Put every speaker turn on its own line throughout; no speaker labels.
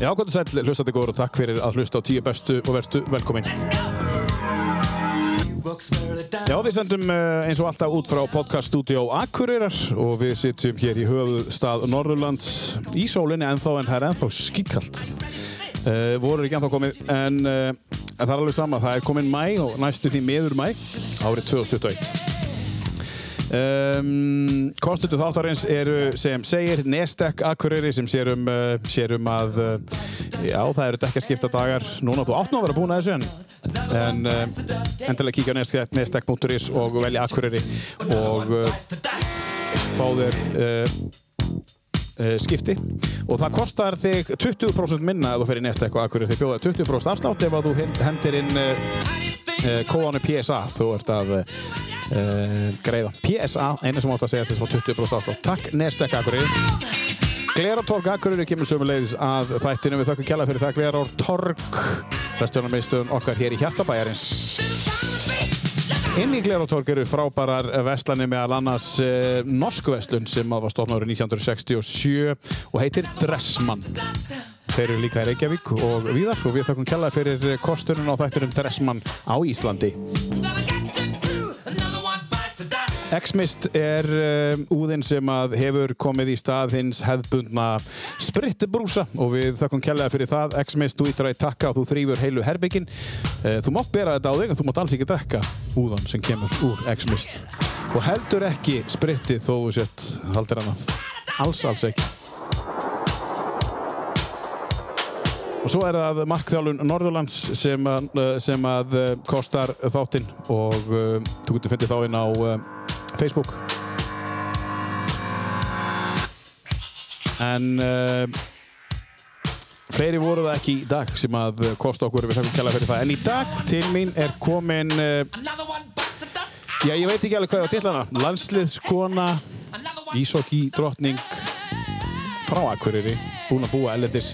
Já, gott og sæl, hlustandi góður og takk fyrir að hlusta á tíu bestu og vertu velkomin. Já, við sendum eh, eins og alltaf út frá podcaststudió Akureyrar og við sittum hér í höfuðstað Norðurlands í sólinni ennþá en það er ennþá skýtkalt. Uh, voru ekki ennþá komið en uh, það er alveg sama, það er komin mæ og næstu því meður mæ árið 2021. Um, Kostendur þáttarins eru sem segir Nestek Akureyri sem sér um, uh, sér um að uh, já, það eru dekkaskipta dagar núna þú átt nú að vera búin að þessu en, en uh, endilega kíkja á Nestek- nestek.is og velja Akureyri og uh, fá þér uh, uh, skipti og það kostar þig 20% minna ef þú fer í Nestek og Akureyri þig bjóða 20% afslátt ef að þú hen- hendir inn uh, uh, kóðanu PSA þú ert að uh, greiða PSA, einu sem átt að segja þess að 20% afslátt takk Nestek Akureyri Gleratorg Akureyri kemur sömuleiðis að þættinu við þökkum kjalla fyrir það Gleratorg restjónarmiðstöðun okkar hér í Hjartabæjarins Inn í Gleratorg eru frábærar veslanir meðal annars eh, norsk veslun sem að var stofna árið 1967 og heitir Dressmann Þeir eru líka í Reykjavík og víðar og við þökkum kjalla fyrir kostunum á þættinum Dressmann á Íslandi X-Mist er um, úðinn sem að hefur komið í stað hins hefðbundna spritbrúsa og við þakkum kjærlega fyrir það X-Mist, þú ítur að í takka og þú þrýfur heilu herbyggin uh, Þú mátt bera þetta á þig en þú mátt alls ekki drekka úðan sem kemur úr X-Mist og heldur ekki spritið þó þú sett haldir annað Alls, alls ekki Og svo er það markþjálun Norðurlands sem að, sem að eh, kostar þáttinn og eh, þú getur fundið þá inn á eh, Facebook. En uh, fleiri voru það ekki í dag sem að eh, kosta okkur við þakkum kjalla fyrir það. En í dag til mín er komin, uh, já ég veit ekki alveg hvað ég á tillana, landsliðskona, ísokki, drottning, frá Akureyri, búin að búa ellendis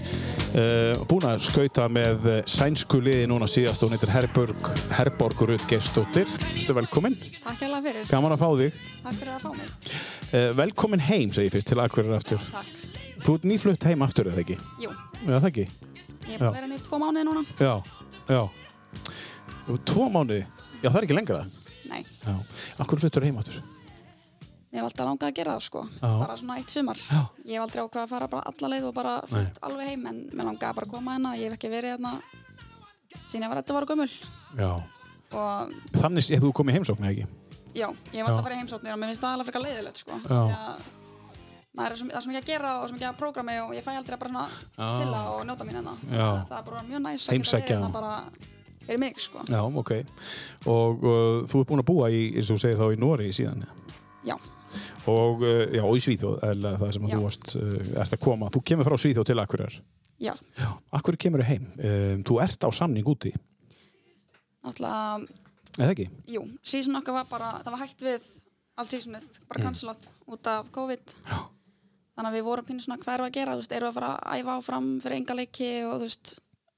uh, búin að skauta með eh, sænsku liði núna síðast og hún heitir Herborg, Herborg Rut Geistóttir Vistu velkomin,
Takk hjá fyrir,
gaman að fá þig
takk fyrir að fá mig
uh, Velkomin heim, segi ég fyrst, til Akureyri aftur
Takk,
Þú ert nýflutt heim aftur, eða ekki?
jú,
Eða það ekki?
ég er búin
Já.
að vera með tvo mánuði núna
Já, já Þú ert Tvo mánuði, já það er ekki lengra
Nei,
Já, akkur fluttur heim aftur
ég hef alltaf langað að gera það sko
Já.
Bara svona eitt sumar
Já.
Ég hef aldrei ákveð að fara bara alla leið og bara flutt alveg heim En mér langaði bara að koma hérna, ég hef ekki verið hérna Sín ég var þetta var gömul
Já
Og
Þannig sé þú komið heimsókn, eða ekki?
já, ég hef alltaf farið heimsóknir og mér finnst það alveg frekar leiðilegt sko
Já.
Því að Maður er svo, það er svo mikið að gera og svo mikið að prógrami og ég fæ aldrei að bara svona
Já.
chilla og njóta mín hérna.
Já.
Það er bara mjög næs að geta
Heimsækja.
verið hérna bara fyrir mig sko.
Já, ok Og uh, þú ert búin að búa í, eins og þú segir þá, í Nóri síðan, eða?
Já,
og uh, já, og í Svíþjóð eða það sem að
Já.
þú varst, uh, ert að koma þú kemur frá Svíþjóð til Akureyrar
já.
Akureyri kemur heim, um, þú ert á samning úti
Náttúrulega
eða ekki?
Jú, sísun okkar var bara, það var hægt við all sísunnið, bara cancelað út af COVID. Já. Þannig að við vorum pínu svona hvað erum við að gera, þú veist, erum við að fara að æfa áfram fyrir enga leiki og þú veist,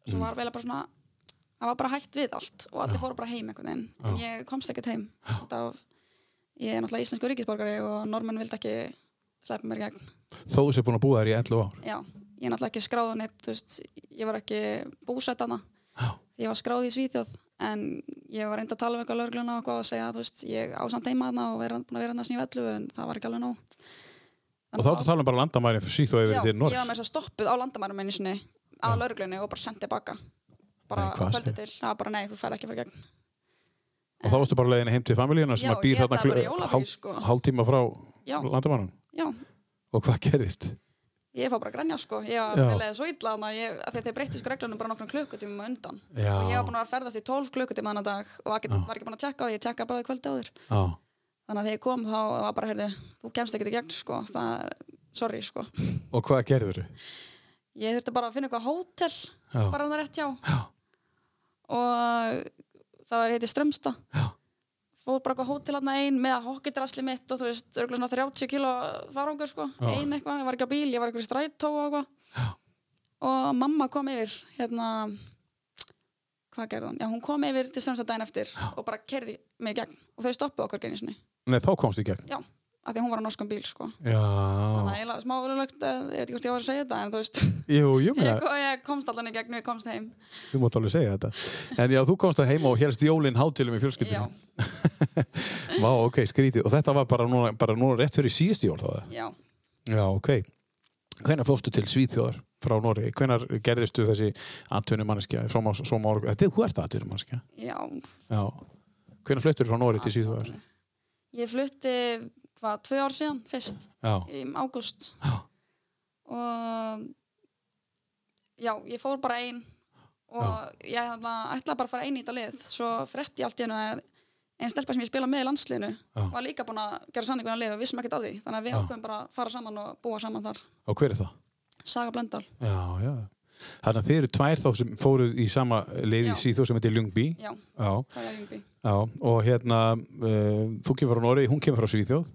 svo var vel bara svona, það var bara hægt við allt og allir fóru bara heim einhvern veginn. En ég komst ekkert heim út af, ég er náttúrulega íslensku ríkisborgari og normenn vildi ekki sleppa mér í gegn.
þó þú sér búin að búa þær í 11 ár
Já, ég er náttúrulega ekki skráðan eitt, þú veist, ég var ekki búsett hana.
Já.
Ég var skráð í Svíþjóð, en ég var reynd að tala um eitthvað lögregluna og eitthvað og segja, þú veist, ég ásand heima hana og vera búin að vera hana sem ég vellu, en það var ekki alveg nóg.
og þá ertu að tala um bara landamæri fyrir Svíþjóð
Já,
yfir til
ég var
Norris
með þess að stoppuð á landamærum einu sinni að lögreglunni og bara sendið baka.
Nei,
Bara nei,
hvað
kvöldi
segir?
til, það var bara nei, þú fær ekki fyrir gegn.
og þá ertu bara leiðin heim til familíuna sem
Já,
að býr
ég
þarna
ætlaði bara í
klu-
jólafrí,
hálf-
sko.
hálftíma frá
Já.
landamænum
Já,
og hvað gerðist?
ég fór bara að grenja, sko. Ég var
Já.
með leið svo illa hana, ég, af því að þeir breytti sko reglunum bara nokkrum klukkutímum á undan.
Já.
Og ég var búin að vera að ferðast í 12 klukkutíma hana dag og var ekki,
Já.
var ekki búin að tjekka á því, ég tjekkaði bara kvöldi áður.
Já.
þannig að þegar ég kom þá var bara, heyrðu, þú kemst ekkert í gegn sko, það er, sorry sko
og hvað gerður?
ég þurfti bara að finna eitthvað hótel
Já.
bara hann rétt hjá
Já.
og það var heiti Strömsta
Já.
fór bara eitthvað hótel hann einn með hokkidrasli mitt og þú veist, örgulega svona 30 kíló farangur sko,
Já.
ein eitthvað, ég var ekki á bíl ég var eitthvað í strætó og eitthvað
Já.
og mamma kom yfir hérna hvað gerði hún? Já, hún kom yfir til Strömsta daginn eftir og bara kerði mig í gegn og þau stoppuðu okkur genið sinni
Nei, þá komst í gegn
Já, að því hún var á norskum bíl sko þannig
Já.
að eiginlega smá ölulegt ég veit ekki hvort ég var að segja þetta en þú veist
Jú, jú, meina,
ég, ég komst allan í gegn og ég komst heim
þú mátt alveg segja þetta. En já, þú komst að heima og helst jólinn hátilum í
já,
fjölskyldinu. Vá, ok, skrítið. Og þetta var bara núna, bara núna rétt fyrir síðustu jól þá það?
já,
Já, ok. Hvenær fórstu til Svíþjóðar frá Nóri? Hvenær gerðistu þessi atvinnumanneskja? Svo má, svo má, þetta er hú ert atvinnumanneskja.
já
Já. Hvenær fluttur frá Nóri til Svíþjóðar?
ég flutti hvað, tvö ár síðan fyrst
Já.
í ágúst
Já.
og já, ég fór bara ein og ég ætla- ætlaði bara að fara ein í þetta lið svo frétti ég allt í hennu að einn stelpa sem ég spila með í landsliðinu
Já.
var líka búin að gera sanninguna lið og vissum ekkert að því þannig að við
Já.
ákveðum bara að fara saman og búa saman þar
Og hver er það?
Saga Blöndal,
Já, já. Þannig að þið eru tvær þá sem fóruð í sama leið í
Já.
Svíþjóð sem heitir Ljungby.
já,
Já.
það er Jungby
Já, og hérna, uh, þú kemur frá Noregi, hún kemur frá Svíþjóð.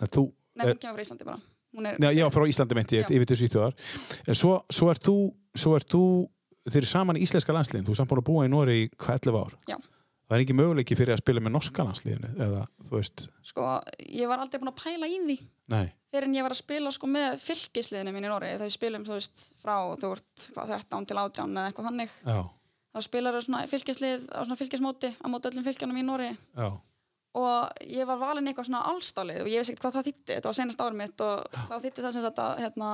En Þú,
Nei, hún kemur frá Íslandi bara Hún er,
já, já, frá Íslandi meinti ég,
Já.
yfir til Svíþjóðar. En svo, svo ert þú, svo ert þú, þeir eru saman í íslenska landsliðin, þú er samt búin að búa í Noregi í hvað 11 ár.
Já.
Það er ekki möguleiki fyrir að spila með norska landsliðinu, eða, þú veist,
sko, ég var aldrei búin að pæla í því
nei,
fyrir en ég var að spila sko með fylkisliðinu mín í Nóri þegar við spilum, þú veist, frá þú ert hvað, 13 til 18 eða eitthvað þannig
já,
þá spilar þau svona fylkislið á svona fylkismóti á móti öllum fylkjanum í Nóri
já,
og ég var valin í eitthvað svona allstálið og ég veist ekkert hvað það þýtti, þetta var senast árum mitt og þá þýtti það sem þetta hérna,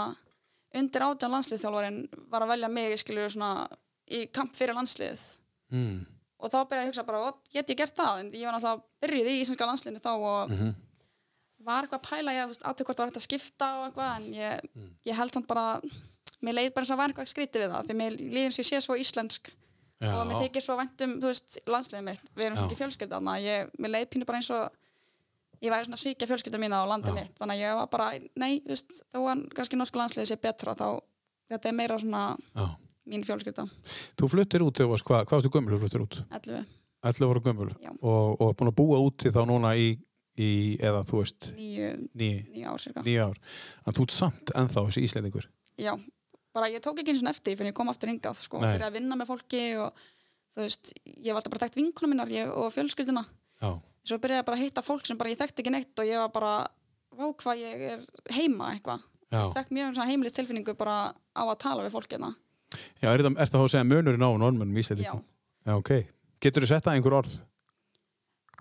undir átján landsliðþjálfarin var að velja mig skilur svona í kamp fyrir landslið
mm,
og þá byrjaði ég að hugsa bara, "What, get ég gert það en ég var náttúrulega byrjuð í íslenska landsliðinu þá og
mhm,
var eitthvað að pæla, ég aðtöku hvort það var hægt að skipta og eitthvað en ég,
Mm.
ég held samt bara mér leið bara eins og var eitthvað skrítið við það því mér líður sem ég sé svo íslensk
já,
og mér þykir svo vænt um, þú veist, landsliðið mitt við erum
Já.
svo ekki fjölskylda þannig að ég, mér leið pínu bara eins og ég væri svona að svíkja fjölskylda mína og landið
Já.
mitt þannig að ég var bara, nei, þú veist þó að kannski norsku landsliðið sé betra þá þetta er meira svona
já.
mín fjölskylda
Þú fluttir út, þegar þú varst, hvað, hvað varstu gömul, þú fluttir út?
11,
11 ára gömul
Já.
og, og búin að búa úti þá núna í, í eða þú veist,
9,
ný,
9 ár cirka
nýja ár en þú ert samt ennþá þessi Íslendingur
já, bara ég tók ekki eins og eftir fyrir ég kom aftur hingað, sko,
Nei.
byrjaði að vinna með fólki og þú veist, ég var alltaf bara þekkt vinkunum minnar ég, og fjölskylduna,
já,
svo byrjaði ég bara að hitta fólk sem bara ég þekkti ekki neitt og ég var bara vá hvað ég er heima eitthvað
já.
Þú veist, fekk mjög svona heimilist tilfinningu bara á að tala við fólk hérna
já er þetta þá að segja munurinn á normannum
já,
Íslendingum? Já, ok, getur þú sett að einhver orð?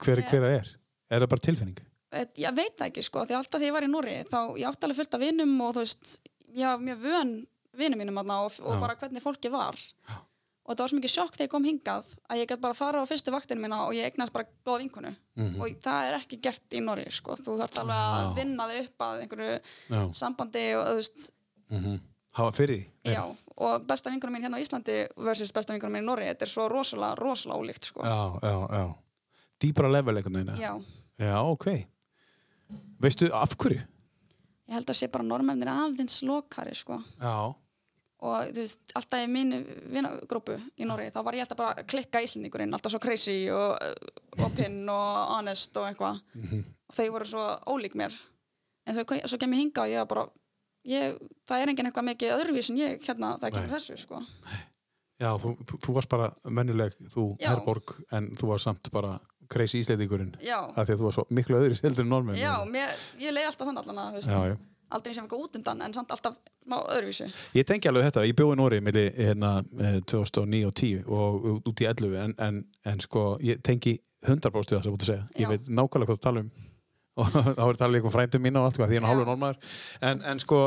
Hver,
Ég-
hver það er? Er það bara tilfinning?
Et- ég veit það ekki sko, því alltaf þegar ég var í Núri þá ég átti alveg fullt af vinum og þú veist ég var mjög vön vinum mínum hérna og,
Já.
og bara hvernig fólki var og það var svo mikið sjokk þegar ég kom hingað að ég gætt bara að fara á fyrstu vaktinu mína og ég eignast bara góða vinkonu
Mhm.
og það er ekki gert í Nóri sko. þú þarft alveg að
Já.
vinna þig upp að einhverju
Já,
sambandi og þú veist
mhm. hafa fyrir því?
Já, og besta vinkunum mín hérna á Íslandi versus besta vinkunum mín í Norri, þetta er svo rosalega, rosalega ólíkt, sko.
Já, já, já Dýbra level einhvern veginn? eða?
Já,
já, ok Veistu af hverju?
ég held að sé bara normennir aðeins lokari, sko.
Já,
Og þú veist, alltaf í mínu vinagrópu í Norri, þá var ég alltaf bara að klikka íslendingurinn, alltaf svo crazy og uh, opinn og honest og eitthvað.
Mhm.
Og þau voru svo ólík mér. En þau, svo kem ég hinga og ég var bara, ég, það er enginn eitthvað mikið öðruvís en ég hérna það
Nei.
kemur þessu, sko.
já þú, þú, þú varst bara mennileg, þú
Já.
herborg en þú var samt bara crazy Íslendingurinn
Já,
af því að þú var svo miklu öðru seldur en normenn
já, mér, ég leið alltaf þann allan að, þú veist.
já, já.
aldrei sem eitthvað út undan en samt alltaf má öðruvísi
Ég tengi alveg þetta, ég bjóði í Nóri milli hérna, eh, 2009 og 10 og uh, út- út í 11 en, en, en sko, ég tengi 100% við það sem þú búið að segja, ég
Já.
veit nákvæmlega hvað þú tala um og þá er talað líka um frændum mína og allt hvað, því ég er
Já.
hálfur normaður en, en sko,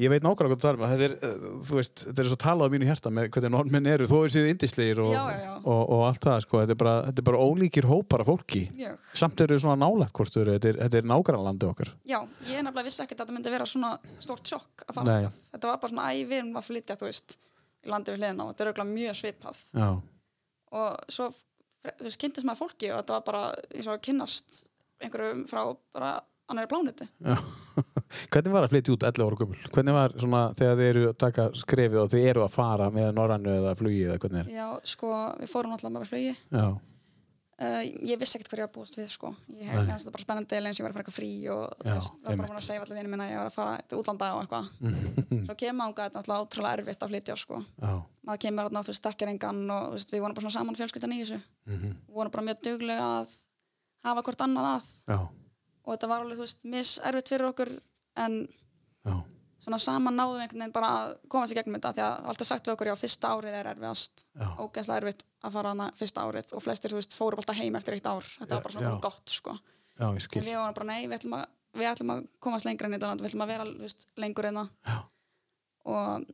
ég veit nákvæmlega hvað þú tala um þetta er, eh, þú veist, þetta er svo talað á mínu hjarta með hvernig normenn eru, þó er síðu indislegir og,
Já, já, já.
Og, og allt það, sko, þetta er bara, þetta er bara ólíkir hópar af fólki
mjög
samt eru þau svona nálægt hvort þau eru, þetta er, þetta er nágrannlandi okkar
já, ég er nefnilega vissi ekkert að þetta myndi vera svona stort sjokk að fara
Nei.
þetta þetta var bara svona, æ, við erum að flytja, þú veist í landi við hliðina og þetta er auðvitað mjög svipað
Já,
og svo, þú veist, kynntist maður fólki og þetta var bara eins og að kynnast einhverjum frá bara annari plánuti
Já. Hvernig var að flytja út 11 ára gömul? Hvernig var svona þegar þið eru að taka skrefið og þið eru að fara með norrannu eða flugi eða hvernig er?
já, sko, við fórum alltaf bara flugi
Já,
Uh, ég vissi ekkert hvað ég var að búast við sko ég hef
Nei.
það bara spennandi eins og ég var að fara eitthvað frí og þú
Já,
veist, var
einmitt.
bara
Mm.
búin að segja allir vinni minna að ég var að fara til útlanda og eitthvað svo kemur ánga þetta er náttúrulega ótrúlega erfitt að flytja sko
já,
maður kemur þarna, þú veist, þekkir engan og þú veist, við vorum bara svona saman fjölskyldan í þessu
mhm,
vorum bara mjög duglega að hafa hvort annað að
já,
og þetta var alveg, þú veist, miserfitt fyrir okkur en
Já.
svona saman náðum við einhvern veginn bara að komast í gegnum þetta því að það var alltaf sagt við okkur, já, fyrsta árið er erfiðast
Já.
ógeðslega erfitt að fara hana fyrsta árið og flestir, þú veist, fórum alltaf heim eftir eitt ár þetta var bara svona
já.
gott, sko
Já, ég skil.
en við varum bara, nei, við ætlum að, við ætlum að komast lengra inn í þetta land, við ætlum að vera, þú veist, lengur en það
Já.
og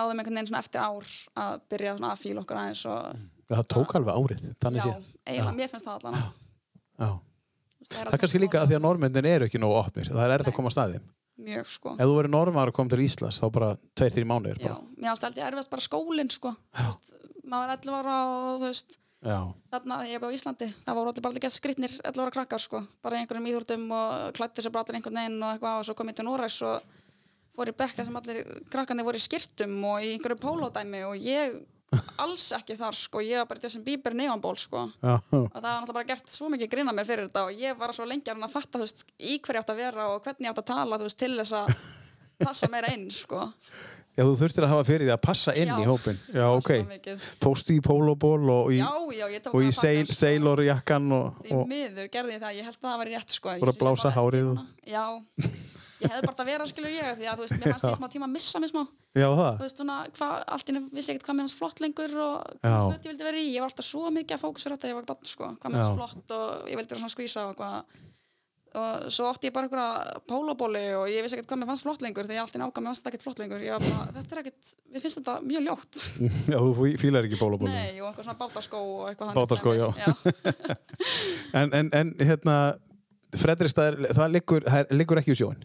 náðum einhvern veginn svona eftir ár að byrja svona að fíla okkur aðeins og
Það tók alveg árið, Mm. þannig
já,
séð.
eiginlega,
Já.
mér finnst það allan
Já. Það er kannski líka að því að normennin eru ekki nógu opnir. Það er erfitt að
Nei.
koma að staði.
mjög sko
Ef þú verður normar að koma til Íslands, þá bara tveir, þrjir mánuðir.
já,
bara.
mér ást alltaf erfiðast bara skólinn sko Þú veist, maður var 11 ára og þú veist
Já.
þarna þegar ég bjóð í Íslandi það voru allir bara allir gett skritnir 11 ára krakkar sko bara í einhverjum íþjórtum og klættu sér bara allir einhvern veginn og eitthvað og svo kom ég til Noregs og fór í bekka sem allir krakkandi voru í skirtum og í einhverju pólódæmi og ég alls ekki þar sko ég var bara í þessum bíber neonból sko
Já.
og það var náttúrulega bara gert svo mikið grinna mér fyrir þetta og ég var svo lengi að reyna að fatta þú veist, í hverju ég átt að vera og hvernig ég átt að tala þú veist, til þess að passa meira inn sko.
Já, þú þurftir að hafa fyrir því að passa inn
Já.
í hópin. Já, ok.
Alltaf mikið.
Fóstu í pólóból og í,
já, já, ég tók
og
það
í
að
sail,
fatta, sko.
sailor jakkan og,
Því
og
miður gerði ég það, ég held að það væri rétt sko. Ég
Bara
sé
blása
bara eftir
hárið og-
núna. Já, ég hefði bara átt að vera skilur ég því að þú veist, mér fannst ég smá tíma að missa mér smá þú
já, það.
veist, svona, hva, allt inni vissi ég ekkert hvað mér fannst flott lengur og
Já.
hvað föt ég vildi vera í, ég var alltaf svo mikið að fókusur þetta, ég var bara, sko, hvað mér
Já.
fannst flott og ég vildi vera svona skvísa og hvað og svo ótti ég bara einhverja pólóbóli og ég vissi ekkert hvað mér fannst flott lengur þegar ég alltaf nákvæm, mér fannst þetta ekkert flott lengur ég var bara, þetta er ekkert, mér finnst þetta mjög ljótt
Já, þú fí- fílar ekki pólóból.
nei, og einhver svona bátaskó og eitthvað þannig
Bátaskó,
dæmi.
já. En, en, en hérna, Fredrikstad, það liggur, það liggur ekki í sjóin.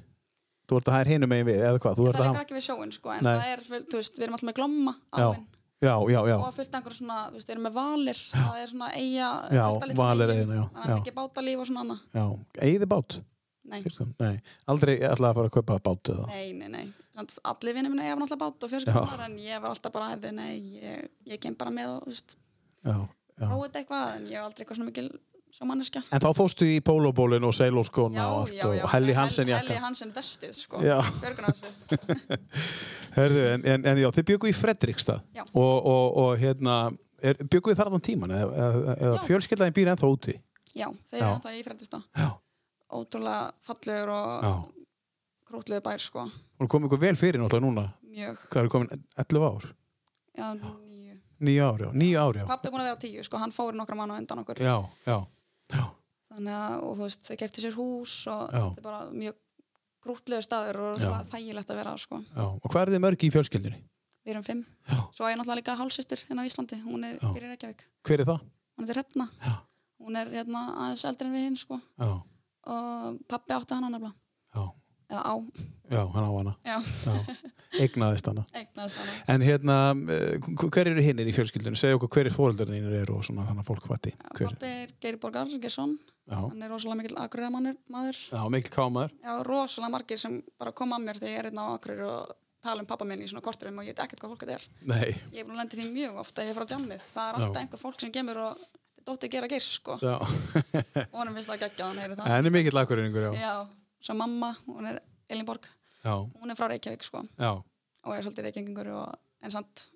Þú ert að hæra hinum megin við, eða hvað? Þú ert að
það liggur
hafa...
ekki við sjóin sko, en
Nei.
það er, full- þú veist, við erum alltaf með glomma
Já,
áin
já, já, já.
og fullt af einhverju svona, þú veist, við erum með valir það er svona eiga,
Já,
fullt af litlum
Valir
eyjum,
eyjuna, já,
þannig að
já.
mikið bátalíf og svona annað
já. Eyði bát?
nei,
Kristján? Nei, aldrei ætlaði að fara að kaupa bát eða?
nei, nei, nei Samt, allir vinnir minna, ég var náttúrulega bát og fjörskapar en ég var alltaf bara, heyrðu, nei, ég, ég kem bara með og, þú veist,
Já, já.
prófa þetta eitthvað en ég var aldrei eitthvað svona mikil sjómanneskja
En þá fórstu í pólóbólinn og seilóskona
já,
og
já,
allt og
já,
Helli Hansen
Helli
jakka.
Hansen vestið, sko,
Já.
björgunarvestið
Herðu, en, en, en já, þið byggu í Fredrikstad
Já.
og, og, og hérna, er, byggu þið þar þann tíman eða, eða, eða
Já.
fjölskyldaðin býr ennþá úti?
já, þau
Já.
eru ennþá í fredist þá
Já.
ótrúlega fallegur og
Já.
krótlegur bær, sko,
Og kom ykkur vel fyrir náttúrulega núna,
mjög
hvað er komin 11 ár?
já, níu
Níu ár, já, níu ár, já.
pappi er búin að vera tíu, sko, hann fór nokkra mann á undan okkur
Já, já, já,
þannig að, og þú veist, þau kefti sér hús og
Já.
þetta er bara mjög grútlegu staður og
Já.
svona þægilegt að vera, sko
já. Og hvað er þið mörg í fjölskyldinni?
við erum fimm,
Já.
svo er ég náttúrulega líka hálsistur hérna á Íslandi, hún er
Já.
býr í Reykjavík
Hver er það?
hún er til Hrefna,
Já.
hún er hérna aðeins eldri en við hinn, sko
Já,
og pappi átti hana nefnilega,
já,
eða á
já, hann á hana.
já,
Já, eignaðist hana.
eignaðist hana
En hérna, eh, hver- hver eru hinnir í fjölskyldunum? Segðu okkur hverju fóreldarnir eru og svona þannig að fólk fatti. Hver?
pappi er Geirborgar, Geirsson
Já,
hann er rosalega mikill akureyra mannur- maður
já mikil kámaður.
já, rosalega margir sem bara koma að mér þegar ég er hérna á akureyri og tala um pappa minn í svona korturum og ég veit ekkert hvað fólk þetta er
Nei,
ég er búin að lenda í því mjög ofta að ég fara á djammið það er
Já.
alltaf einhver fólk sem kemur og þetta er dóttir gera geir sko
já.
og honum finnst það geggja hann heyri það
En er mikill akkurinningur, já.
já, svo mamma, hún er Elinborg
Já,
hún er frá Reykjavík sko
já,
og er svolítið Reykjavíkingur og en samt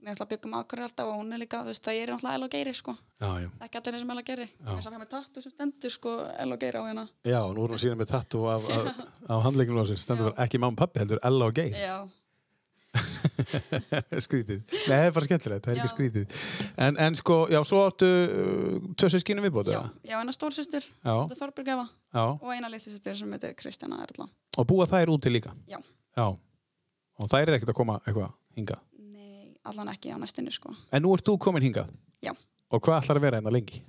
ég ætla að byggum akkur alltaf og hún er líka þú veist það er alltaf El og Geiri sko
já, já.
ekki allir sem El og Geiri ég sá með tattu sem stendur sko El og Geiri á hérna
Já, nú erum við að sína með tattu af, af, af handleikinu á sér, stendur bara ekki mamma og pappi, heldur Ella og Geir,
já,
skrítið. Nei, það er bara skemmtilegt, það er ekki
Já.
skrítið. En, en sko, já, svo áttu uh, tvö sískinu viðbótið?
já, já en að stórsýstur
Já,
Þorbjörgefa
já,
og eina litlisýstur sem heitir Kristjana Erla
og búa þær úti líka?
Já.
Já, og þær er ekkert að koma eitthvað hingað.
nei, allan ekki á næstinni sko
En nú ert þú komin hingað?
Já.
Og hvað ætlar að vera hérna lengi?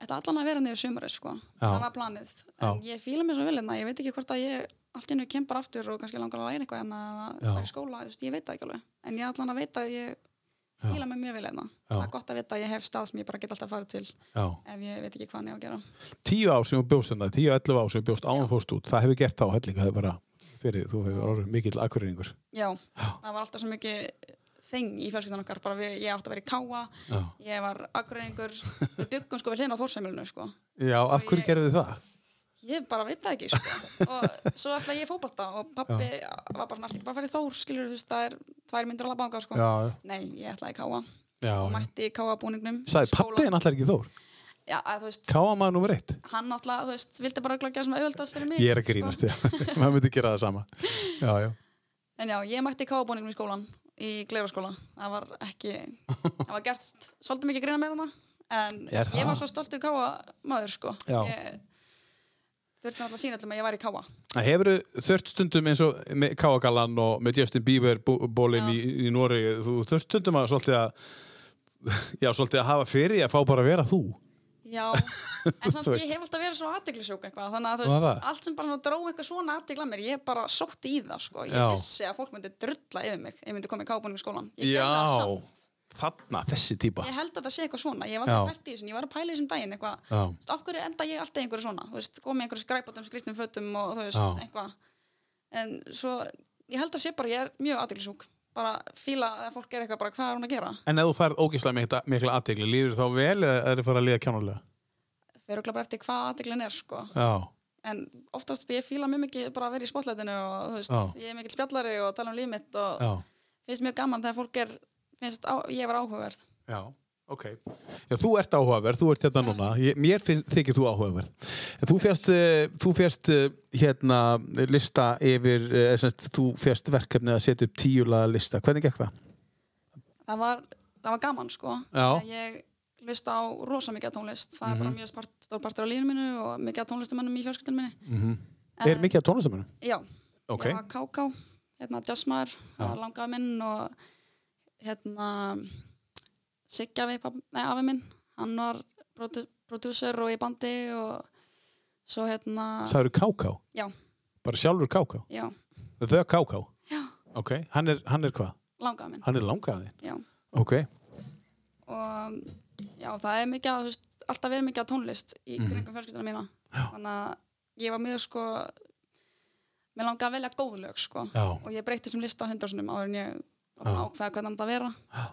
Þetta allan að vera niður sumarið sko Það var planið En ég fíla mér svo vel en ég veit ekki hvort að ég allt í hennu kemur aftur og kannski langar að læra eitthvað en að
Já.
það er í skóla, þú veist, ég veit það ekki alveg En ég allan að veit að ég
Já.
fíla mér mjög vel en það er gott að vita að ég hef stað sem ég bara get alltaf að fara til
Já.
ef ég veit ekki hvað hann ég á að gera
Tíu ár sem þú bjóst hérna, tíu, ellu ár sem þú bjóst áðan fórst út, það hefur gert þá helling, það er bara fyrir, þú hefur orðið mikill akkurinningur.
Já, það var alltaf svo mikið þeng í fjölskyldan okkar, bara við, ég átti að vera í káa
Já.
ég var akkuræðingur við byggum sko við hlina á þórseimilinu sko
Já, af hverju
ég-
gerðu þið það?
ég bara veit það ekki sko. og svo ætla ég í fótbolta og pappi var bara svona "Ertu ekki bara að fara í þór skilur þú veist það er tvær myndur að labba ánga sko.
Já,
nei ég ætlaði í káa
já.
og mætti í káa búningnum
Sæði
Skóla-
pappiðin allar ekki Þór?
já, að, þú veist,
Káa maður nummer eitt.
hann náttúrulega, þú veist, vildi bara örugglega gera sem auðvöldast fyrir mig sko.
Ég er að grínast, já. maður myndi gera það sama. Já, já.
En já, ég mætti káabúningum í skólan í gleiraskóla, það var ekki það var gert svolítið mikið greina með hana en
Er
ég var
það?
svo stoltur káa maður sko
Já.
ég þurfti náttúrulega að sína öllum að ég væri káa
En hefur þurft stundum eins og með Káagallan og með Justin Bieber bú- bólinn í, í Nóri, þú þurft stundum að svolítið að, já, svolítið að hafa fyrir því að fá bara að vera þú.
já, en samt
Þú veist.
ég hef alltaf verið svo aðteglisjók eitthvað, þannig að þú
Var
veist
það?
allt sem bara svona dró eitthvað svona aðtegla mér ég bara sótti í það sko, ég
Já.
vissi að fólk myndi drulla yfir mig, ég myndi koma í káabúningum í skólan ég gerði það
Já,
samt.
þarna, þessi típa.
ég held að það sé eitthvað svona, ég var alltaf
Já.
pælt í þessu en ég var að pæla í þessum daginn eitthvað
Já.
Þú veist, af hverju enda ég alltaf í einhverju svona þú veist, komið einhverju skræpatum, skrýtnum fötum og þú veist,
Já.
eitthvað en svo, ég held að sé bara, ég er mjög aðdeglisúk bara fíla að fólk er eitthvað bara, hvað er hún að gera
En ef þú færð ógislega mikla, mikla aðtegli, líður þá vel eða er það farið að líða kjánulega?
þau eru bara eftir hvað aðdeglin er, sko
Já,
en oftast ég fíla mjög mikið bara að vera í spotlætinu og þú veist,
Já.
ég er mikil spjallari og tala um líf mitt og
já,
finnst mjög gaman þegar fólk er, finnst á, ég var áhugaverð
já. Ok. Já, þú ert áhugaverð, þú ert hérna núna. Ég, mér finn, þykir þú áhugaverð. En þú fjast, þú fjast hérna lista yfir, eh, sem sagt, þú fjast verkefni að setja upp tíulaða lista. Hvernig gekk það?
það var, það var gaman sko
Já. Mhm.
Þegar ég lusta á rosa mikið af tónlist það er bara mjög spart, stór partur á lífinu mínu og mikið af tónlistamönnum í fjölskyldinu minni
Er mikið af tónlistamönnum?
já,
Ok.
Eh, ég var K.K. hérna Jazzmaður, það var langaði minn og hérna Siggi afi, pab- nei, afi minn hann var produ prodúser og í bandi og svo hérna
Það eru Káká,
já,
bara sjálfur Káká.
já,
The Káká.
já,
Ok. Hann er, hann er hvað?
langaði minn
Hann er langaðinn.
já,
Ok.
og já, það er mikið að, þú veist, alltaf verið mikið að tónlist í kringum fjölskylduna mína
Mhm. Já.
þannig að ég var mjög sko mér langaði að velja góð lög sko
Já.
og ég breyti sem lista hundarsunum áður en ég
Já.
ákveða hvernig það vera
Já.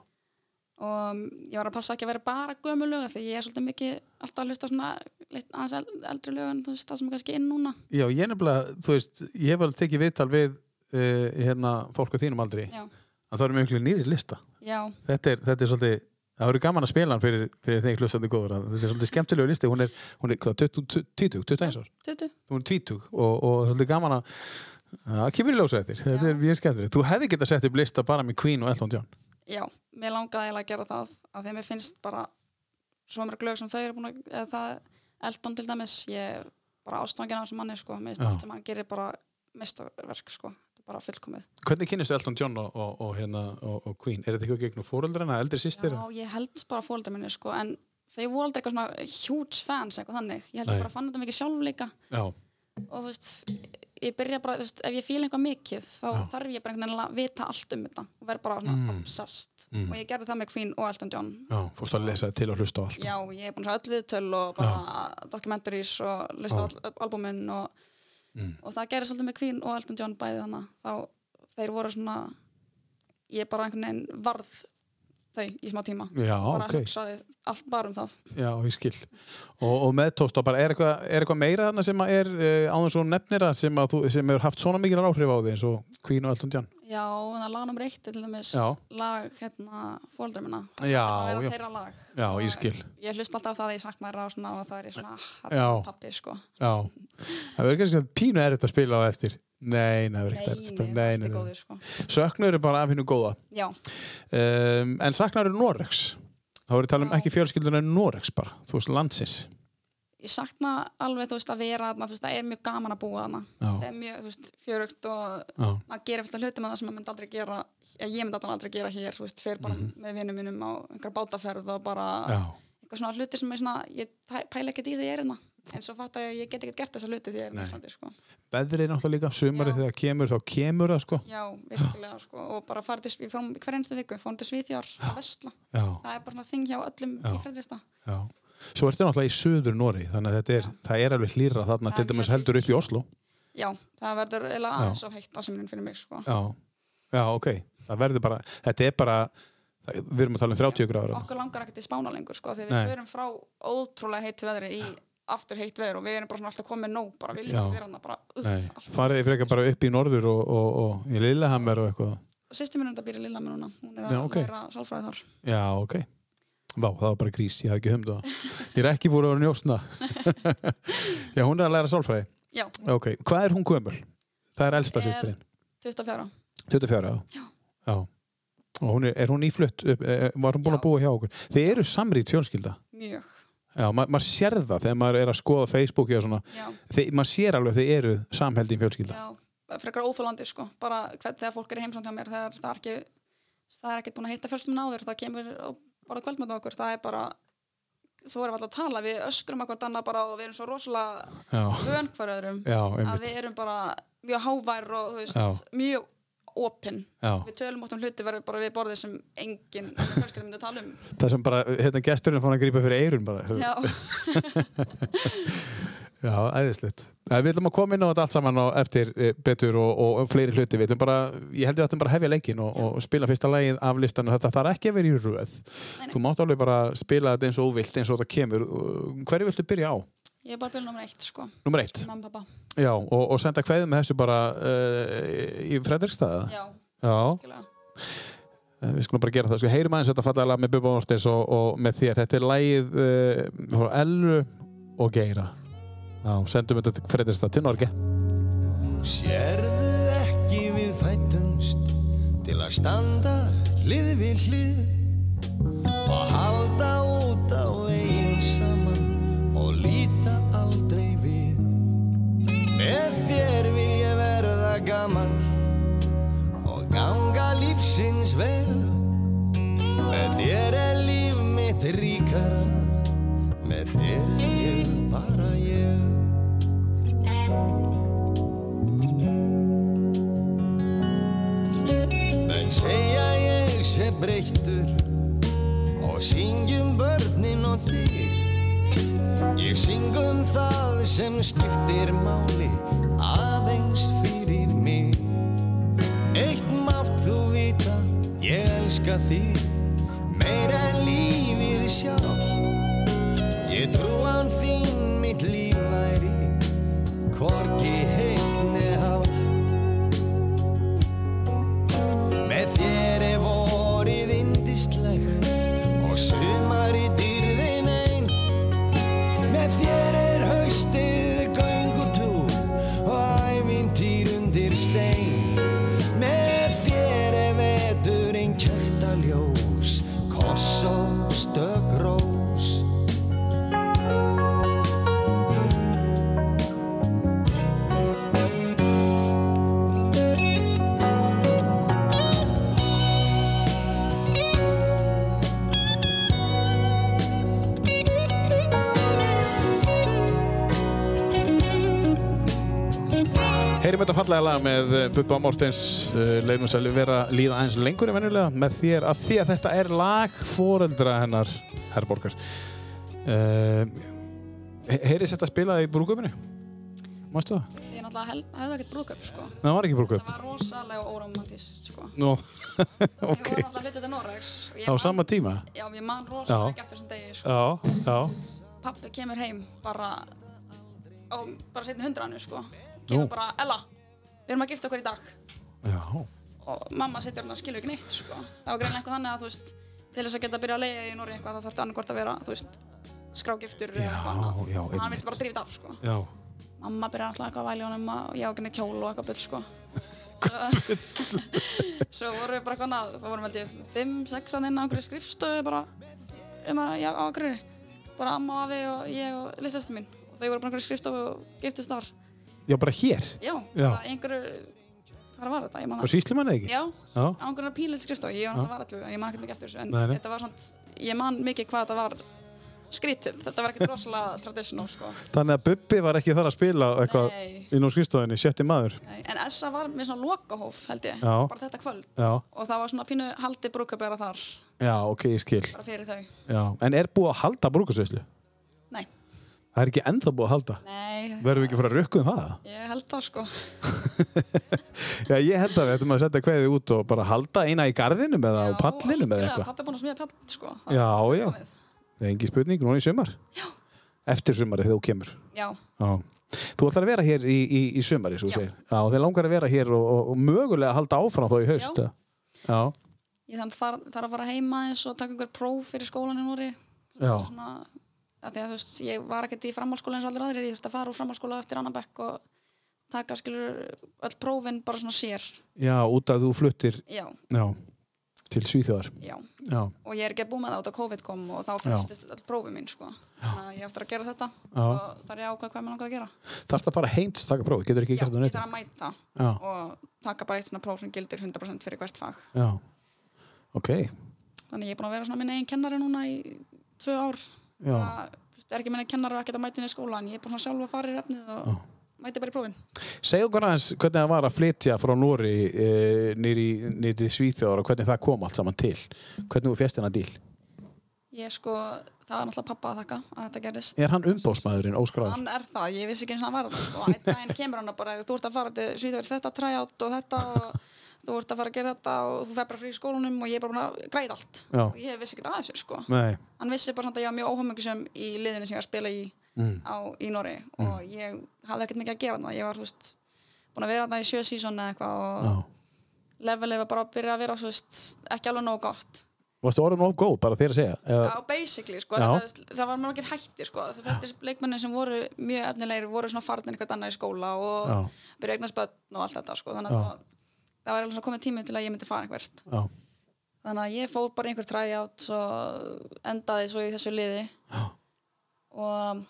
og um, ég var að passa ekki að vera bara gömul lög af því ég er svolítið mikið alltaf að hlusta svona lit, aðeins el- eldri lög en þú veist það sem er kannski inn núna
Já, ég nefnilega, þú veist, ég hef alveg tekið viðtal við uh, hérna fólk á þínum aldri
já,
að það eru mjög nýri lista.
já,
Þetta er, þetta er svolítið, það verður gaman að spila hann fyrir, fyrir þeim hlustandi góður. að Þetta er svolítið skemmtilegu listi, hún er, hún er hvað, 20 20, 21 árs,
tutu
hún er 20 og, og svolítið gaman að að kemur í ljósa eftir. Þetta er mjög skemmtilegt. Þú hefði getað sett upp lista bara með Queen og Elton John.
já, mér langaði eiginlega að gera það af því að mér finnst bara svo mörg lög sem þau eru búin að eða það, Eldon til dæmis, ég er bara ástofangin á þessum manni sko, mér finnst
Já.
allt sem hann gerir bara meistarverk sko, þetta er bara fullkomið
Hvernig kynnistu Elton John og, og, og, hérna, og, og Queen? Er þetta eitthvað gegnum fóreldrana, eldri sýstir?
Já, ég held bara fóreldar minni sko, en þau voru aldrei eitthvað svona huge fans eitthvað þannig, ég held
Nei.
ég bara fann þetta mikið sjálf líka
Já,
og þú veist, ég byrja bara, þú veist, ef ég fíl eitthvað mikið þá
Já.
þarf ég bara einhvern veginn að vita allt um þetta og vera bara svona
Mm.
obsessed
Mm.
og ég gerði það með Queen og Elton John
já, fórstu að lesa til og hlusta á allt.
Já, ég hef búin að sjá öll viðtöl og bara dokumentaries og
Já.
lista á all albumin og,
Mm.
og það gerir svolítið með Queen og Elton John bæði þannig þá þeir voru svona ég bara einhvern veginn varð þau í smá tíma
Já,
bara
ok.
hugsaði allt bara um það
Já, ég skil. Og, og með tósta bara, er eitthvað, er eitthvað meira þarna sem að er uh, áðan svo nefnira sem, að þú, sem hefur haft svona mikil áhrif á því eins og Queen og Elton John?
Já, en það lag nummer eitt er til dæmis
Já.
lag hérna fóldra minna
Já,
það er að
já,
vera þeirra lag
já,
Og
ég skil.
Ég hlust alltaf á það að ég sakna þeirra og svona og það er ég svona, ah, það
Já.
er pappi sko
Já. Það verður kannski að pínu erfitt að spila á eftir. Nei, nei, það verður ekkert erfitt að
Nei,
spila.
nei,
Nei,
allt er
nei, nei.
góður sko
Söknur eru bara af hennu góða.
Já,
Um, en saknar eru Norex. Þá voru tala um
Já.
ekki fjölskylduna en Norex bara, þú veist, landsins.
ég sakna alveg, þú veist, að vera þarna, þú veist, það er mjög gaman að búa þarna. Það
Já,
er mjög, þú veist, fjörugt og
já,
maður gerir fullt af hlutum að það sem maður myndi aldrei gera, eða ég myndi aldrei gera hér, þú veist, fer bara með vinum mínum á einhver bátaferð og bara
Mhm. já.
eitthvað svona hluti sem er svona, ég tæ- pæla ekkert í því ég er hérna. En svo fatt að ég get ekkert gert þessa hluti því ég er
Nei.
í Íslandi, sko.
Beðrið náttúrulega líka, sumarið
Já.
þegar kemur, þá kemur það, sko.
Já, virkilega, sko, og bara farið til, Sví- við fórum hver einstu viku, fórum til Svíþjór að vestla.
Já.
Það er bara svona þing hjá öllum
Já.
í Fredrista.
Já. Svo ertu náttúrulega í söður Nóri þannig að þetta er, það er alveg hlýra þarna
Það
til
er
dæmis
mjög
heldur upp í
hlýtt.
Oslo
Já, það verður eiginlega
Já.
aðeins of heitt á sumrin fyrir mig, sko.
Já, já ok það verður bara, þetta er bara það- við erum að tala um 30 gráður
okkur langar ekkert í spána lengur sko, þegar
Nei.
við förum frá ótrúlega heitu veðri í aftur heitt veður og við erum bara svona alltaf komið nóg bara,
Já.
við viljum ekki vera hann bara
Nei,
uff, allt.
fariði frekar bara upp í norður og, og, og í Lillehammer og eitthvað
og sýsti minn er þetta býr í Lilla mér núna hún er að
Já, ok.
læra sálfræði þar
Já, ok, Vá, það var bara grís, ég hafði ekki humdu það. Ég er ekki búin að vera njósna. Já, hún er að læra sálfræði.
Já,
Ok, hvað er hún gömul? Það er elsta
Er-
sýstirinn.
24
24 ára?
Já.
Já. Og hún er, er hún íflutt, upp, eh, var hún búin
Já.
að búa hjá okkur? Þið eru samrýtt fjölskylda.
mjög,
Já, ma maður sér það þegar maður er að skoða Facebooki og svona.
já,
Þið, maður sér alveg að þið eru samheldin fjölskylda.
já frekar óþólandi sko, bara hvern þegar fólk er í heimsókn hjá mér þegar það er ekki það er ekkert búin að hitta fjölsum náður, það kemur og bara kvöldmönd okkur, það er bara þú erum alltaf að tala, við öskrum okkur annað bara og við erum svo rosalega
Já,
vön hver öðrum
já,
að
einmitt.
við erum bara mjög hávær og þú veist,
Já.
mjög opinn
Já.
við tölum átt um hluti verður bara við borðið sem enginn í fjölskyldum myndi að tala um
Það sem bara, hérna, gesturinn fór að grípa fyrir eirun bara.
já,
Já, æðislegt. Æ, Við ætlum að koma inn á þetta allt saman á eftir e, betur og, og, og fleiri hluti. Við ætlum bara, ég held við ætlum bara að hefja leikin og, og spila fyrsta lagið af listan og þetta þarf ekki að vera í röð.
nei.
Þú mátt alveg bara spila þetta eins og óvilt eins og þetta kemur. Uh, Hverju viltu byrja á?
ég er bara byrjun nummer eitt sko,
Númer eitt.
mamma, pappa
Já, og, og senda kveðið með þessu bara uh, í Fredrikstaða.
já,
Já,
okkurlega
eh, við skulum bara gera það. Sko, heyrum aðeins þetta fallega lag með Bubba Mortens og, og með þér. Þetta er lagið uh, frá Elru og Geira. Já, sendum þetta til Fredrikstað til Norge.
Sérðu ekki við fættumst til að standa hlið við hlið og halda út á eigin saman og líta aldrei við. Með þér vil ég verða gaman og ganga lífsins vel. Með þér er líf mitt ríkara, með þér er ég bara ég. Menn segja ég sé breyttur og syngjum börnin og þig Ég syng um það sem skiptir máli aðeins fyrir mig Eitt mátt þú vita, ég elska þig meira en lífið sjálf Ég trúan þín mitt líf væri hvorki heitni hálf Með þér er vorið indislegt og sumar í dýrðin einn. Með þér er haustið göngutúr og ævintýr undir stein. Með þér er veturinn kjartaljós, koss og stökrós.
Heyrim þetta fallega lag með eh, Bubba Mortens uh, leiðum sæli vera að líða aðeins lengur en venjulega með þér að því að þetta er lag foreldra hennar herrborgar uh, Heyris þetta spilað í brúköpinu? Mástu það?
ég er náttúrulega hel- hefði ekkert brúðkaup sko
Nei, það var ekki
það
brúköp
var rosalega óromantist sko
Nú,
við
ok
vorum alltaf að flytja til Noregs og ég
Á
man-
sama tíma?
já, ég man rosalega
Já.
ekki eftir þessum degi sko.
Já, já
pappi kemur heim bara á bara setni hundranu sko
Nú.
kemur bara, Ella, við erum að gifta okkur í dag
Já,
og mamma setjar hann að skilja ekki neitt sko. það var greinlega eitthvað þannig að þú veist til þess að geta að byrja að leiða í Noregi eitthvað þá þarf þetta annarkvort að vera þú veist skrágiftur eða
Já,
eitthvað annað.
já,
og hann
einmitt.
vildi bara drífið af sko
já
mamma byrjar alltaf eitthvað að væli honum að ég á ekki neitt kjól og eitthvað bull sko svo, svo vorum við bara eitthvað nað við vorum held ég 5-6 inn á einhverju skrifstöðu bara um að, já, á einhverju bara amma og afi og ég og listastu mín og þau voru bara á einhverju skrifstofu og giftist þar
Já, bara hér?
já,
Já.
bara einhverju hvað var þetta, ég man
Á
að
síslimann eða ekki?
já,
Já.
á einhverju pínleiti skrifstofu ég var alltaf var allu, ég man ekki mikið eftir þessu en
Nei, nei.
þetta var svona, ég man mikið hvað þetta var skrítið, þetta var ekkert rosalega traditional sko
Þannig að Bubbi var ekki þar að spila eitthvað
Nei.
inn á skrifstofinni, sjötti maður
Nei, En Essa var með svona lokahóf held ég,
Já.
bara þetta kvöld
Já,
og það var svona pínu haldið brúkabera þar
já, ok, ég skil
bara fyrir þau.
Já, en er búið að halda brúkusveislu?
Nei,
Það er ekki ennþá búið að halda.
nei,
Verðum við ekki að fara að rukka um það?
ég held það sko.
Já, ég held að við ættum að setja kveðið út og bara halda eina í garðinum eða á
Já,
pallinum eða
algjörlega,
eitthvað.
Pabbi er búinn að smíða pall sko. það
Já,
er
já.
komið.
Það er engi spurning, núna í sumar. Já. Eftir sumari þegar þú kemur.
Já,
Já. Þú ætlar að vera hér í, í, í sumari, svo þú
Já.
segir. Já, þið langar að vera hér og, og, og mögulega halda áfram þá í haust.
Já.
eða? Já.
ég þannig far, þarf að fara heima eins og taka einhver próf fyrir skólan í Nóri
Já.
svona, að því að þú veist ég var ekkert í framhalskóla eins og allir aðrir ég þurfti að fara úr framhalskóla eftir annan bekk og taka skilur öll prófin bara svona sér
Já, út að þú fluttir
já,
já, til Svíþjóðar.
já,
Já,
og ég er ekki að búið með það út að COVID kom og þá frestist öll prófi mín sko. þannig að ég á eftir að gera þetta og þar er ég að ákvað hvað mér langar að gera
þarfst að fara heim til að taka prófið, getur ekki
já,
gert það
ég
neitt.
þarf að mæta
Já,
og taka bara eitt svona próf sem gildir 100% fyrir hvert fag
já, ok,
þannig ég er búin að vera svona minn eigin kennari núna í tvö ár
já.
það þú veist, er ekki minna kennari ekkert að mæta inn í skóla en ég er bara svona sjálf að fara í refnið og mæti bara í prófin
Segðu okkur aðeins hvernig það var að flytja frá Nóri e, nýri, nýri Svíþjóðar og hvernig það kom allt saman til. Hvernig þú fjast hennar díl?
ég sko, það er náttúrulega pappa að þakka að þetta gerist
Er hann umbósmaðurinn óskráður?
hann er það, ég vissi ekki eins og hann var það sko. einn daginn kemur hann og bara, þú ert að fara til Svíþjóður þetta tryout og þetta og þú ert að fara að gera þetta og þú fer bara frí í skólanum og ég er bara búin að græða allt
Já.
og ég vissi ekki aðeins sko.
Nei,
hann vissi bara samt að ég var mjög óhafmyggisum í liðinu sem ég var að spila í
Mm.
á, í Nóri og ég hafði ekkert mikið að gera þarna ég var, þú veist, búin að vera þarna í sjö sísón eða eitthvað og
já.
levelið var bara að byrja að vera, þú veist, ekki alveg nóg gott
Varstu orðin of góð bara þér að segja? Eða,
á basically, sko,
Já.
það, það var margir hættir sko, það flestir leikmenni sem voru mjög efnilegir voru svona farnir eitthvað annað í skóla og
Já.
byrja eignast börn og allt þetta, sko, þannig að
Já.
það, það var alveg svona komið tími til að ég myndi fara einhvert
já,
þannig að ég fór bara í einhver tryout og endaði svo í þessu liði
já,
og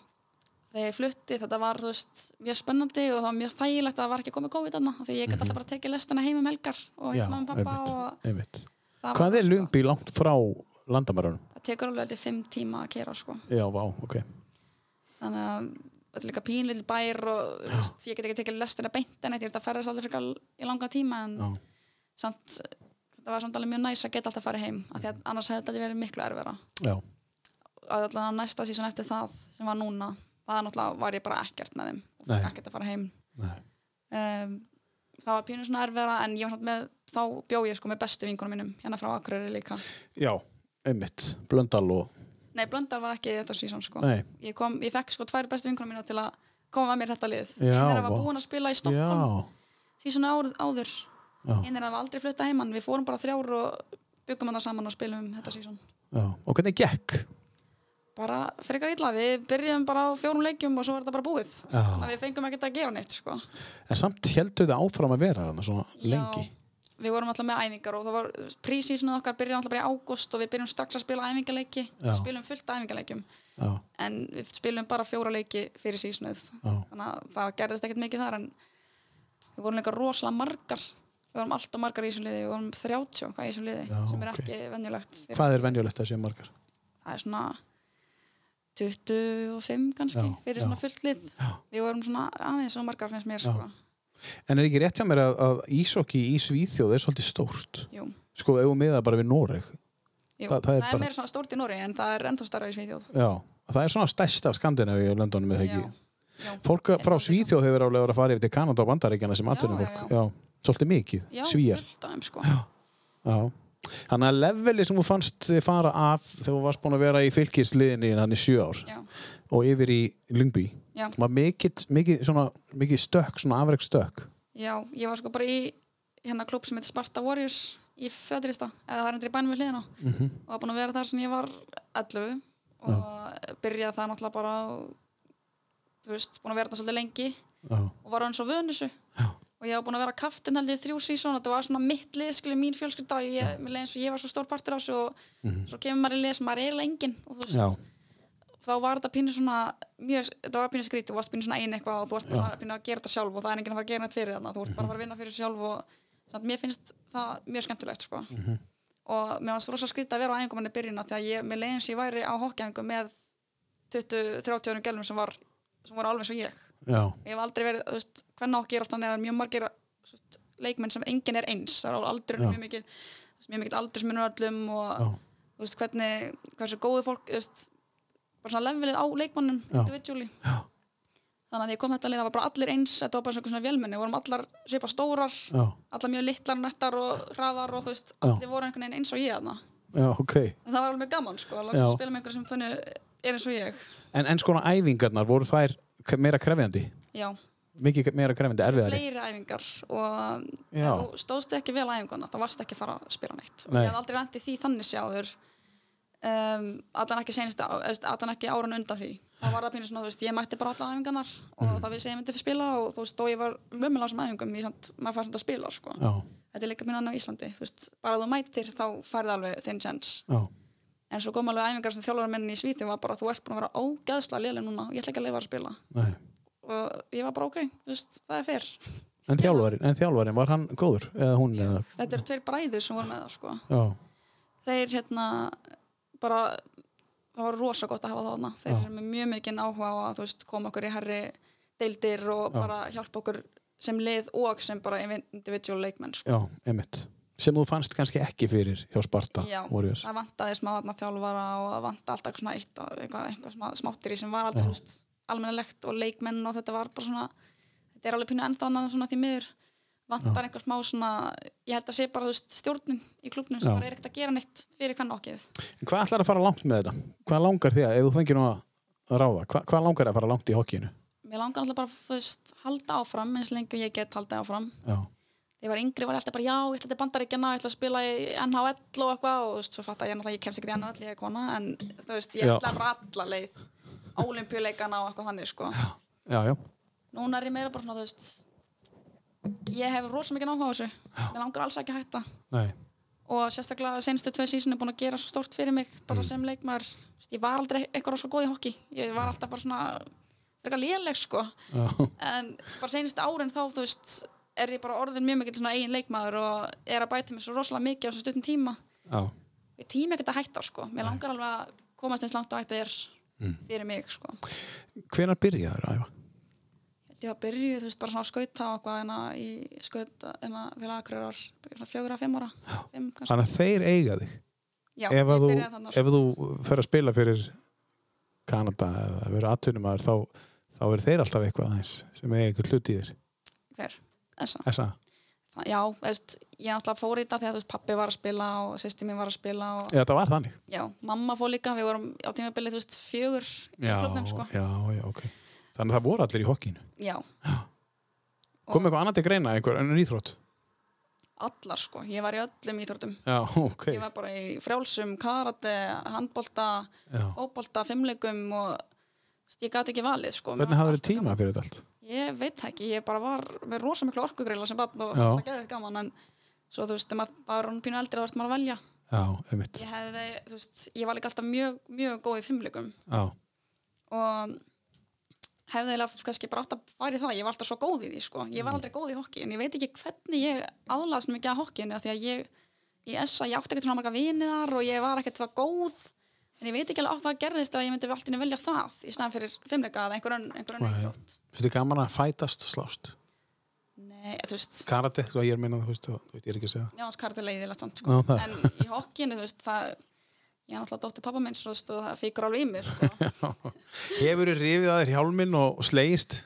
þegar ég flutti þetta var þú veist, mjög spennandi og það var mjög þægilegt að það var ekki komið COVID annað því ég gæti alltaf bara tekið lestina heim um helgar og
Mhm. já,
hitt mamma og pappa og
einmitt, einmitt.
það var
Hvað er
sko-
lungbi langt frá landamærunum?
það tekur alveg aldrei fimm tíma að kera sko.
Já, vá, ok.
þannig að þetta er líka pínlill bær og þú veist, ég get ekki tekið lestina beint en eitt, ég er þetta ferðast aldrei fyrir í langa tíma en
Já,
samt, þetta var samt alveg mjög næs að geta alltaf farið heim af því að annars hefði þetta aldrei verið miklu erfira
já,
að allan að næsta síðan eftir það sem var núna, það náttúrulega var ég bara ekkert með þeim og
Nei.
fekk ekkert að fara heim
nei,
um, það var pínu svona erfara en ég var samt með, þá bjó ég sko með bestu vingunum mínum hérna frá Akureyri líka
já, einmitt, blöndal og,
nei, Blöndal var ekki í þetta sísón sko
nei,
ég, kom, ég fekk sko tvær bestu vingunum mína til að koma með mér í þetta lið
Já,
þeirra var
vá.
búin að spila í
já,
Stockholm sísónu áður, áður.
já,
hinn er að aldrei flutta heimann, við fórum bara þrjár og byggum hann saman og spilum þetta sísón
já. Og hvernig gekk?
bara frekar illa, við byrjum bara á fjórum leikjum og svo var þetta bara búið
Já.
þannig að við fengum ekkert að gera neitt sko.
En samt heldur það áfram að vera þarna svona lengi.
Já, við vorum alltaf með æfingar og það var prísísnuð okkar byrjum alltaf bara í ágúst og við byrjum strax að spila æfingaleiki
Já.
spilum fullt af æfingaleikjum
Já,
en við spilum bara fjóra leiki fyrir sísnuð
já,
þannig að það gerðist ekkert mikið þar en við vorum líka rosalega margar við vorum alltaf margar í þessum liði við vorum 30 og hvað í þessum liði
Já,
sem er
ok.
ekki venjulegt
Hvað er venjulegt að sé margar?
það er svona 25 kannski
Já,
fyrir
já.
svona fullt lið
Já.
við vorum svona aðeins og margar finnst mér sko.
En er ekki rétt hjá mér að, að ísokki í Svíþjóð er svolítið stórt?
Jú.
Sko, ef við miða bara við Noreg.
Jú,
Þa-
það,
það er
er
bara-
meira svona stórt í Nóri en það er enda starra í Svíþjóð
Já, það er svona stærst af Skandinavíu og löndunum með það
Já,
ekki.
já.
Fólk frá Svíþjóð hefur álega verið að fara yfir til Kanada og Bandaríkjana sem
Já,
atvinnum
já,
Já, svolítið mikið.
já,
Svíjar.
fullt af þeim, sko.
Já. Þannig að leveli sem þú fannst þig fara af þegar þú varst búin að vera í fylkisliðinni hann í sjö ár
já,
og yfir í Lungby
já,
var mikið, mikið, svona, mikið stökk, svona afreg stökk.
já, ég var sko bara í hérna klub sem heitir Sparta Warriors í Fredrista, eða það er endur í bænum við hliðina
Mm -hmm.
og það er búin að vera þar sem ég var 11 og byrjaði það náttúrulega bara á- þú veist, búin að vera það svolítið lengi
Já,
og var hann svo vönusu
já,
og ég var búin að vera kaftin held ég þrjú sísón þetta var svona mitt lið, skilur mín fjölskylda og ég, mér leið eins og ég var svo stór partur af þessu og svo kemur maður í lið sem maður er eiginlega enginn og þú veist,
Mhm. já,
þá var þetta pínu svona mjög, þetta var pínu skrítið, þú varst pínu svona ein eitthvað og þú ert bara svona pínu að gera þetta sjálf og það er enginn að fara að gera nætt fyrir þarna, þú ert bara að fara að vinna fyrir þessu sjálf og samt mér finnst það mjög skemmtilegt sko.
Mhm.
og mér fannst rosa skrítið að vera á æfingumanni byrjuna því að ég, mér leiðin sem ég væri á hokkjæfingu með 20-30 öðrum gælum sem, var, sem voru alveg svo ég
já,
ég hef aldrei verið, þú veist, hvernig okki er alltaf neðar mjög margir þú veist, leikmenn sem enginn er eins, það er á aldurinu
Já.
mjög mikil þú veist, mjög mikil aldursmunur á öllum og
já.
þú veist, hvernig, hversu góðu fólk, þú veist, bara svona levelið á leikmannum
Já.
individually.
Já.
Þannig að því ég kom þetta lið, það var bara allir eins, þetta var bara svona, svona vélmenni, við vorum allar svipa stórar,
já,
allar mjög litlar, nettar og hraðar og þú veist,
Já.
allir voru einhvern veginn eins og ég þarna.
já, ok.
Og það var alveg mjög gaman, sko, að
Já.
láta að spila með einhverjum sem funni er eins og ég.
En, en sko æfingarnar voru þær k- meira krefjandi?
Já,
mikið meira krefindi, erfiðari
fleiri æfingar og
Já.
ef þú stóðst ekki vel æfinguna þá varst ekki að fara að spila neitt og
Nei.
ég hafði aldrei lent í því þannig sjáður um, allan ekki senist allan ekki árun undan því þá var það pínu svona, þú veist, ég mætti bara alla æfingarnar og
Mm.
þá vissi ég að ég myndi fyrir spila og þú veist, þó ég var mömmulega sem æfingum, ég samt, maður fær samt að spila sko.
Já,
þetta er líka pínu annað á Íslandi, þú veist, bara þú mættir þá færði alveg þinn sjans
já,
en svo kom alveg æfingar sem þjálfur minni í svíti var bara, þú ert búin að vera ógeðslega léleg núna, ég ætla ekki að leifa að spila
nei
og ég var bara ok, þú veist, það er fyrr
En þjálfarinn, en þjálfarinn, var hann góður? Eða hún, eða,
þetta eru tveir bræður sem voru með það sko.
já,
þeir hérna bara, það var rosa gott að hafa þarna þeir
Já.
eru með mjög mikinn áhuga á að þú veist, koma okkur í herri deildir og bara hjálpa okkur sem lið og sem bara individual leikmenn sko.
já, einmitt Sem þú fannst kannski ekki fyrir hjá Sparta
Já,
Warriors.
það vantaði smá þarna þjálfara og það vantaði alltaf eitthvað svona eitt og eitthvað, eitthvað smá, smáttir í sem var
Já.
aldrei þú veist, almennilegt og leikmenn og þetta var bara svona þetta er alveg pínu ennþá annað svona því miður vantar einhver smá svona ég held að sé bara þú veist, stjórnin í klubnum sem
Já.
bara er ekkert að gera neitt fyrir hvern okkið
En Hvað ætlar að fara langt með þetta? Hvað langar þig að, ef þú fengir nú að ráða Hvað, hvað langar þig að fara langt í hokkinu?
mér langar alltaf bara þú veist, halda áfram eins lengi og ég get halda áfram
Já,
þegar ég var yngri var ég alltaf bara já, ég ætla til bandaríkjana ég ætla að spila í NHL og eitthvað og þú veist, svo fatt að ég náttúrulega, ég kemst ekkert í NHL ég er kona, en þú veist, ég
Já.
ætla bara alla leið olimpíuleikana og eitthvað þannig, sko
já, já,
núna er ég meira bara svona, þú veist ég hef rosa mikið náhuga á þessu mér langar alls ekki að hætta
nei
og sérstaklega senstu tvei sísun er búin að gera svo stórt fyrir mig
Mm.
bara sem leikmaður Þú veist, ég var aldrei eitthvað rosa góð í hokki ég var alltaf bara svona frekar léleg sko
Já,
en bara senstu árin þá þú veist er ég bara orðin mjög mikið svona eigin leikmaður og er að bæta mig svo rosalega mikið á svo stuttum tíma
já,
ég tíma ekkert að hætta sko mér langar alveg að komast eins langt á hætta er
Mm.
fyrir mig sko
hvenær byrja þér að æfa?
ég var byrjuð, þú veist, bara svona að skauta og eitthvað en að í hérna, skauta en að við lagakræðar, svona fjögur að fimm ára fimm kannski,
Þannig að þeir eiga þig
já,
ef, að
ég
þú,
byrjaði þannig sko.
ef þú fer að spila fyrir Kanada eða vera atvinnumæður þá, þá er þeir alltaf eitthvað aðeins sem eiga eitthvað hlut í þér
hver, þessa
Essa.
Þa- já, þú veist, ég náttúrulega fór í þetta þegar þú veist, pappi var að spila og sýsti mín var að spila og
Eða þetta var þannig
já, mamma fór líka, við vorum á tímabilið, þú veist, fjögur í klubnum, sko,
já, já, ok Þannig að það voru allir í hokkinu
já, Og-
Kom eitthvað annað til greina, einhver önnur íþrótt
allar, sko ég var í öllum íþróttum,
Já, ok
ég var bara í frjálsum karate, handbolta
já.
fótbolta, fimmleikum og þú veist, ég gat ekki valið, sko Mér
Hvernig
fannst
hafði
allt
þið tíma fyrir þetta allt?
Ég veit það ekki, ég bara var með rosa miklu orkugreila sem bann
Já.
og fannst það geðið gaman en svo þú veist, þegar maður var hún pínu eldri þá varst maður að velja.
Já, einmitt
Ég hefði, þú veist, ég var líka alltaf mjög, mjög góð í fimmleikum
Já,
og hefði eiginlega kannski bara átt að fara í það, ég var alltaf svo góð í því sko, ég
Mm.
var aldrei góð í hokki en ég veit ekki hvernig ég aðlaðast mikið að hokkinu af því að ég, ég essa, ég átti ekkert svona marga vinið þar og ég var ekkert það góð en ég veit ekki alveg á hvað gerðist að ég myndi alltaf velja það í staðan fyrir fimmleika eða einhver önn, einhver önn
Nei.
íþrótt
finnst þið gaman að fætast slást
Nei, þú veist,
Karate, svo ég er minna, þú veist, þú veist, ég er ekki að segja
Já, hans karti leiðilegt samt
Já,
sko.
það.
en í hokkinu, þú veist, það ég er náttúrulega dóttir pappa minn svo, þú veist, og það fíkur alveg í mér sko.
Hefur þið rifið að þér hjálminn og slegist?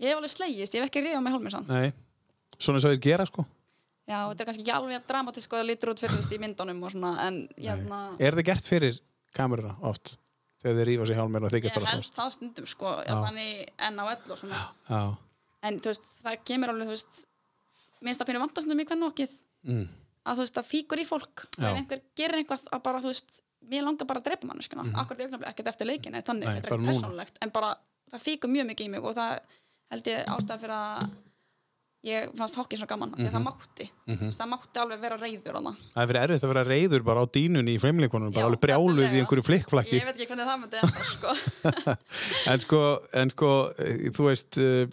ég hef alveg slegist, ég hef ekki ríða með hólminn samt
Nei, svona eins og þeir gera sko
já, þetta er kannski ekki alveg jafn dramatísk og það lítur út fyrir, þú veist, í myndunum og svona, en hérna,
Nei. Er það gert fyrir kameruna oft? Þegar þeir rífa sér hjálminn og
ég
þykjast að
held
slást
það stundum sko, já. þannig enn á ell og svona
Já,
en þú veist, það kemur alveg, þú veist minnst það pínu vandastundum í hvern okkið
mm.
að þú veist, það fíkur í fólk og
Já.
ef einhver gerir einhvað að bara, þú veist mér langar bara að drepa manneskuna, mm. akkurat í augnabli ekkert eftir leikin, er þannig,
Mhm. Nei,
þetta er
bara núna.
ekki persónulegt en bara, það fíkur mjög mikið í mig og það held ég ástæða fyrir að ég fannst hokkið svo gaman því að
Mhm.
það mátti, mm -hmm. það mátti alveg vera reyður á það,
Það er verið erfitt að vera reyður bara á dínunni í fremleikunum
Já,
bara alveg brjáluð í
nefnilega.
einhverju flikkflakki
ég veit ekki hvernig það myndi enda, sko.
en sko, en sko, eh, þú veist eh,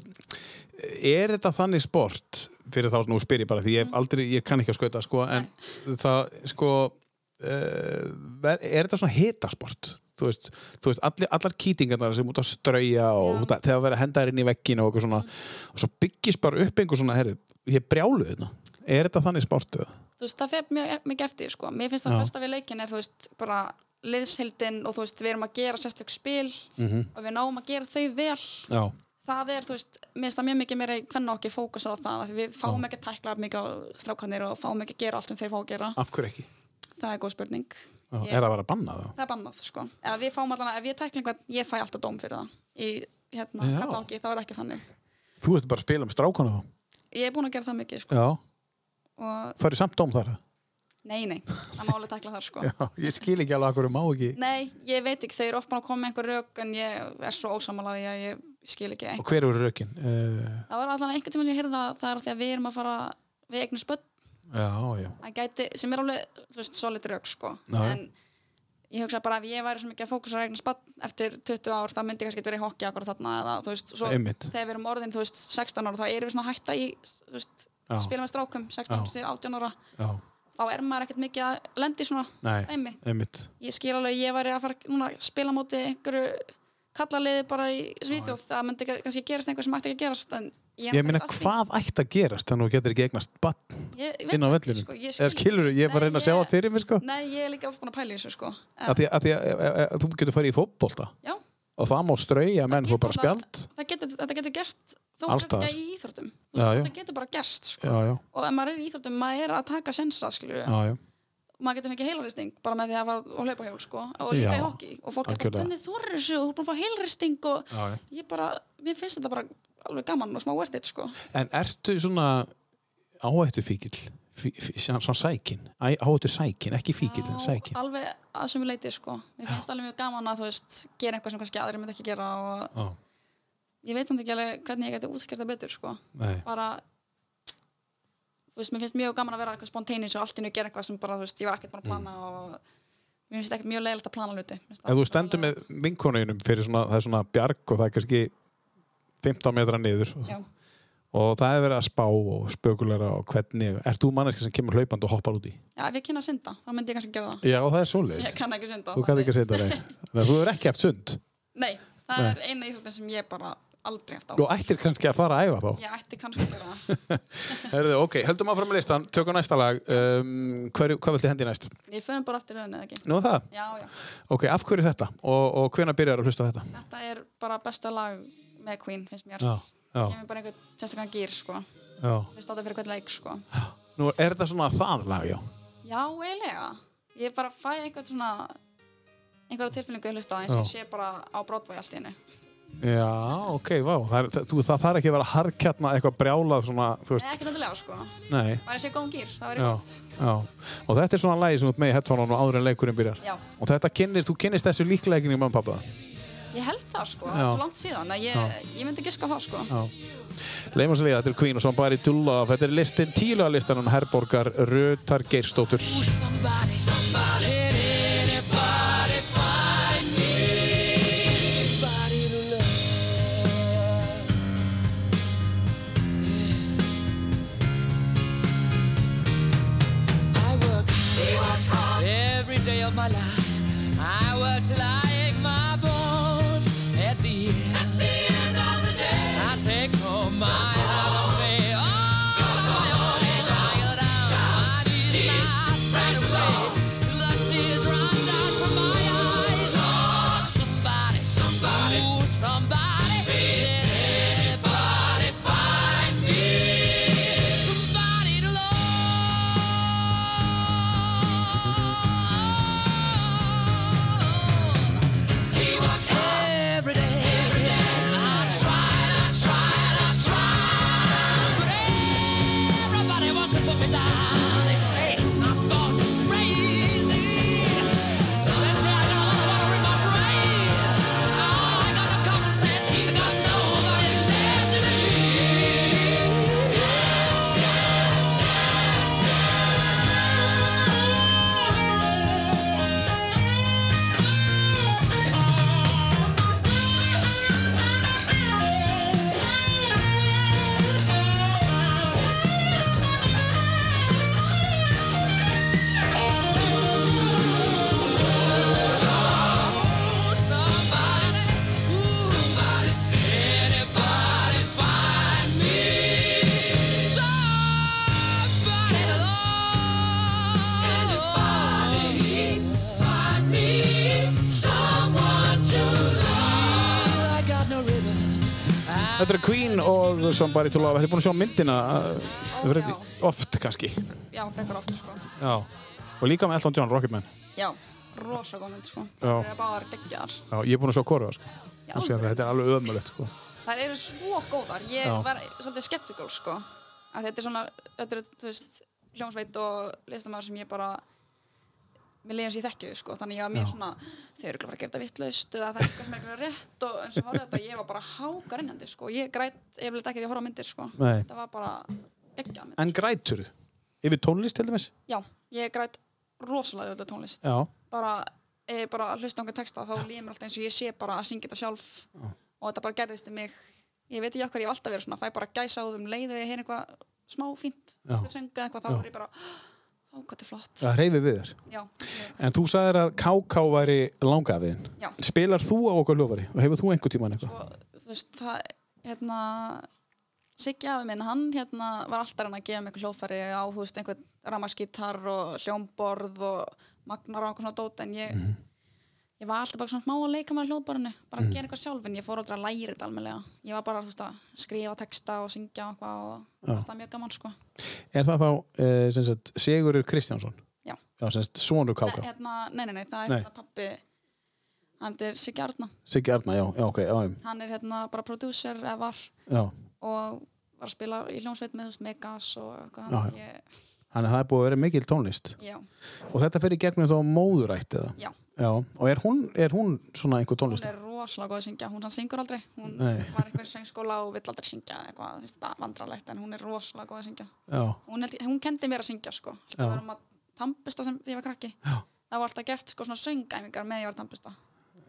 er þetta þannig sport fyrir þá, nú spyr ég bara því ég, hef aldrei, ég kann ekki að skauta sko, en það, sko eh, er er þetta svona hitasport þú veist, þú veist allir, allar kýtingarnar sem út að strauja og út að, þegar að vera hendaðir inn í veggin og eitthvað svona og svo byggist bara upp einhver svona herri, ég brjálu þetta, er þetta þannig sport eða?
þú veist, það fer mjög mikið eftir, sko mér finnst
Já.
það besta við leikin er, þú veist, bara liðshildin og þú veist, við erum að gera sérstök spil
Mhm.
og við náum að gera þau vel
Já,
það er, þú veist, mér finnst það mjög mikið meira hvernig okkur fókus á það, af því við fáum ekki að tækla mikið á strákanir og fáum ekki að gera allt sem þeir fá að gera,
af hverju ekki?
það er góð spurning
Já,
Ég-
Er það bara að banna það?
það er bannað, sko, eða við fáum allan að ef ég tækla einhvern, ég fæ alltaf dóm fyrir það í, hérna,
Já.
kalla okkur, þá er það ekki þannig
Þú ert bara að spila með strákana þá.
Ég er búin að gera það mikið, sko.
Já.
Og
Færi samt dóm þar.
nei, nei, það má alveg takla þar, sko.
Já, ég skil ekki alveg að hverju má ekki.
Nei, ég veit ekki, þau eru oft búin að koma með einhver rauk en ég er svo ósamalega því að ég skil ekki einhver.
Og hver eru rökin? Uh,
Það var allan einhvern tíma sem ég heyrði að það er af því að við erum að fara við eignum spöld
já, já.
að gæti, sem er alveg, þú veist, solid rauk sko,
Já, já.
en ég hugsa bara ef ég væri svo mikið að fókusa að eigna spatt eftir 20 ár, það myndi ég kannski ekki verið í hokki akkur þarna eða, þú veist, svo
Einmitt.
þegar við erum orðin, þú veist, 16 ára, þá erum við svona að hætta í, þú veist,
Já.
spila með strákum 16 til 18 ára,
Já.
þá er maður ekkert mikið að lendi svona
Nei.
dæmi.
Einmitt.
Ég skil alveg, að ég væri að fara núna að spila á móti einhverju kallaliði bara í Svíþjóð, það myndi ekki- kannski gerast einhver sem ætti ekki að gerast, en ég
Ég meina,
ekkert að því.
hvað ætti að gerast þannig að þú getur ekki eignast bann
Ég- ég veit
inn á
það ekki,
vellinu?
sko, ég
Eða
skil-
skilur, ég er bara að
Nei,
reyna að sjá
ég-
það fyrir mig, sko.
Nei, ég er líka ofbúin að pæla í þessu sko. En-
Af því að því að- að- að- að þú getur farið í fótbolta
Já,
og það má strauja menn þú
getur
bara
það.
spjald.
það getur, þetta getur gerst þó
Alls
sért
staðar.
ekki í íþróttum.
Já,
Já,
já.
þetta getur bara gerst sko.
Já, já,
og ef maður er í íþróttum, maður er að taka sensa skilju,
já, já.
maður getur fengið heilaristing bara með því að fara og hlaupa hjól sko, og líka
Já,
í hokki og fólk er
algjörlega.
bara, hvernig þorir þessu og þú er búin að fá heilaristing og
já, já.
ég bara, mér finnst þetta bara alveg gaman og smá worth it sko.
En ertu svona áhættu fíkil? Svona sækin? Áhættu sækin, ekki fíkil, en sækin.
Já, alveg að sem við leiti sko. mér finnst alveg mjög gaman að þú veist gera eitthvað sem kannski aðrir myndi ekki gera og
Já,
ég veit samt ekki alveg hvernig ég geti útskjart það betur sko.
nei.
bara þú veist, mér finnst mjög gaman að vera eitthvað spontaneous og allt í nú gera eitthvað sem bara, þú veist, ég var ekkert búin að plana og mér finnst ekkert mjög leiðilegt að plana hluti Mér finnst
Mm. Ef
það
þú stendur með vinkonuðinum fyrir svona, það er svona bjarg og það er kannski 15 metra niður
bara- Já,
og það er verið að spá og spökulera og hvernig, ert þú manneski sem kemur hlaupandi og hoppar úti?
já, ef ég kynna að synda, þá myndi ég kannski gera það
Já, það er svoleið.
Ég kann ekki synda
Þú kann ekki að setja það. Þú hefur ekki haft sund
Nei,
Nei.
það
Sko-
er eina íþróttin sem ég bara aldrei eftir á
og ættir kannski að fara að æfa þá.
Ég ætti kannski að gera það
Herðu, ok, höldum áfram með listan, tökum næsta lag. Um, hver, hvað viltu hendi næst?
Við förum bara aftur raunin eða ekki
Nú er það?
Já, já,
Ok, af hverju þetta? Og, og hvena byrjar að hlusta á þetta?
þetta er bara besta lag með Queen, finnst mér
Já, já,
Kemur bara einhvern sérstakann gýr, sko Við
já.
státa fyrir hvern leik, sko
Nú er þetta svona það lag, já.
Já, eiginlega. Ég bara fæ eitthvað svona einhverja tilfinningu í hlusta eins og ég
Já.
sé bara á Broadway allt í hennu.
Já, ok, vá. Það, er- það, þú, það þarf ekki að vera harkjarna eitthvað brjálað svona, þú
Nei,
veist,
ekki náttúrulega, sko.
nei.
Bara ég sé góðum gýr, það væri
Já,
góð.
já. Og þetta er svona lagi sem þú ert með í headphone-unum áður en leikurinn byrjar.
Já,
Og þetta kynir, þú kynnist þessu líklegin í mamma og pappa.
ég held það, sko.
Já.
Það er svo langt síðan að ég, ég myndi giska á það, sko.
Já. Leifum sér líða, þetta er Queen og svo bara í Dulla. Þetta er listin, tíluga listan hún Herborgar Rötar Geirstóttur.
I work every day of my life. I work till I ache my bones. At the end, I take home my hour pay. All on Oh, my own. I go down on my knees and I stand and pray till the tears run down from my eyes. Oh, somebody, somebody, ooh, somebody, can anybody find me? Somebody to love. Every day, every day, I tried, I tried, I tried, but everybody wants to put me down. They say I'm gone crazy. They say I got a lot of water in my brain. I got no common sense. He's got nobody left to believe. Somebody, somebody, anybody find me? Somebody to love. find me? Someone to love. I got no rhythm.
Þetta er Queen og Somebody to Love. Þetta er búin að sjá myndina uh,
Ó,
verið
já.
oft kannski.
Já, frekar oft, sko.
Já. Og líka með Elton John, Rocketman.
Já, rosa góð mynd, sko.
Já.
Það er bara geggjar.
Já, ég er búin að sjá korfa, sko.
Já,
Þú sér það, Þetta er alveg ömulegt, sko.
þær eru svo góðar ég
Já.
var svolítið skeptikál sko að þetta er svona, þetta eru, þú veist hljómsveit og listamaður sem ég bara mér leiðum sér þekkju sko þannig ég var mér
Já.
svona, þau eru bara að gera þetta vittlaust eða það er eitthvað sem er eitthvað rétt og eins og horfði á þetta, ég var bara hágarinnandi sko ég græt yfirleitt ekki því að horfa á myndir sko
Nei.
þetta var bara ekki að mynd
En grætur Yfir tónlist til dæmis?
já, ég græt rosalega öll tónlist
Já.
bara, eh, bara að hlusta á einhvern texta þá líður mér alltaf eins og ég sé bara að syngja þetta sjálf og þetta bara gerðist um mig ég veit ekki okkur ég hef alltaf verið svona fæ bara gæsa á þeim leið og ég heyr eitthvað smá fínt
Já.
sönga eitthvað þá
Já.
er ég bara ó hvað þetta er flott
Það reyfi við þér.
já, ég-
En þú sagðir að KK væri langafiðin.
Já.
Spilar þú á okkar lofari og hefur þú einhver tíman eitthvað?
og þú veist það hérna Siggi afi minn, hann hérna var alltaf hann að gefa mig hljóðfæri á, þú veist, einhvern ramaskítar og hljómborð og magnar og einhver svona dót, en ég
Mhm.
ég var alltaf bara svona smá að leika með hljóðborðinu bara að gera eitthvað sjálf, en ég fór aldrei að læra þetta almennilega ég var bara, þú veist, að skrifa texta og syngja og eitthvað og
Já.
það er mjög gaman, sko
Er það þá uh, sem sagt, Sigurur Kristjánsson?
Já.
Já, sem sagt, sonur
Nei,
KK.
hérna, nei, nei, nei, það er
Nei.
hérna pappi hann er Siggi Arna,
Siggi Arna, já, já, ok, já, já,
hann er hérna bara prodúser eða var
já.
og var að spila í hljómsveit með þú veist, Megas og
Já,
eitthvað
já.
þannig að ég
Þannig að það er búið að vera mikil tónlist.
Já,
Og þetta fer í gegnum þá móðurætt eða?
já,
Já. Og er hún, er hún svona einhver
hún
tónlist?
er rosalega góð að syngja, hún hann syngur aldrei, hún
Nei.
var einhver í söngskóla og vill aldrei syngja eða eitthvað, finnst þetta vandralegt en hún er rosalega góð að syngja.
Já,
Hún, held, ég- hún kendi mér að syngja sko,
Já.
alltaf varum að tampusta sem því ég var krakki.
Já.
Það var alltaf gert sko svona söngæmingar með ég var að tampusta.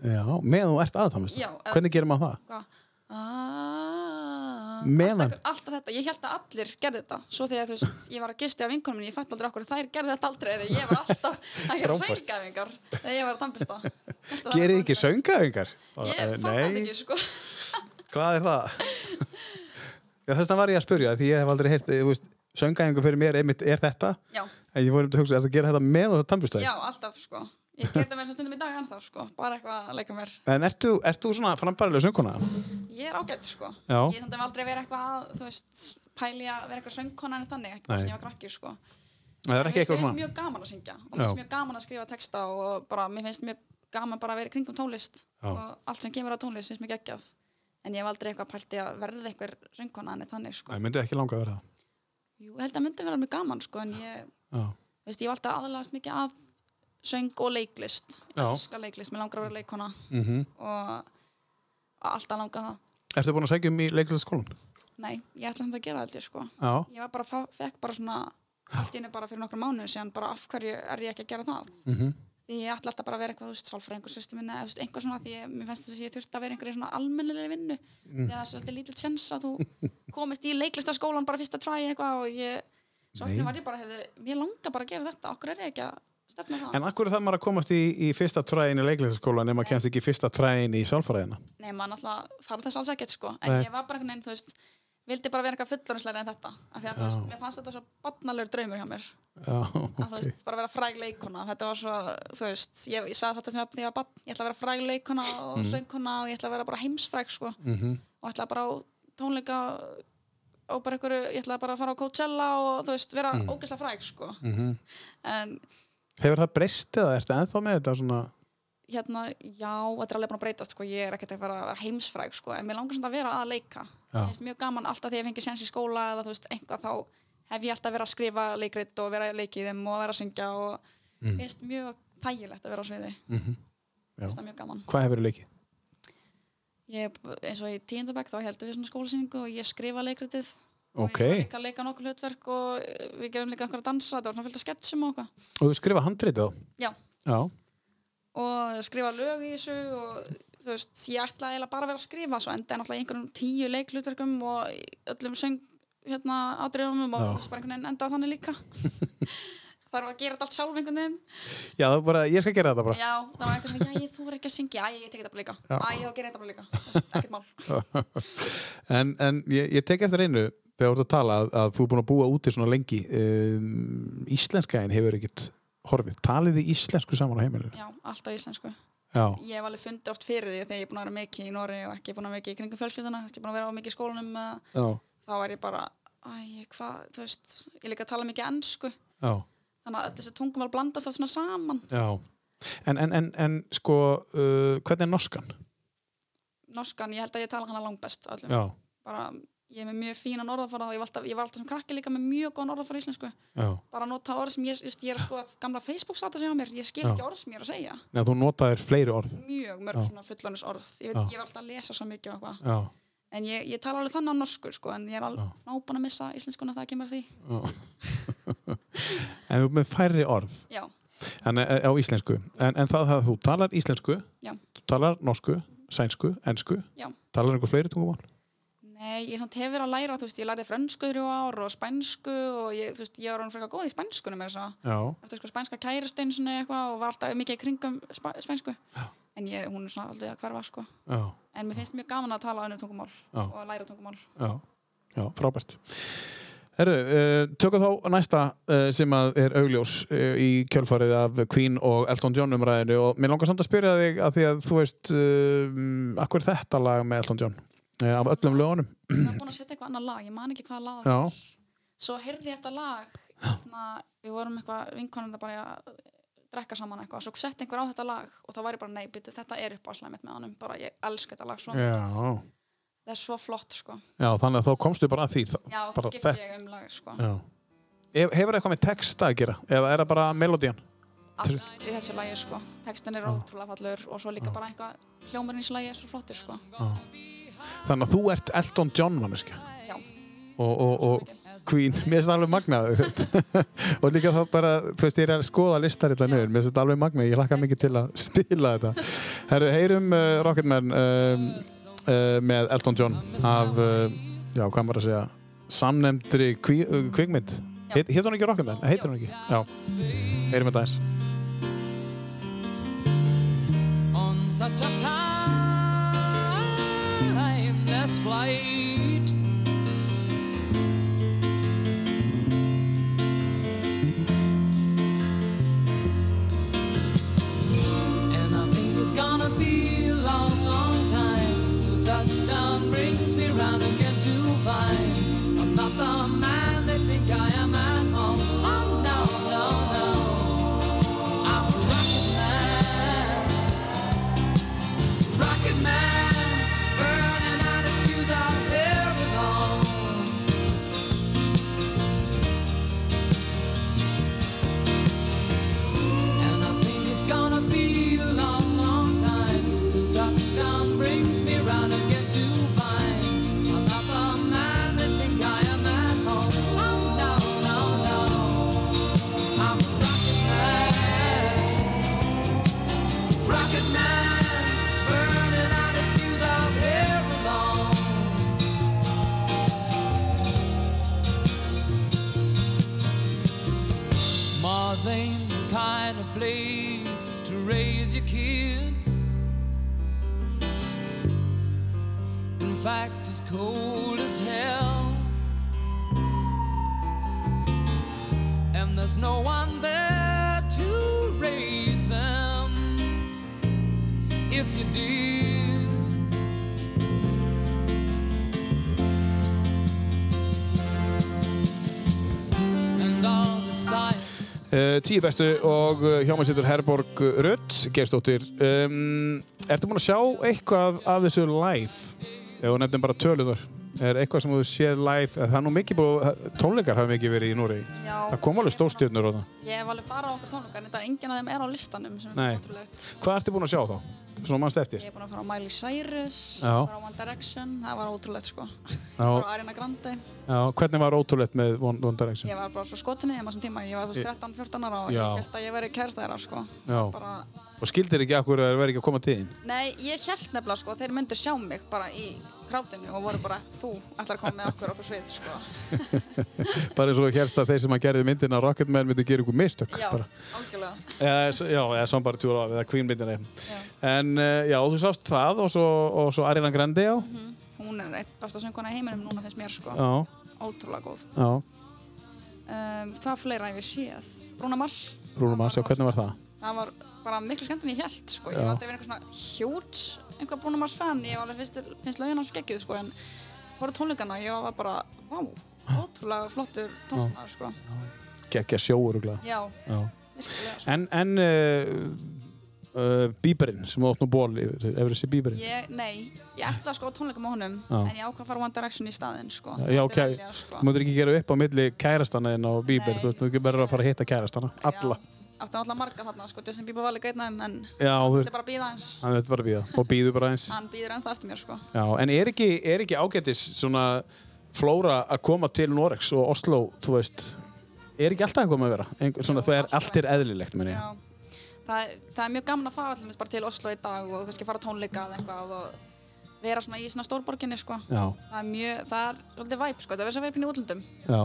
já, meðan þú ert að tónlist.
Já, eða-
Hvernig gerir maður það?
Hvað? Sko, Ah,
Meðan?
alltaf, alltaf þetta, ég held að allir gerði þetta svo þegar þú veist, ég var að gisti á vinkonum minni ég fætti aldrei okkur, þær gerði þetta aldrei þegar ég var alltaf að gera
Frábært.
söngæfingar þegar ég var að tampista
Gerið þið ekki eh, söngaðingar?
Ég fatt þetta ekki sko
Hvað er það? Já, þess vegna var ég að spurja, því ég hef aldrei heyrt, þú veist, söngaðingar fyrir mér einmitt er þetta,
Já,
en ég fór um til að hugsa, er það að gera þetta með og það
já,
tannbjörnstæði?
alltaf sko Ég gerði það mér svo stundum í dag ennþá sko Bara eitthvað að leika mér
En ert þú, ert þú svona frambarilega söngkona?
Ég er ágætt sko
Já.
Ég samt hef aldrei verið eitthvað að, þú veist Pæli að vera eitthvað söngkona en þannig Ekki bara
Nei.
sem ég var krakkir sko
Það er ekki
Mér
eitthvað
finnst
svona?
mjög gaman að syngja Og
Já.
mér finnst mjög gaman að skrifa texta Og bara, mér finnst mjög gaman bara að vera í kringum tónlist
Já.
Og allt sem kemur að tónlist finnst mér geggjað En ég hef aldrei eitthvað pælt í að verða eitthvað söngkona en þannig sko
Það myndi ekki langa að vera það.
Jú, ég held að myndi vera mjög gaman sko En ég
Já.
Þú veist, ég var alltaf aðalagast mikið að söng og leiklist
Já.
elska leiklist, mér langar að vera leikona
Mm
og alltaf langar það
Ertu búin að segja um í leiklæðaskólan?
nei, ég ætla samt að gera þetta sko.
Já.
ég var bara, fá- fekk bara svona allt í einu bara fyrir nokkra mánuði síðan bara af hverju er ég ekki að gera það
Mm
því ég ætla alltaf bara að vera eitthvað, þú veist, sálfræðingur sýstu minna, eða þú veist, einhvað svona, því ég, mér finnst þess að ég þurfti að vera einhverju svona almennilegri vinnu
Mm.
því að það er svolítið lítill sjens að þú komist í leiklistaskólan bara fyrst að træja eitthvað og ég, svo
Nei.
alltaf var ég bara, heyrðu, mér langar bara að gera þetta, okkur er ég ekki að stefna á það
En akkur er það maður að komast í, í fyrsta træðin í leiklæðaskólan ef maður kemst ekki í fyrsta træðin í sálfræðina?
Nei, maður náttúrulega þarf þess alls ekkert sko en
Nei.
ég var bara einhvern veginn, þú veist vildi bara vera eitthvað fullorðinslega en þetta af því að þú veist,
Já.
mér fannst þetta svo barnalegur draumur hjá mér að
Já,
þú
ok.
veist, bara vera fræg leikona þetta var svo, þú veist, ég, ég sagði þetta sem ég, ég var barn, ég ætla að vera fræg leikona og söngkona og ég ætla að vera bara heimsfræg sko
Mhm.
og ætla bara á tónleika og bara einhverju, ég ætla bara að fara á Coachella og þú veist, vera mm. ógeðslega fræg sko
Mhm.
en
Hefur það breyst eða ertu ennþá með þetta svona?
hérna, já, þetta er alveg búin að breytast sko. ég er ekkert að fara að vera heimsfræg sko. en mér langar samt að vera að leika
Já.
Mér finnst mjög gaman alltaf þegar ég fengi séns í skóla eða þú veist, einhvað þá hef ég alltaf verið að skrifa leikrit og vera að leika í þeim og vera að syngja og
Mm.
mér finnst mjög þægilegt að vera á sviði mér
Mm -hmm.
finnst það mjög gaman
Hvað hefur leikið?
ég, eins og í tíundabæk þá heldum við svona skólasýningu og ég skrifa leikritið
Ok.
og ég var líka að leika nokkur hlutverk og eh, við gerum líka einhverja dansa þetta var svona fullt að sketsum og eitthvað
Og þú skrifa handritið þá?
Já.
Já.
og skrifa lög í þessu og þú veist, ég ætlaði eiginlega bara að vera að skrifa svo enda náttúrulega í einhverjum tíu leiklutverkum og í öllum söng hérna atriðumum og
Já.
þú veist, bara einhvern veginn endaði þannig líka þarf að gera þetta allt sjálf einhvern veginn
Já, það er bara, ég skal gera þetta bara.
já, það var einhvern veginn, já, þú verður ekki að syngja æ, ég tek þetta bara líka,
Já.
æ, þá gerir þetta bara líka Þú veist, ekkert mál,
En, en ég, ég tek eftir einu þegar þú ert að tala að, að þú er búin að búa úti svona lengi um, Íslenskain hefur ekkert horfið, talið þið íslensku saman á heimilinu?
já, alltaf íslensku
Já,
ég hef alveg fundið oft fyrir því þegar ég er búin að vera mikið í Noregi og ekki búin að vera mikið í kringum fjölskylduna ekki búin að vera á mikið í skólanum eða-
já,
þá er ég bara, æ, hvað, þú veist ég er líka að tala mikið ennsku
já,
þannig að öll þessi tungumál blandast allt svona saman
já. En, en, en, en sko, uh, hvernig er norskan?
norskan, ég held að ég tala hana langbest af öllum.
já,
Bara, ég er með mjög fínan orðafara og ég var alltaf, ég var alltaf sem krakki líka með mjög góðan orðafara í íslensku.
já.
Bara að nota orð sem ég, just, ég er að skoða gamla Facebook statusi á mér, ég skil
Já.
ekki orð sem ég er að segja.
Nei, þú notaðir fleiri orð.
Mjög mörg
Já.
svona fullanus orð. Ég,
Já.
veit, ég var alltaf að lesa svo mikið og eitthvað.
Já,
En ég, ég tala alveg þannig á norsku, sko, en ég er alveg
Já.
nábúin að missa íslenskuna þegar kemur að því.
já. en þú ert með færri orð
Já,
en, eh, á íslensku. En, en það að þú talar íslensku,
Já.
þú talar norsku, sænsku, ensku,
Já.
talar einhver fleiri tungumál?
nei, ég samt hefur að læra, þú veist, ég lærði frönsku í þrjú ár og spænsku og ég, þú veist, ég var hann frekar góð í spænskunum eða svo.
Já,
eftir sko spænska kæristinn svona eitthvað og var alltaf mikið í kringum spæ, spænsku en ég, hún er svona alltaf að hverfa sko
já,
en mér finnst mjög gaman að tala önnur tungumál
Já.
og að læra tungumál
já, já, frábært. Herru, uh, tökum þá næsta uh, sem að er augljós uh, í kjölfarið af Queen og Elton John umræðinu og mér langar samt að spyrja þig að því að þú veist, uh, akkur þetta lag með Elton John? Uh, af öllum lögunum?
ég var búin að setja eitthvað annað lag, ég man ekki hvaða lag það
Já.
var. svo heyrði ég þetta lag svona, við vorum eitthvað vinkonum það bara að drekka saman eitthvað svo setti einhver á þetta lag og það var ég bara nei, byrju, þetta er uppáðslega mitt með honum bara ég elska þetta lag svo,
Já,
það er svo flott sko
já, þannig að þá komstu bara að því. þá-
já, það
bara
skipti ég um lag sko
Já. Hef- Hefur það eitthvað með texta að gera? Eða er það bara melodían?
allt í þessu lagi sko textin er ótrúlega fallur og svo líka bara eitthvað hljómarinn í þessu lagi er svo flottir sko
Þannig að þú ert Elton John manneska
já,
og, og, og Queen, mér finnst það alveg magnað þú veist. og líka þá bara þú veist, ég er að skoða listar þetta nöður mér finnst þetta alveg magnað, ég hlakka mikið til að spila þetta Herru, heyrum uh, Rocketman um, uh, með Elton John af, uh, já, hvað maður að segja samnefndri kví, uh, kvikmynd
Já.
Heit, Heitir hún ekki Rocketman? Heitir hún ekki? Já, heyrum þetta eins
on such a timeless flight. And I think it's gonna be a long, long time till touchdown brings me round again to find I'm not the man they think I am at home. Oh no, no, no. I'm a rocket man. Rocket Man, burning out his fuse out here alone. And I think it's gonna be a long, long time till touchdown brings me round again to find I'm not the man they think I am at home. Oh no, no, no. I'm a Rocket Man. Rocket Man, burning out his fuse out here alone. Mars ain't the kind of place to raise your kids. In fact, it's cold as hell. And there's no one there to raise them if you did. And all the science.
Uh, tíu bestu og uh, hjá mér situr Herborg Rutt, gestóttir um, Ertu búin að sjá eitthvað af þessu live? Ef þú nefnum bara tölunar Er eitthvað sem þú sér live eða Það er nú mikið búið, tónleikar hafa mikið verið í Núri
já
Það kom alveg stórstjörnur á það
Ég hef alveg farið á okkur tónleika en þetta er enginn af þeim er á listanum sem
Nei.
er ótrúlegt.
Hvað ertu búin að sjá þá? Svona mannst eftir
Ég hef búin að fara á Miley Cyrus,
Já.
ég var á One Direction, það var ótrúlegt sko. Ég var á Ariana Grande,
já, Hvernig var ótrúlegt með One, One Direction?
ég var bara svo skotinni þeim á þessum tíma, ég var svo 13-14 ára og
Já.
ég held að ég veri kærsta þeirra sko.
Já.
Bara,
Og skildir ekki akkur að það verið ekki að koma til þín
nei, ég held nefnilega sko, þeir myndu sjá mig bara í krátinu og voru bara, þú ætlar að koma með okkur okkur svið sko.
Bara eins og hérst að þeir sem að gerði myndina Rocketman myndi gera ykkur mistök
Já,
bara.
algjörlega.
Eða, s- já, eða Somebody to Love eða Queen myndinni
Já.
en eh, já, þú sást það og svo, og svo Ariana Grande já,
Hún er eitt besta söngkona í heiminum núna finnst mér sko.
já,
Ótrúlega góð.
já
Um, hvað fleira hef ég séð? Bruna Mars.
Brúnum að sjá hvernig var það
það var bara miklu skemmt en ég held sko. ég
Já.
var aldrei verið einhver svona hjút einhver Bruno Mars fan, ég var alveg fyrst, finnst lögin hans geggjuð sko, en voru tónleikana ég var bara, vá, ótrúlega flottur tónstnæður sko.
geggja sjóur og glæð
já,
já.
virkilega sko.
en, en uh, uh, eh, Bíberinn sem átt nú ból yfir, hefur þessi Bíberinn?
Ég, nei, ég ætla sko á tónleika með honum
Já.
en ég ákvað að fara One Direction í staðinn sko.
Já,
Þetta
ok.
er sko. velja,
Þú mætur ekki gera upp á milli kærastana þinn á Bíber,
Nei.
þú veist, þú verður að fara að hitta kærastana, alla.
Já, áttu náttúrulega marga þarna, sko, Justin Bieber var líka einn af þeim, en
Já, þú
þetta
veist,
er bara að býða hans.
hann þetta bara að býða og býðu bara eins.
Hann býður ennþá eftir mér, sko.
Já, en er ekki, er ekki ágætis svona flóra að koma til Norex og Oslo, þú veist, er ekki alltaf eitthvað með að vera? Einhver, svona,
Jú,
það er
alltaf.
allt er eðlilegt, menn ég.
Já. Það, er- það er mjög gaman að fara allir bara til Oslo í dag og kannski fara á tónleika eða eitthvað og vera svona í svona stórborginni, sko.
Já,
Það er mjög, það er svolítið væp, sko. Það verður sem að vera pínu í útlöndum.
já.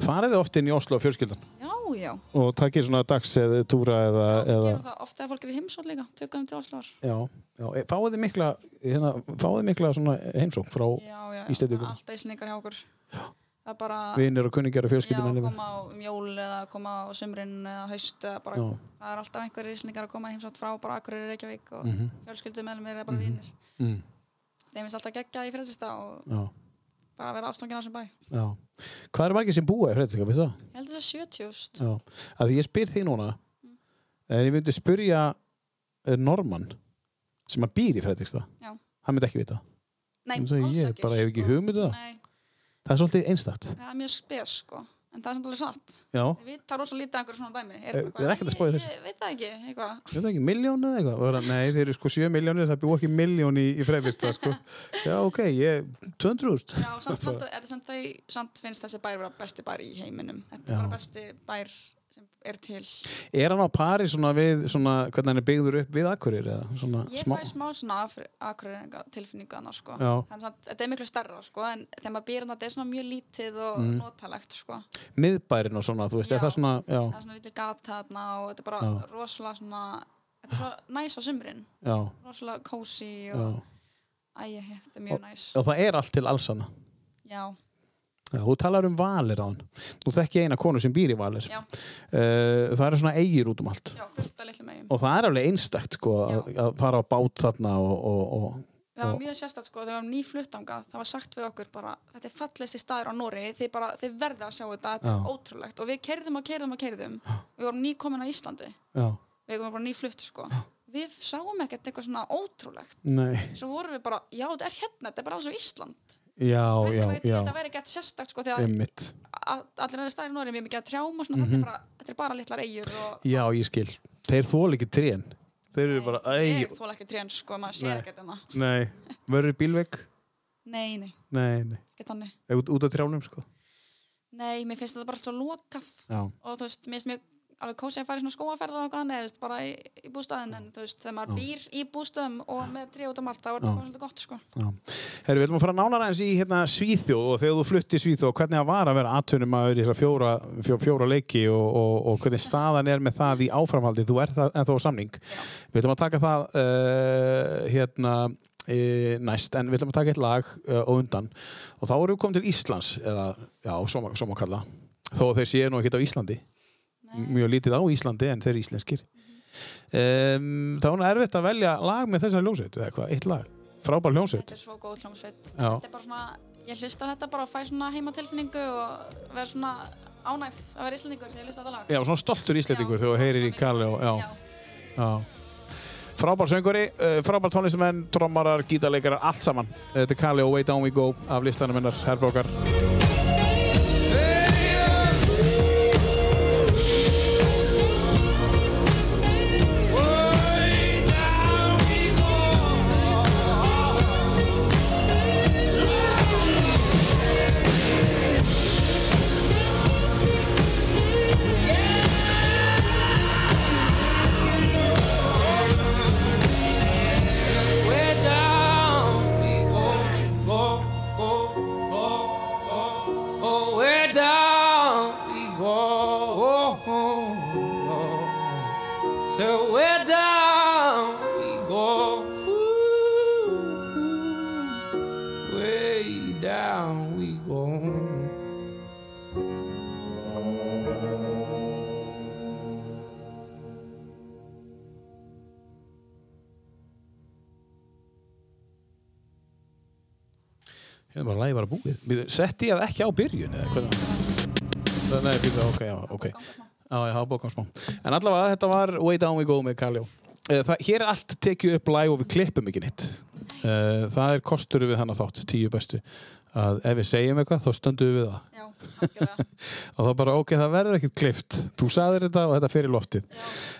Farið þið oft inn í Oslo og fjölskyldan
Já, já.
og takir svona dags eða túra eða... eða...
Gerum það ofta að fólk er í heimsótt líka, tökum þeim til Oslo.
Já, já. e, Fáið þið mikla, hérna, fáið þið mikla svona heimsókn frá
Já, já, já.
Íslendingum.
Alltaf íslendingar hjá okkur. Það er bara...
vinir og kunningjar og
Já,
fjölskyldum
koma á um jól eða koma á sumrin eða haust eða bara,
Já.
það er alltaf einhverjir íslendingar að koma heimsátt frá bara Akureyri Reykjavík og mm
Mhm,
fjölskyldum meðlum er bara vinir.
mm,
Þeim finnst alltaf geggjað í fyrirtista og
já,
bara vera ástangin á þessum bæ.
já. Hvað eru margir sem búa í Fredrika, veist það?
Ég held þess að 70.000.
Já. Að því ég spyr þig núna
Mm.
en ég myndi spyrja eh, Norman sem að býr í Fredriksta
Já.
hann myndi ekki vita Ég
Nei,
myndi segja,
alls
ég
ekki.
bara hef ekki
sko.
hugmynd um það.
Nei,
það er svolítið einstakt
það er mjög spes sko. En það er samt alveg satt.
Já,
Ég veit það rosa lítið einhver svona
Eh,
dæmi. eitthvað-
þið er ekkert að spá í
Ég-
þessu?
Ég veit það ekki, eitthvað.
ég veit ekki, miljón eða eitthvað Og það er að, Nei, þeir eru sko 7 miljónir, það búa ekki miljón í, í Fredriksta sko. Já, ok, ég 200.000
Já, samt, halda, eða, samt, þau, samt finnst þessi bær vera besti bær í heiminum. Þetta er
Já.
bara besti bær sem er til.
Er hann á pari svona við svona, hvernig hann er byggður upp við Akurir eða svona
Ég
smá
fæ smá svona akureyringa tilfinningu annars sko.
Já.
Þannig að þetta er miklu starra sko, en þegar maður býr þarna, þetta er svona mjög lítið og
Mm.
notalegt sko.
miðbærin og svona, þú veist, er
Já.
það svona já,
Það er svona lítið gata þarna og þetta er bara
Já.
rosalega svona, þetta er svo næs á sumrin,
já,
rosalega kósi
já.
og æja, þetta er mjög næs.
og það er allt til allsanna
Já,
Já, þú talar um valir á hann. Þú þekki eina konu sem býr í valir.
já,
Uh, það eru svona eigir út um allt.
já, fullt af litlum eigum.
Og það er alveg einstakt, sko, að, að fara á bát þarna og... og, og
Það var mjög sérstætt sko, þegar við varum nýfluttangað, það var sagt við okkur bara, þetta er fallegsti staður á Nóri, þið bara, þið verða að sjá þetta, þetta
Já.
er ótrúlegt og við kerðum og kerðum og kerðum, við vorum nýkomin að Íslandi.
já,
við komum bara nýflutt sko við sáum ekkert eitthvað svona ótrúlegt
nei,
svo vorum við bara, já þetta er hérna þetta er bara alls og Ísland
já,
Við
já,
heldum að
já,
þetta væri gett sérstakt sko þegar
einmitt.
a- allir aðeins stæðir Nóri mjög mikið að trjám og svona
Mhm.
mm bara, þetta er bara litlar eigur og
Já, ég skil. Þeir þól ekki trén. Þeir eru bara, ei,
ég þóla ekki trén sko maður sér
Nei.
ekkert enna
nei, verður bílvegg?
nei, nei,
Nei, nei,
ekki þannig
Eh, út, út af trjánum, sko.
nei, mér finnst þetta bara allt svo lokað
Já,
og þú veist, mér finnst mjög alveg kósi að fara í svona skóaferða og eitthvað annað, þú veist, bara í, í bústæðin en þú veist, þegar maður býr í bústöðum og með tré út um allt, þá er þetta bara svolítið gott sko.
já. Herru, við ætlum að fara nánar aðeins í hérna Svíþjóð og þegar þú flutti í Svíþjóð, hvernig það var að vera atvinnum í þessar fjóra, fjó, fjóra leiki og, og, og hvernig staðan er með það í áframhaldi, þú er það ennþá á samning.
Já.
Við ætlum að taka það uh, hérna uh, næst, en við ætlum að taka eitt lag uh, og undan og þá erum við komin til Íslands eða, já, svo má- svo má kalla þó að þeir séu nú ekkert á Íslandi mjög lítið á Íslandi en þeir eru íslenskir um, þá er nú erfitt að velja lag með þessari ljónsveit eða hvað, eitt lag, frábær ljónsveit
þetta er svo góð hljómsveit
Já.
þetta er bara svona, ég hlusta á þetta bara og fæ svona heimatilfinningu og verð svona ánægð að vera íslendingur þegar ég hlusta á þetta lag
Já, svona stoltur íslendingur
Já,
þegar þú heyrir í
svona
Kalli
mikið.
og, já, já. Frábær sönguri, eh, frábær tónlistamenn, trommarar, gítarleikarar, allt saman. Þetta er Kalli og Way Down We Go af listanum hennar, herrbrókar.
Way down we go, go, go, go, go, go. Way down we go, go, go. So way down we go, ooh, ooh. way down we go.
Hérna bara lagi bara búið. Við- Setti ég það ekki á byrjun eða hvernig? Nei, Nei, fyrir það, ok, já, ok. Já, ég hafa bókað smá. En allavega þetta var Way Down We Go með Kaljó. Eh, það, hér er allt tekið upp læg og við klippum ekki nýtt. Það er kostur við hann að þátt, tíu bestu. Að ef við segjum eitthvað, þá stöndum við við það.
Já, algjörlega.
Og þá bara, ok, það verður ekkert klift. Þú saðir þetta og þetta fyrir loftið.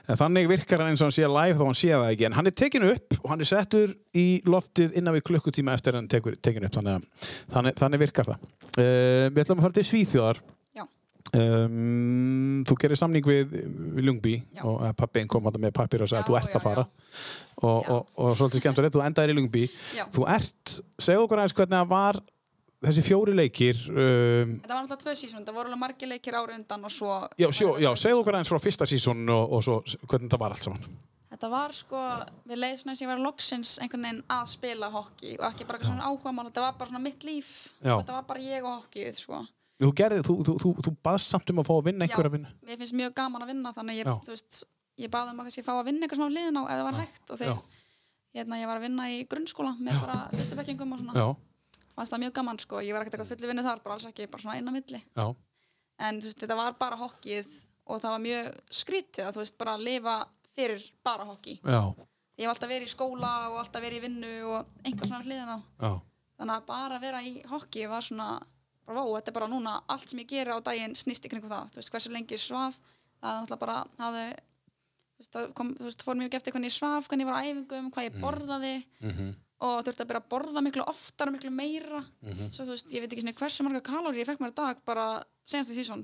En þannig virkar hann eins og hann sé live þá hann sé það ekki. En hann er tekinu upp og hann er settur í loftið innan við klukkutíma eftir að hann tekur, tekinu upp. Þannig, að, þannig, þannig virkar það. Uh, við ætlum að fara til Svíþjóðar.
Já.
Um, þú gerir samning við, við Ljungby
Já.
og eh, pabbiðin kom þarna með pappir og sagði
Já,
að þú ert
já,
að fara
já.
og, og,
Já.
og, svolítið skemmt að rétt, þú endaðir í Ljungby
Já.
þú ert, segðu okkur aðeins hvernig að var þessi fjóri leikir um,
Þetta var alltaf tvö sísón, það voru alveg margir leikir ára undan og svo...
Já, sjó, já, segðu okkur aðeins frá fyrsta sísón og, og svo s- hvernig það var allt saman.
Þetta var sko, við leið svona eins og ég var loksins einhvern veginn að spila hokki og ekki bara eitthvað svona áhuga mál, þetta var bara svona mitt líf.
Já.
Þetta var bara ég og hokkið, sko.
Þú gerði, þú, þú, þú, þú baðst samt um að fá að vinna einhverja
Já,
vinna.
mér finnst mjög gaman að vinna þannig að
Já.
ég, þú veist, ég baði um að kannski fá að vinna eitthvað svona á liðin á eða það var hægt og
Já.
þegar hérna, ég var að vinna í grunnskóla með bara fyrstu bekkingum og svona
Já,
fannst það mjög gaman sko, ég var ekkert eitthvað fullu vinnu þar bara alls ekki, bara svona eina milli
já,
en þú veist, þetta var bara hokkið og það var mjög skrítið að þú veist, bara að lifa fyrir bara hokki
já,
ég hef alltaf verið í skóla og alltaf verið í vinnu og einhver svona hliðin á
já,
þannig að bara vera í hokki var svona bara vó, þetta er bara núna allt sem ég gera á daginn snýst í kringum það, þú veist hversu lengi ég svaf það er náttúrulega bara hafði, þú, veist, það kom, þú veist, fór mjög eftir hvernig ég svaf hvernig ég var á æfingum, hvað ég borðaði
Mhm.
og þurfti að byrja að borða miklu oftar og miklu meira svo þú veist, ég veit ekki svona hversu marga kalóri ég fekk mér að dag bara senast í sísón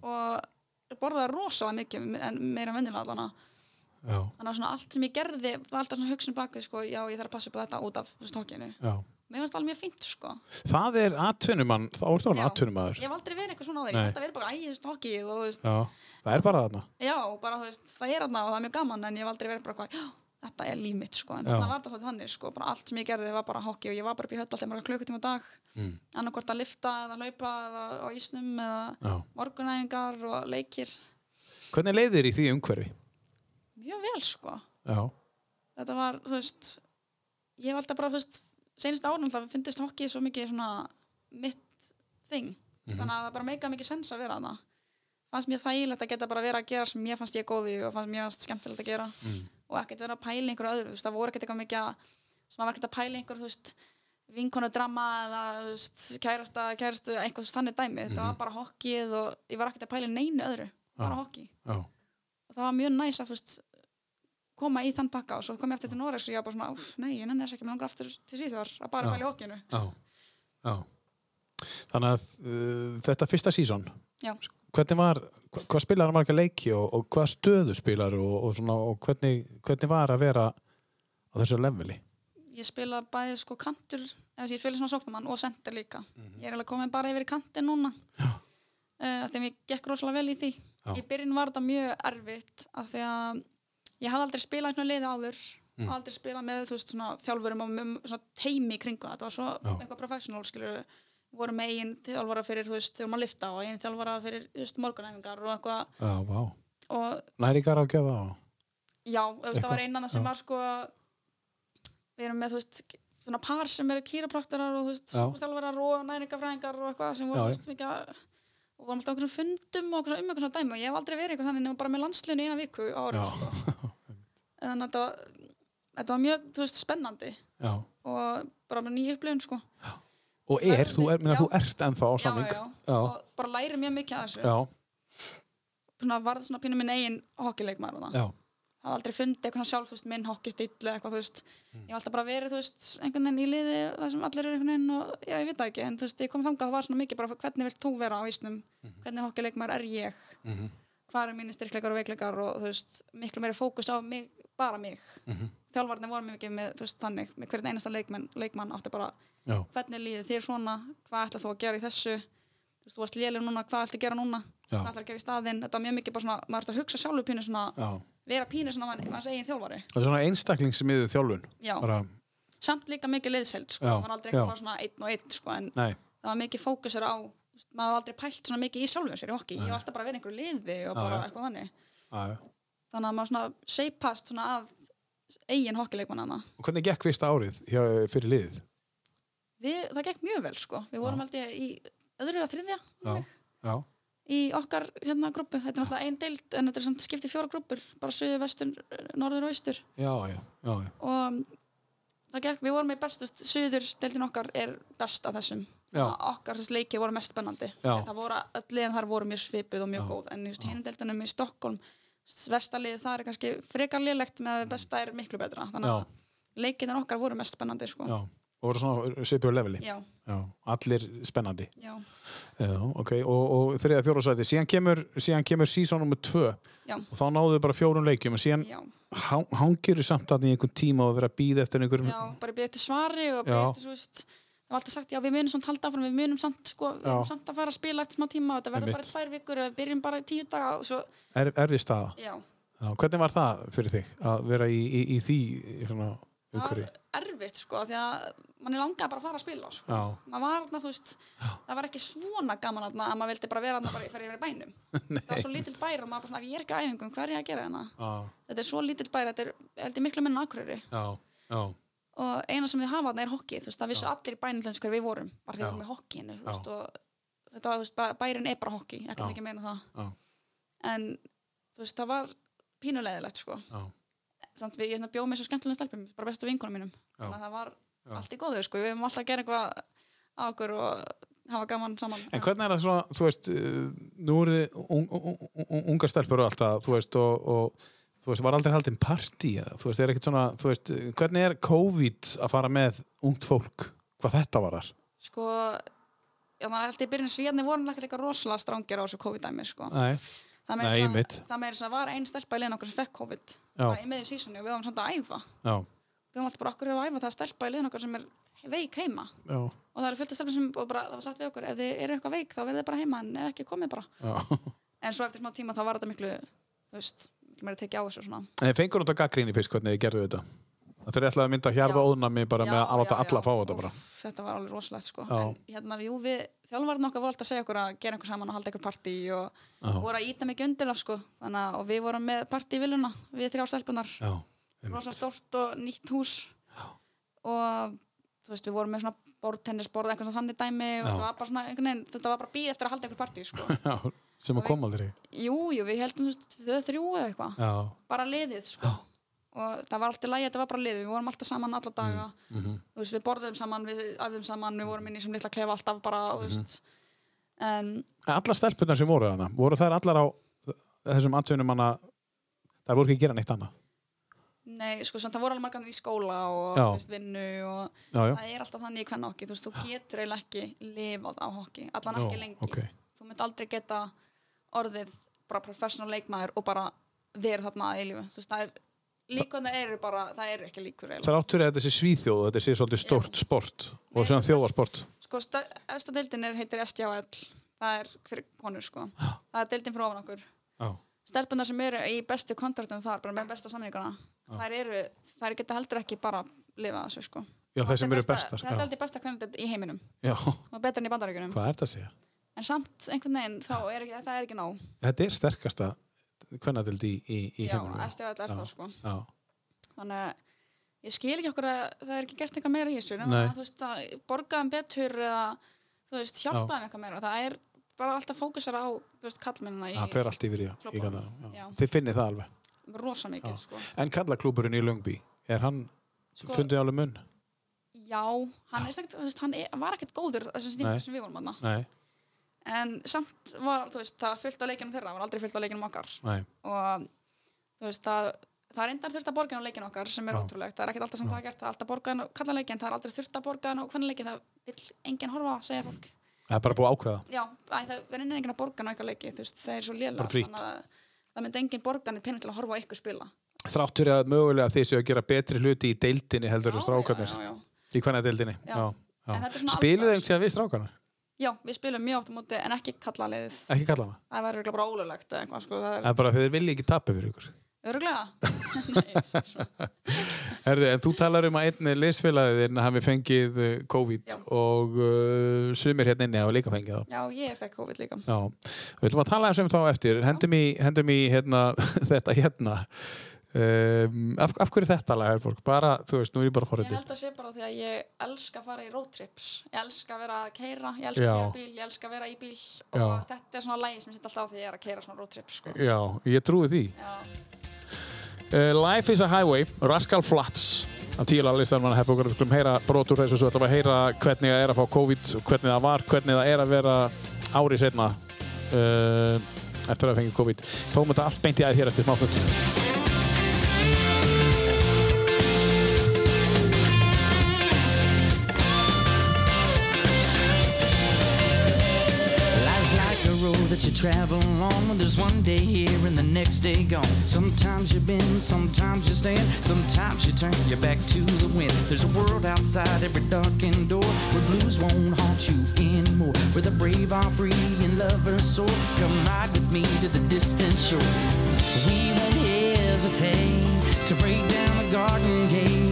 og borðaði rosalega mikið en meira venjulega allana
já,
þannig að svona allt sem ég gerði var alltaf svona hugsun bakið sko, já ég þarf að passa upp á þetta út af þú veist, hokkinu
já.
mér finnst það alveg mjög fínt sko
Það er atvinnumann, þá er það
Já.
atvinnumæður.
ég hef aldrei verið eitthvað svona á þeir, ég
Nei.
hef alltaf verið bara æ, þú veist, hokkið og þú veist,
Já, það er bara þarna.
já, bara þú veist, það er aðna og það er mjög gaman en ég hef aldrei verið bara hvað, já, þetta er líf mitt sko, en
Já.
þarna var það svolítið þannig sko, bara allt sem ég gerði var bara hokki og ég var bara upp í höll alltaf mörg klukkutíma á dag, mm. annarkvort að lifta eða hlaupa eða á ísnum eða
Já.
morgunæfingar og leikir,
Hvernig leiðir í því umhverfi?
mjög vel sko,
Já,
þetta var, þú veist, ég hef alltaf bara, þú veist, senast árun alltaf fyndist hokkið svo mikið svona mitt þing, þannig að það bara meika mikið sens að vera þarna. Fannst mér þægilegt að geta bara verið að gera sem mér fannst ég góð í og fannst mér fannst skemmtilegt að gera
Mm,
og ekkert vera að pæla í einhverju öðru, þú veist, það voru ekkert eitthvað mikið að, sem var ekkert að pæla í einhverju, þú veist, vinkonudrama eða, þú veist, kærasta, kærastu, eitthvað þú veist, þannig dæmi, þetta var bara hokkið og ég var ekkert að pæla í neinu öðru, bara
Já.
hokki
já,
og það var mjög næs að þú veist, koma í þann pakka og svo kom ég aftur til Noregs og ég var bara svona, "Úff, nei, ég nenni þess ekki, mér langar aftur til Svíþjóðar að bara
Já.
pæla í hokkinu.
já, já. Þannig að uh, þetta fyrsta sísón,
Já.
hvernig var, hva, hvað spilaði marga leiki og, og hvað stöðu spilaði og, og, svona, og hvernig, hvernig var að vera á þessu leveli?
Ég spila bæði sko kantur, eða þess að ég spila svona sóknumann og sendir líka.
Mhm.
Ég er alveg komin bara yfir í kantin núna, uh, þegar ég gekk rosalega vel í því.
Já.
Í byrjun var þetta mjög erfitt af því að ég hafði aldrei spilað í svona liði áður
Mm.
og aldrei spilað með þú veist svona þjálfurum og með svona teimi í kringu það. Þetta var svo
Já.
eitthvað professional skilur voru með eigin þjálfara fyrir þú veist þegar maður lifta og eigin þjálfara fyrir þú veist, morgunæfingar og eitthvað
Já, vá.
og
Næringar á gefa á?
Já, þú veist, það var
Eitthvað,
einan sem
já.
var sko við erum með, þú veist, svona par sem eru kýrapraktarar og þú veist,
Já.
sjúkvistálfarar og næringafræðingar og eitthvað sem voru,
Já,
þú
já.
veist, mikið að og vorum alltaf okkur svona fundum og okkur svona um okkur svona dæmi og ég hef aldrei verið eitthvað þannig nema bara með landslunni eina viku á árum,
Já.
sko en þetta, var- þetta var mjög, þú veist, spennandi
Já.
og bara með nýju upplifun, sko
Og er, þú, er, minna,
Já.
þú ert ennþá á
Já,
samning.
já,
Já.
og bara læri mjög mikið að þessu
Já,
svona varð svona pínu minn eigin hokkileikmaður þarna.
já,
hafði aldrei fundið eitthvað svona sjálf, þú veist, minn hokkistíll eða eitthvað, þú veist, ég hef alltaf bara verið, þú veist, einhvern veginn í liði það sem allir eru einhvern veginn og, já, ég veit það ekki, en þú veist, ég kom þangað, það var svona mikið bara, hvernig vilt þú vera á ísnum, hvernig hokkileikmar er ég, mm hvað eru mínir styrkleikar og veikleikar og, þú veist, miklu meiri fókus á mig, bara mig. Mm -hmm. Þjálfarnir voru mjög mikið með, þú veist, þannig, með hvernig einasta leikmann, leikmann átti bara,
já,
hvernig líður þér svona, hvað ætlar þú að gera í þessu, þú veist, þú varst léleg núna, hvað ætlar að gera núna,
Já.
hvað ætlar að gera í staðinn, þetta var mjög mikið bara svona, maður ætlar að hugsa sjálfur pínu svona,
já.
vera pínu svona mann, manns eigin þjálfari
Það er svona einstaklingsmiðu þjálfun.
Já.
Bara,
samt líka mikið liðseld sko.
Já,
það var aldrei
já.
eitthvað bara svona einn og einn sko, en
nei,
það var mikið fókusur á maður var aldrei pælt svona mikið í sjálfum sér í hokki, ég var alltaf bara að vera í einhverju liði og bara
já.
eitthvað þannig
já, já.
þannig að maður svona seipast svona að eigin hokkileikmanna
Og hvernig gekk fyrsta árið hjá, fyrir liðið?
það gekk mjög vel sko, við vorum aldrei í öðru að þriðja
Já,
þannig.
já,
í okkar hérna grúpu, þetta er náttúrulega ein deild en þetta er samt skipt í fjóra grúpur, bara suður, vestur, norður og austur
já, já, já, já.
og það gekk, við vorum í best, þú veist, suður deildin okkar er best af þessum
Já.
Þannig að okkar þessi leikir voru mest spennandi
Já.
það voru, öll liðin þar voru mjög svipuð og mjög
Já.
góð en þú veist, hinn deildinum í Stockholm vestalið það er kannski frekar liðlegt með að besta er miklu betra þannig
Mm. Já.
að leikirnir okkar voru mest spennandi sko.
já. og voru svona svipuðu leveli
já,
Já, allir spennandi
já,
já, ok, og, og þriða fjóra sæti síðan kemur, síðan kemur season nummer 2 og
já,
þá náðu þau bara fjórum leikjum og síðan
já,
hang- hangir þau samt að í einhvern tíma og vera að býða eftir einhverjum
já bara býða eftir svari og
Já.
býða eftir svo veist, það var alltaf sagt, já við munum samt halda áfram við munum samt, sko, við
Já.
munum samt að fara að spila eftir smá tíma og þetta verður
Einmitt.
bara tvær vikur og við byrjum bara í tíu daga og svo,
er, erfið staða
já,
já, hvernig var það fyrir þig að vera í, í, í því hérna, svona,
það var
umhverju
erfitt sko, því að manni langaði bara að fara að spila sko.
já,
maður var þarna, þú veist, það var ekki svona gaman þarna að maður vildi bara vera þarna bara fyrir yfir í bænum það var svo lítill bær og maður bara svona, ef ég er ekki á æfingum, hvað er ég að gera þarna
já,
þetta er svo lítill bær, þetta er, þetta er miklu minna akureyri
já, já.
og eina sem þið hafa þarna er hokki, þú veist, það vissu allir í bænum þess hver við vorum, bara því
Já.
við vorum í hokkinu þú veist, og þetta var, þú veist, bara, bærin er bara hokki ekki
Já.
mikið meina það
Já.
en, þú veist, það var pínulegðilegt, sko
Já.
samt við, ég svona, bjóð með svo skemmtilegum stelpum bara bestu vinkunum mínum þannig að það var allt í góðu sko, við höfum alltaf að gera eitthvað á okkur og hafa gaman saman
En hvernig er það svona, þú veist, eh, nú eru þið un, un, un, ungar stelpur og alltaf, þú veist, og, og þú veist, var aldrei haldin partí eða, þú veist, er ekkert svona, þú veist, eh, hvernig er COVID að fara með ungt fólk, hvað þetta var þar?
sko, já, þannig að alltaf í byrjun svíðarni vorum ekkert eitthvað rosalega strangir á þessu COVID-dæmi sko.
Nei,
það meira
Nei,
svona-
einmitt.
það meira svona var ein stelpa í liðin okkur sem fekk COVID
Já.
bara í meðjum sísunni og við höfum samt að æfa
já,
við höfum alltaf bara okkur að æfa það er stelpa í liðin okkur sem er veik heima
já,
og það eru fullt af stelpum sem og bara, það var satt við okkur ef þið eru eitthvað veik þá verðið bara heima en ef ekki komið bara
já.
en svo eftir smá tíma þá var þetta miklu þú veist, miklu meira tekið á þessu svona
En fengur þetta gaggríni fyrst hvernig þið gerðu þetta? Það þeir ætlaði að mynda hjarða óðnami bara
Já,
með að láta
já,
alla að
já.
fá þetta
Úff,
bara.
þetta var alveg rosalegt sko
Já.
en hérna við, jú, við þjálfarinn okkar voru alltaf að segja okkur að gera einhver saman og halda einhver partí og voru að íta mikið undir það sko þannig að og við vorum með partí í viljuna við þrjá stelpunar
Já,
rosa stórt og nýtt hús og þú veist við vorum með svona borðtennisborð einhvern svona þannig dæmi og
Já.
þetta var bara svona einhvern veginn þetta var bara býð eftir að halda einhver partí sko
já, sem að koma aldrei.
jú, jú, við heldum þú veist þau þrjú eða eitthvað
Já,
bara liðið sko. og það var alltaf lægi, þetta var bara liðið við vorum alltaf saman alla
Mm.
daga
mhm.
þú veist, við borðum saman, við æfum saman við vorum inn í sem litla klefa alltaf bara
Mhm.
mm veist, en
En allar stelpunar sem voru þarna, voru þær allar á þessum atvinnum hana, þær voru ekki að gera neitt annað.
nei, sko, samt, það voru alveg margan í skóla og
Já.
þú veist, vinnu og
Já, já.
það er alltaf þannig í hvern hokki þú, veist, þú getur eiginlega ekki lifað á hokki allan
Já,
ekki lengi
ok.
þú mynd aldrei geta orðið bara professional leikmaður og bara verið þarna að eilífu Þú veist, það er líkunar eru bara, það eru ekki líkur eiginlega.
þrátt fyrir að þetta sé svíþjóð og þetta sé svolítið stórt sport og svona þjóðarsport
sko, sta- efsta deildin er, heitir SJL það er fyrir konur sko það er deildin fyrir ofan okkur
Já.
stelpunar sem eru í bestu kontraktum þar bara með besta samningana þær, eru, þær geta heldur ekki bara lifa þessu sko
Já, þær
Þetta
sem
er
eru
besta-
bestar,
þetta
já.
er aldrei besta kvendið í heiminum
Já,
og betur enn í bandaríkunum
hvað er þetta að segja?
en samt einhvern veginn þá er ekki, það er ekki nóg
Þetta er sterkasta kvennatöld í, í, í
já,
heiminum.
SJL er það sko
Já,
þannig að ég skil ekki okkur að það er ekki gert eitthvað meira í þessu nema
Nei.
að, þú veist að borgaðum betur eða þú veist hjálpaðum eitthvað meira það er bara alltaf fókusar á þú veist kallmennina
það
í
fer allt yfir í, í
Klobbanum,
gana.
já.
Þið finnið það alveg.
rosa mikið sko.
En kallaklúburinn í Lungby, er hann
Sko-
fundið alveg munn?
já, hann, er sagt, þú veist, hann er, var ekkert góður þessum
Nei.
stíma sem við vorum aðna
Nei,
en samt var þú veist það fyllt á leikinum þeirra, það var aldrei fyllt á leikinum okkar
nei,
og þú veist það það er endar þurft að borga inn á leikin okkar sem er
Já.
ótrúlegt, það er ekkert alltaf sem það er gert það er alltaf borgaðin og kalla leikin, það er aldrei þurft að borgaðin og hvernig leikin, það vill enginn horfa að segja fólk
það er bara búið að ákveða.
já, æ, það verður enginn að borga ná eitthvað leiki þú veist, það er svo lélega
Bara frítt.
að það myndi enginn borga neitt pening til að horfa á ykkur spila
Þrátt fyrir að mögulega þið séu að gera betri hluti í deildinni heldur en
Já,
strákarnir,
já, já, já.
í kvennatöldinni.
Já. En þetta er svona
Spilið
alls
þeim síðan við strákarna,
já, við spilum mjög átt á móti en ekki kalla leiðið
ekki kallana.
það verður örugglega bara ólulegt eða eitthvað sko, það
Það er bara þeir vilja ekki tappa fyrir ykkur.
er öruglega
Herðu, en þú talar um að einni liðsfélagiðin hafi fengið eh, COVID
Já.
og uh, sumir hérna inni hafa líka fengið það.
já, ég fekk COVID líka
Já, við ætlum að tala eins um þá eftir. Hendum í, hendum í hérna, þetta hérna. um, af, af hverju þetta lag Herborg? bara, þú veist, nú er ég bara
Ég
forröndin
held að sé bara því að ég elska að fara í roadtrips Ég elska að vera að keira, ég elska
Já.
að keira bíl Ég elska að vera í bíl og
Já.
þetta er svona lægi sem ég sitt alltaf á því að ég er að keira svona roadtrips sko.
já, ég trúi því
Já,
uh, Life is a Highway, Rascal Flats að tíla listan mann hefði okkur við skulum heyra brot úr þessu svo ætlum við að heyra hvernig það er að fá COVID hvernig það var, hvernig það er að vera ári setna uh, eftir að það fengi COVID fáum þetta allt beint í aðeins hér eftir smáfnund
Life's like a road that you travel on. when There's one day here and the next day gone. Sometimes you bend, sometimes you stand, sometimes you turn your back to the wind. There's a world outside every darkened door where blues won't haunt you anymore. Where the brave are free and lovers soar. Come ride with me to the distant shore. We won't hesitate to break down the garden gate.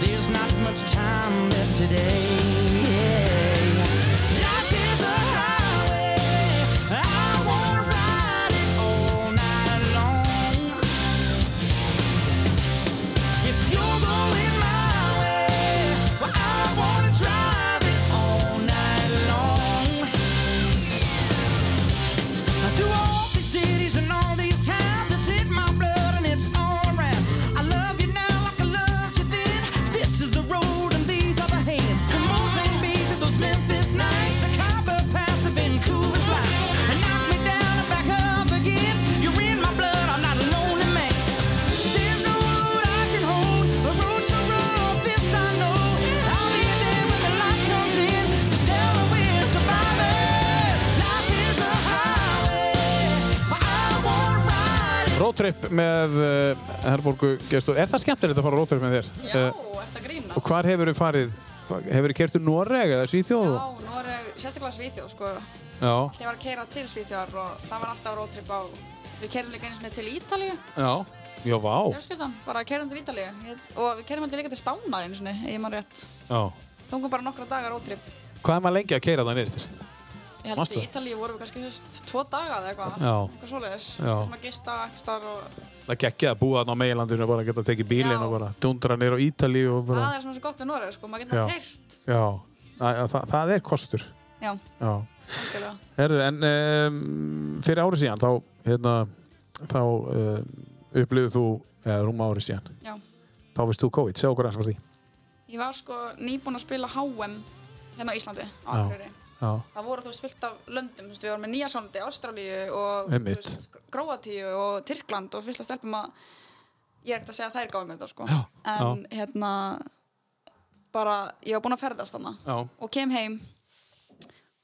There's not much time left today. Life is a highway. I wanna ride it all night long. If you're going my way, well, I wanna drive it all night long. Through all these cities and all these towns, it's in my blood and it's all around. I love you now like I loved you then. This is the road and these are the hands. From Mozambique to those Memphis nights, the copper past to Vancouver's lights. And knock me down and back up again. You're in my blood, I'm not a lonely man. There's no road I can hold, a road so rough, this I know. I'll be there when the light comes in. Just tell her we're survivors. Life is a highway, I wanna ride it.
Roadtrip með uh, Herborgu Gestur, er það skemmtilegt að fara á roadtrip með þér?
Já
Eh,
ertu að grína?
og hvar hefur þið farið? Hefur þið kert um Noreg eða Svíþjóð?
Já, nú er ég sérstaklega Svíþjóð sko. Þegar
Já.
ég var að keira til Svíþjóðar og það var alltaf roadtrip á Við keirum líka einu sinni til Ítalíu,
Já. Já, vá.
fjölskyldan, bara keirum til Ítalíu Ég- og við keirum alltaf líka til Spánar einu sinni, ef ég maður rétt.
Já.
Tókum bara nokkra dagar roadtrip.
Hvað er maður lengi að keira það nýrtir?
Ég held
Manstu?
að í Ítalíu vorum við kannski, þú veist, tvo daga eða eitthvað,
Já.
eitthvað svoleiðis.
Já.
Við þurfum að gista eitthvað starf og
Það gekkið að búa þarna á meilandinu og bara geta að teki bílinn
Já.
og bara dundra nýr á Ítali og bara...
það er svona svo gott við Noreg, sko, maður getur
Já.
keirt.
Já. Það, það, það er kostur.
Já,
Já.
algjörlega.
Herðu, en um, fyrir ári síðan þá, hérna, þá um, upplifðu þú, eða rúma ári síðan,
Já.
þá veist þú COVID. Segð okkur eins frá því.
Ég var sko nýbúin að spila HM hérna á Íslandi, á Akureyri.
Já.
Það voru, þú veist, fullt af löndum, þú veist, við vorum með Nýjasólandi, Ástralíu og,
Einmitt.
Gróatíu og Tyrkland og fullt af stelpum að, ég er ekkert að segja að þær gáði mér þetta, sko.
Já,
en, hérna, bara, ég var búin að ferðast þarna
Já.
og kem heim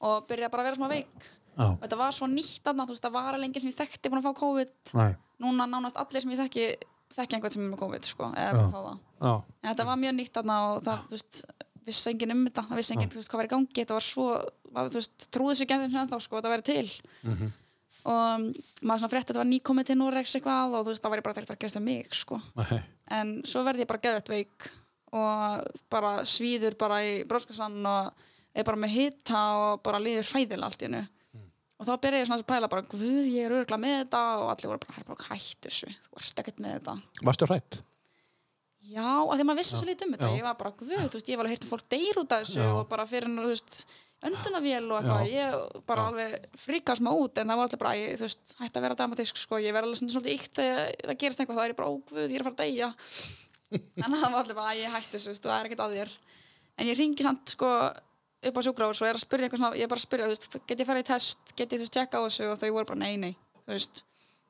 og byrja bara að vera svona veik.
Já.
Og þetta var svo nýtt þarna, þú veist, það var lengi sem ég þekkti búin að fá COVID.
Nei.
Núna nánast allir sem ég þekki, þekki einhvern sem er með COVID, sko, eða búin að fá það.
Já.
En þetta var mjög nýtt þarna og það, þú veist, vissi enginn um þetta, það vissi enginn, þú veist, hvað var í gangi, þetta var svo, maður, þú veist, trúði sér genðin sem ennþá, sko, að þetta væri til. Og um, maður svona frétt að þetta var nýkomið til Noregs eitthvað og þú veist, það væri bara þetta að gerast það mig, sko.
Nei.
En svo verði ég bara geðvægt veik og bara svíður bara í bróskarsann og er bara með hita og bara líður hræðilega allt í hennu.
Hmm.
Og þá byrja ég svona að pæla bara, guð, ég er örgulega með þetta og allir voru bara, "Herborg, hættu þessu, þú ert ekkert með þetta.
Varstu hrætt?
Já, af því að maður vissi svo lítið um þetta.
já.
Ég var bara, guð, þú veist, ég var alveg heyrt að fólk deyr út af þessu og bara fyrir hennar, þú veist, öndunavél og eitthvað. Ég bara alveg frikast maður út en það var alltaf bara, ég, þú veist, hætti að vera dramatísk, sko. Ég verði alveg svona svolítið ykt þegar það gerist eitthvað, þá er ég bara, ó, guð, ég er að fara að deyja. en það var alltaf bara, æ, ég hætti þessu, þú veist, og það er ekkert að þér. En ég ringi samt, sko, upp á sjúkrahús og er að spyrja eitthvað svona, ég er bara að spyrja, þú veist, get ég farið í test, get ég, þú veist, tjekka á þessu og þau voru bara, nei, nei, þú veist,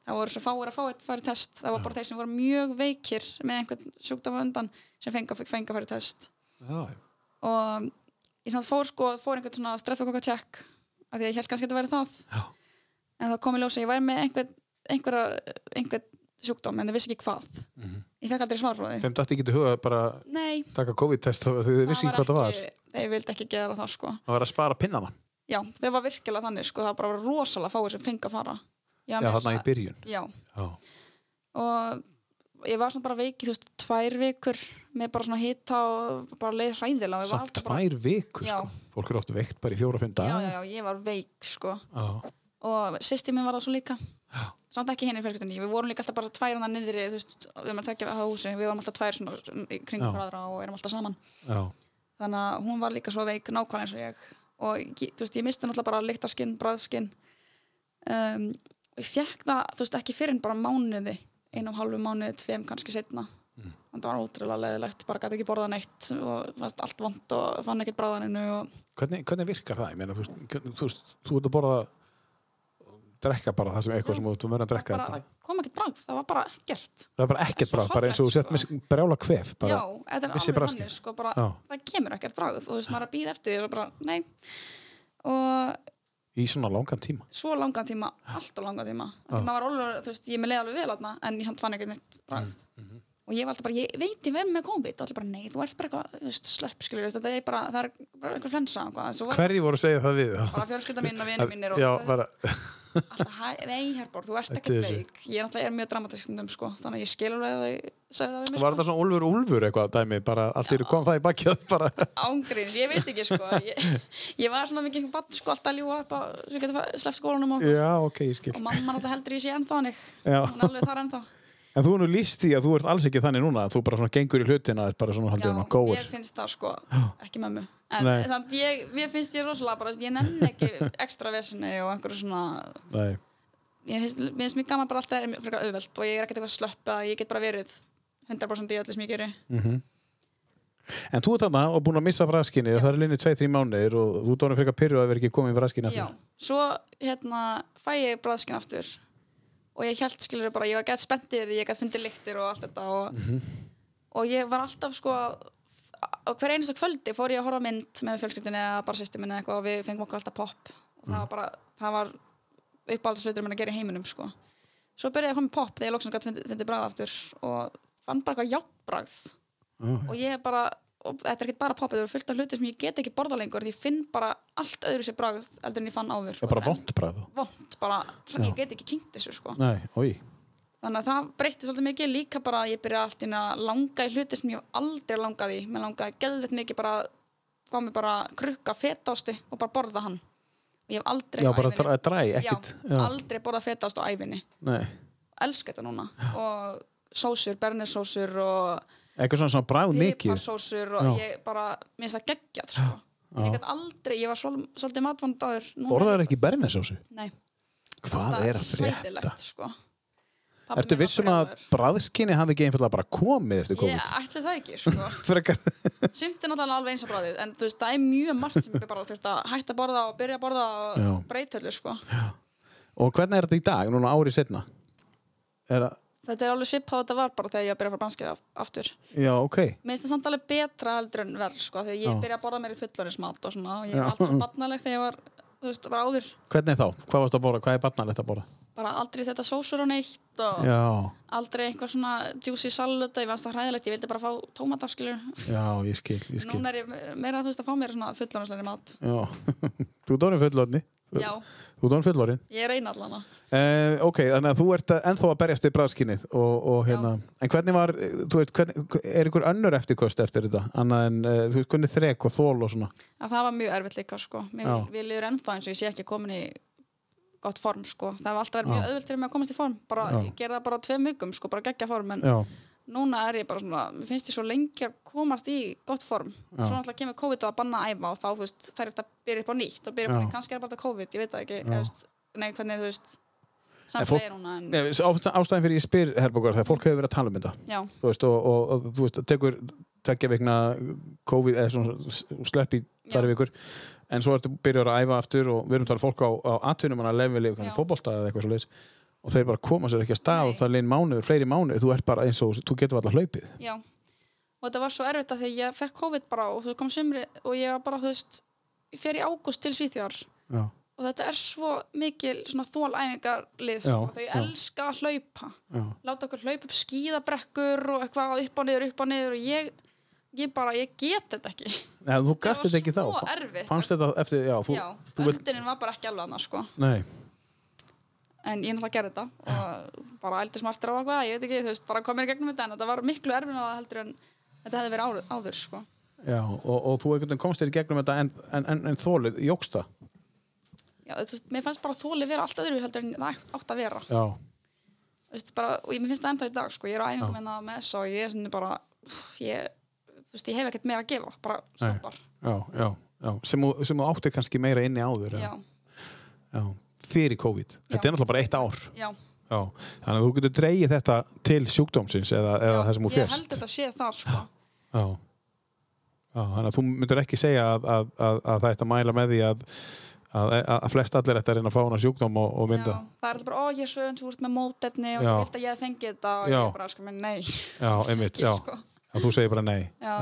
það voru svo fáir að fá eitt færi test það var bara þeir sem voru mjög veikir með einhvern sjúkdóma undan sem fengi að fengi að færi test
Já.
og ég samt fór sko fór einhvern svona streptokokka check af því að ég held kannski að þetta væri það
Já.
en það kom í ljósa, ég væri með einhvern einhver, einhver sjúkdóm en þau vissi ekki hvað
Mhm.
ég fekk aldrei svarfróði
Þeim dætti ekki til huga bara að
nei,
taka COVID-test þá þau vissi ekki hvað það var.
þeir vildi ekki gera það sko
Það var að spara pinnana.
já, þau var virkilega þannig sko, það var bara rosalega fáið sem fengi að fara já,
Já, þarna í byrjun.
já,
Já.
og ég var svona bara veik í þú veist tvær vikur með bara svona hita og bara leið hræðilega og ég var
Samt
alltaf bara,
tvær vikur,
Já.
sko. Fólk er ofta veikt bara í fjóra-fimm
já,
dag.
já, já, ég var veik sko
já.
og sýsti minn var það svo líka samt ekki henni í fjölskyldunni, við vorum líka alltaf bara tvær hann niðri, þú veist, við erum að tekja við húsi við vorum alltaf tvær svona í kringum
Já.
hraðra og erum alltaf saman,
já,
þannig að hún var líka svo veik nákvæmlega eins og ég og ég- þú veist, ég misti náttúrulega bara lyktarskinn, bræðskinn um, og ég fekk það, þú veist, ekki fyrir en bara mánuði einum hálfu mánuði, tveim kannski setna mm. það var ótrúlega leðilegt, bara gæti ekki borðað neitt og fannst allt vond og fann ekkert bráðaninu og
hvernig, hvernig virkar það? Ég meina, þú veist, hvernig- þú veist, þú ert að borða drekka bara það sem eitthvað sem þú ert að vera að drekka
bara,
bara,
það kom ekkert bráð, það var bara ekkert
það er bara ekkert
svo
bráð, bara eins og þú sett
sorglegt,
með brjála kvef bara,
já, þetta er
vissi
alveg
braskið.
hannig sko, bara,
Já.
það kemur ekkert bráð og þú veist, maður er að býða eftir því og bara, nei og
í svona langan tíma
svo langan tíma, alltaf langan tíma Af því maður var alveg, þú veist, ég með leiði alveg vel þarna en ég samt fann ekkert neitt bráð
Mm, mhm.
og ég var alltaf bara, ég veit ég verð með COVID og allir bara, nei, þú ert bara eitthvað, þú veist, slöpp skilur, þú veist, þetta er bara, það er bara eitthvað flensa og hvað, en svo var
hverji voru að segja það við?
bara fjölskylda mín og vinur mínir og
já,
alltaf-
bara,
alltaf, hæ- nei, Herborg, þú ert
er
ekkert
þessi.
veik ég er alltaf er mjög dramatisk stundum, sko, þannig að ég skil alveg að þau sögðu það við mig,
var
sko.
þetta svona Úlfur Úlfur eitthvað dæmi, bara allt í eru kom það í bakkið bara,
ángríns, ég veit ekki sko ég, ég var svona mikið bann sko alltaf að ljúa upp á, sem geta sleppt skólanum og,
já, ok, ég skil
og mamma náttúrulega heldur í sig ennþá hannig
Já.
hún er alveg þar ennþá
En þú er nú líst því að þú ert alls ekki þannig núna að þú bara svona gengur í hlutina er bara svona haldið um að góður
mér finnst það sko, ekki mömmu en
Nei.
samt ég, mér finnst ég rosalega bara ég nenn ekki ekstra vesinni og einhverju svona
Nei,
mér finnst, mér finnst mér gaman bara alltaf er frekar auðvelt og ég er ekkert eitthvað slöpp að ég get bara verið 100% í öllu sem ég geri
En þú ert þarna og búin að missa braskinni það er linni 2-3 mánuðir og þú ert orðin frekar pyrru að vera ekki komið í braskinni
Já, svo hérna fæ ég bræðskinn aftur og ég held skilur bara, ég var gætt spenntið því ég gætt fundið lyktir og allt þetta og, og ég var alltaf sko og hver einasta kvöldi fór ég að horfa á mynd með fjölskyldunni eða bara sýstum minni eitthvað og við fengum okkur alltaf popp og það var bara, það var uppáhaldslutur minn að gera í heiminum sko svo byrjaði ég að koma með popp þegar ég loksins gætt fundið, fundið bræð aftur og fann bara eitthvað játbræð og ég bara og þetta er ekkert bara poppið, það eru fullt af hluti sem ég get ekki borða lengur því ég finn bara allt öðru sér bragð eldur en ég fann áður
Það er bara
En
vond bræðu
vont, bara, ég get ekki kynnt þessu sko.
Nei, oi,
þannig að það breytti svolítið mikið líka bara að ég byrja allt inn að langa í hluti sem ég hef aldrei langað í mér langaði geðvett mikið bara að fá mig bara krukka fetásti og bara borða hann og ég hef
já
aldrei á
bara
ævinni-
dræ, dræ
já,
ekkit Já,
aldrei borða fetást á æfinni
Nei,
elska þetta núna og sósur, bernesósur og
eitthvað svona, svona bræð mikið
piparsósur og ég bara, mér finnst það geggjað sko. En ég gæti aldrei, ég var svol, svolítið matvand áður núna-
Borðar ekki bernesósu?
Nei,
Hvað
það
er að frétta?
hræðilegt, sko.
Ertu vissum að bræðskinni hafi ekki einfallega bara komið eftir
Ég
COVID?
ætli það ekki, sko.
Frekar,
Sumt er náttúrulega alveg eins og bráðið, en þú veist, það er mjög margt sem ég bara þurft að hætta að borða og byrja að borða og
Já.
breyta öllu, sko.
og hvernig er þetta í dag, núna ári setna? Er það,
Þetta er alveg svipað og þetta var bara þegar ég var að byrja að fara branskið aftur.
já, ok
Mér finnst það samt alveg betra heldur en verð, sko, þegar ég byrja að borða mér í fullorðismat og svona, og ég var allt svo barnaleg þegar ég var, þú veist, bara áður.
Hvernig þá? Hvað varst að borða? Hvað er barnalegt að borða?
bara aldrei þetta sósur og neitt og
Já,
aldrei eitthvað svona juicy salad ég fannst það hræðilegt, ég vildi bara fá tómataskilur
já, ég skil, ég skil.
núna er ég meira þú veist að fá mér svona fullónusleiri mat
Já, þú dónir fullorðni.
já,
Þú dónir fullorðin.
ég er eina allana
Uh, ok, þannig að þú ert að- ennþá að berjast við bræðskinnið og, og hérna, en hvernig var, eh, þú veist, hvernig, er ykkur önnur eftirkost eftir þetta? Annað en, uh, þú veist, hvernig þrek og þól og svona?
að það var mjög erfitt líka sko mér,
Já.
við liður ennþá eins og ég sé ekki komin í gott form sko, það var alltaf verið mjög auðvelt fyrir mig að komast í form, bara ég gera það bara tveim mjögum sko, bara geggja form, en
Já,
núna er ég bara svona, mér finnst ég svo lengi að komast í gott form, svo náttúrulega kemur COVID og að banna að æfa og þá, þú veist, það er þetta byrja upp á nýtt og byrja upp á
Já.
nýtt, kannski er það bara þetta COVID, ég veit það ekki, eða, þú veist, nei, hvernig, þú veist
fólk-
samfélagi er núna, en
Nei, s- ást- ástæðan fyrir ég spyr, Herbókar, þegar fólk hefur verið að tala um þetta,
já,
þú veist, og, og, og þú veist, tekur tveggja vikna COVID eða svona s- slepp í tvær
Já.
vikur en svo ertu byrjar að æfa aftur og við erum talað fólk á, á atvinnum hann að leveli
Já.
fótbolta eða eitthvað svo og þeir bara koma sér ekki að stað
Nei.
og það er lein mánuður, fleiri mánuður, þú ert bara eins og þú getur alltaf hlaupið
já og þetta var svo erfitt að því að ég fekk COVID bara og þú veist, kom sumri og ég var bara, þú veist ég fer í ágúst til Svíþjóðar
Já,
og þetta er svo mikil svona þólæfingarlið,
Já,
sko, þau
já.
elska að hlaupa
já,
láta okkur hlaupa upp skíðabrekkur og eitthvað upp og niður, upp og niður og ég, ég bara, ég get þetta ekki
Eða, þú gast
var
þetta ekki þá
svo
fa-
erfitt.
fannst þetta eftir, já, þú,
já,
þú vilt
öldunin var bara ekki alveg annars sko
Nei,
en ég náttúrulega gerði þetta og bara eldur sem aftur á eitthvað, ég veit ekki, þú veist, bara komið í gegnum þetta en þetta var miklu erfin að heldur en þetta hefði verið áður, áður sko
já, og, og þú einhvern veginn komst þér í gegnum þetta en, en, en, en þólið, jókst það
já, þú veist, mér fannst bara þóli vera allt öðru heldur en það átt að vera
já,
Þú veist, bara, og ég mér finnst það ennþá í dag sko, ég er á æfingum en það með þess og ég er svona bara úff, ég, þú veist, ég hef ekkert meira að gefa bara stoppar,
já, já, já. Sem, þú- sem þú áttir kannski meira inni áður eða?
já,
Já. fyrir COVID, þetta er náttúrulega bara eitt ár
já
já. þannig að þú getur dreigið þetta til sjúkdómsins eða, eða
já,
það sem þú
ég held
fjast já.
þetta sé það sko
Já, þannig að þú myndur ekki segja að, að, að, að það ætti að mæla með því að að, að, að flest allir ætti að reyna að fá hana sjúkdóm og, og
já,
mynda
það er alltaf bara, ó ég er svo öðvins úr með mótefni og
Já.
ég vilt að ég hef fengið þetta og
Já.
ég bara, sko, minn, nei
já, einmitt,
ekki,
já,
sko.
að þú segir bara nei
Já.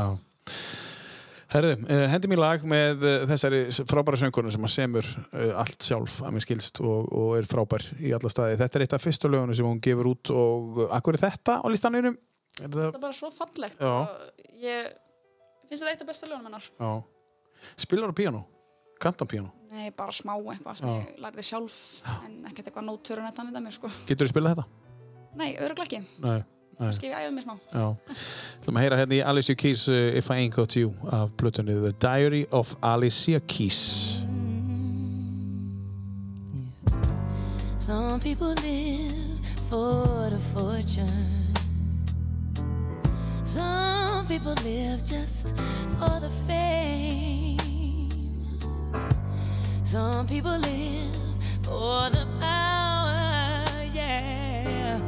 Herðu, uh, hendi mér lag með uh, þessari s- frábæra söngunum sem að semur uh, allt sjálf að mér skilst og, og er frábær í alla staði. Þetta er eitt af fyrstu lögunum sem hún gefur út og uh, akkur er þetta á listanunum? Er það...
þetta er bara svo fallegt
Já.
og ég finnst þetta eitt af bestu ljónum hennar
Já. Spilar á píano? Kantan píano?
nei, bara smá eitthvað sem
Já.
ég lærði sjálf en ekkert eitthvað nótörun þetta hann þetta mér sko
Getur þú spilað þetta?
nei, öruglega ekki,
Nei.
skif ég æfið mig smá
Já. Ætlum að heyra hérna í Alicia Keys uh, If I Ain't Got You af plötunni The Diary of Alicia Keys.
Some people live for the fortune. Some people live just for the fame. Some people live for the power, yeah.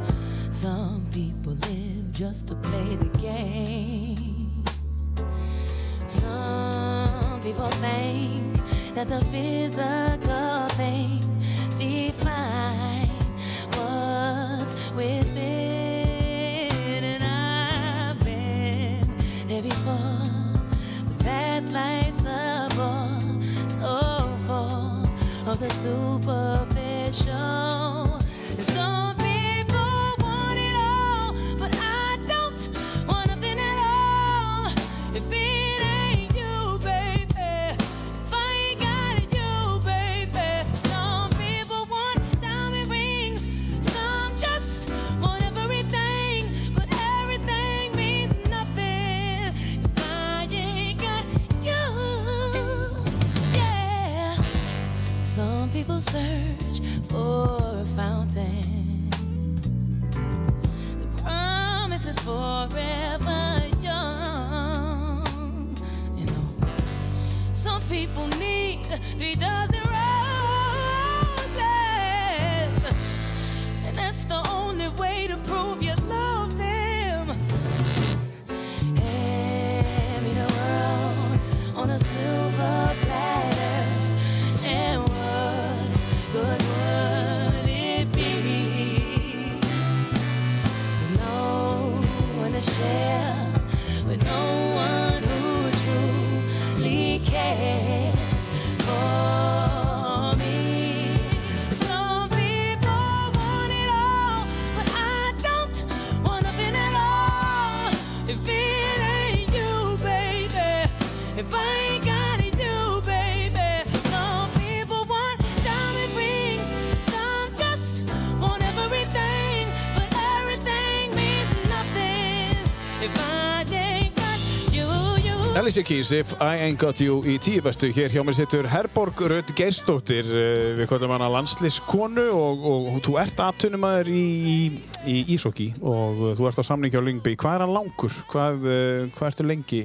Some people live just to play the game. Some people think that the physical things define what's within, and I've been there before. But that life's a bore so full of the superficial. And some people want it all, but I don't want nothing at all. If it ain't you, baby, if I ain't got it, you, baby. Some people want diamond rings, some just want everything, but everything means nothing if I ain't got you. Yeah. Some people search for a fountain. The promise is forever young. You know, some people need three dozen roses, and that's the only way to prove you love them. Hand me the world on a silver platter. And what good would it be? With no one to share, with no one who truly cares for me. Some people want it all, but I don't want nothing at all. If it ain't you, baby, if I ain't got it, you, baby. Some people want diamond rings, some just want everything, but everything means nothing if I ain't got you, you.
Alicia Keys, If I Ain't Got You í tíu bestu. Hér hjá mér sittur Herborg Rödd Geirsdóttir, eh, við kallum hana landsliskonu og, og, þú ert aðtunumæður í, í Ísóki og eh, þú ert á samningi á Lyngby. Hvað er hann langur? Hvað, eh, hvað ertu lengi?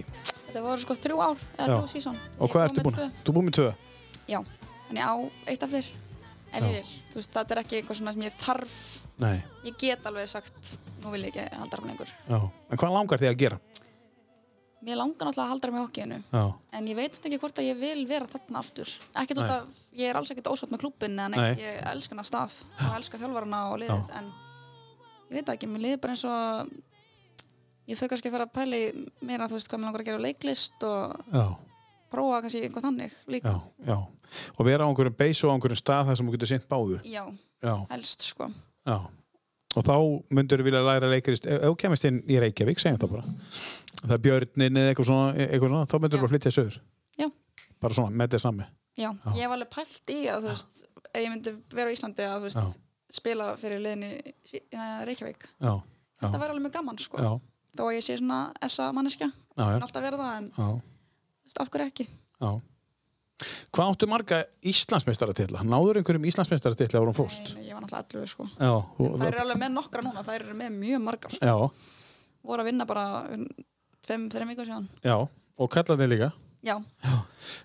þetta voru sko þrjú ár eða
Já.
þrjú sísón
Og hvað ertu búin? Þú er búin með tvö?
já, en ég á eitt af þér ef
Já.
ég vil, þú veist, þetta er ekki eitthvað svona sem ég þarf
Nei.
ég get alveg sagt, nú vil ég ekki halda áfram lengur
Já. En hvað langar þig að gera?
mér langar náttúrulega að halda áfram í hokkíinu
Já.
en ég veit þetta ekki hvort að ég vil vera þarna aftur ekkert út
Nei.
af, ég er alls ekkert ósátt með klúbin en ekkert,
Nei.
ég elska hennar stað og elska þjálfarana og liðið en ég veit það ekki, mér liðið bara eins og ég þarf kannski að fara að pæli meira þú veist hvað mér langar að gera á leiklist og
Já.
prófa kannski einhvað þannig
Já.
líka
Já. Og vera á einhverjum beis og á einhverjum stað þar sem þú getur sint báðu.
já,
Já.
helst sko
Já. Og þá myndur vilja læra leikarist, ef ef þú kemist inn í Reykjavík, segjum það bara. Það er björnin eða eitthvað svona, e, eitthvað svona þá myndur
Já.
bara flytja sögur.
Já.
Bara svona, með þetta sami.
já, ég hef alveg pælt í að þú veist ef ég myndi vera á Íslandi að þú veist spila fyrir liðin í Sví- eh, Reykjavík
Já. Já.
þetta væri alveg mjög gaman sko
Já.
þó að ég sé svona essa manneskja
Já, já.
en alltaf verða það en
Já.
þú veist, af hverju ekki
Já. Hvað áttu marga Íslandsmeistaratitla? Náður einhverjum Íslandsmeistaratitla voru hún fórst?
Nei, nei, ég var náttúrulega allu sko
Já, og,
þær eru alveg með nokkra núna, þær eru með mjög margar sko.
já,
voru að vinna bara um fimm, þreim vikur síðan
já, og kallarnir líka.
já,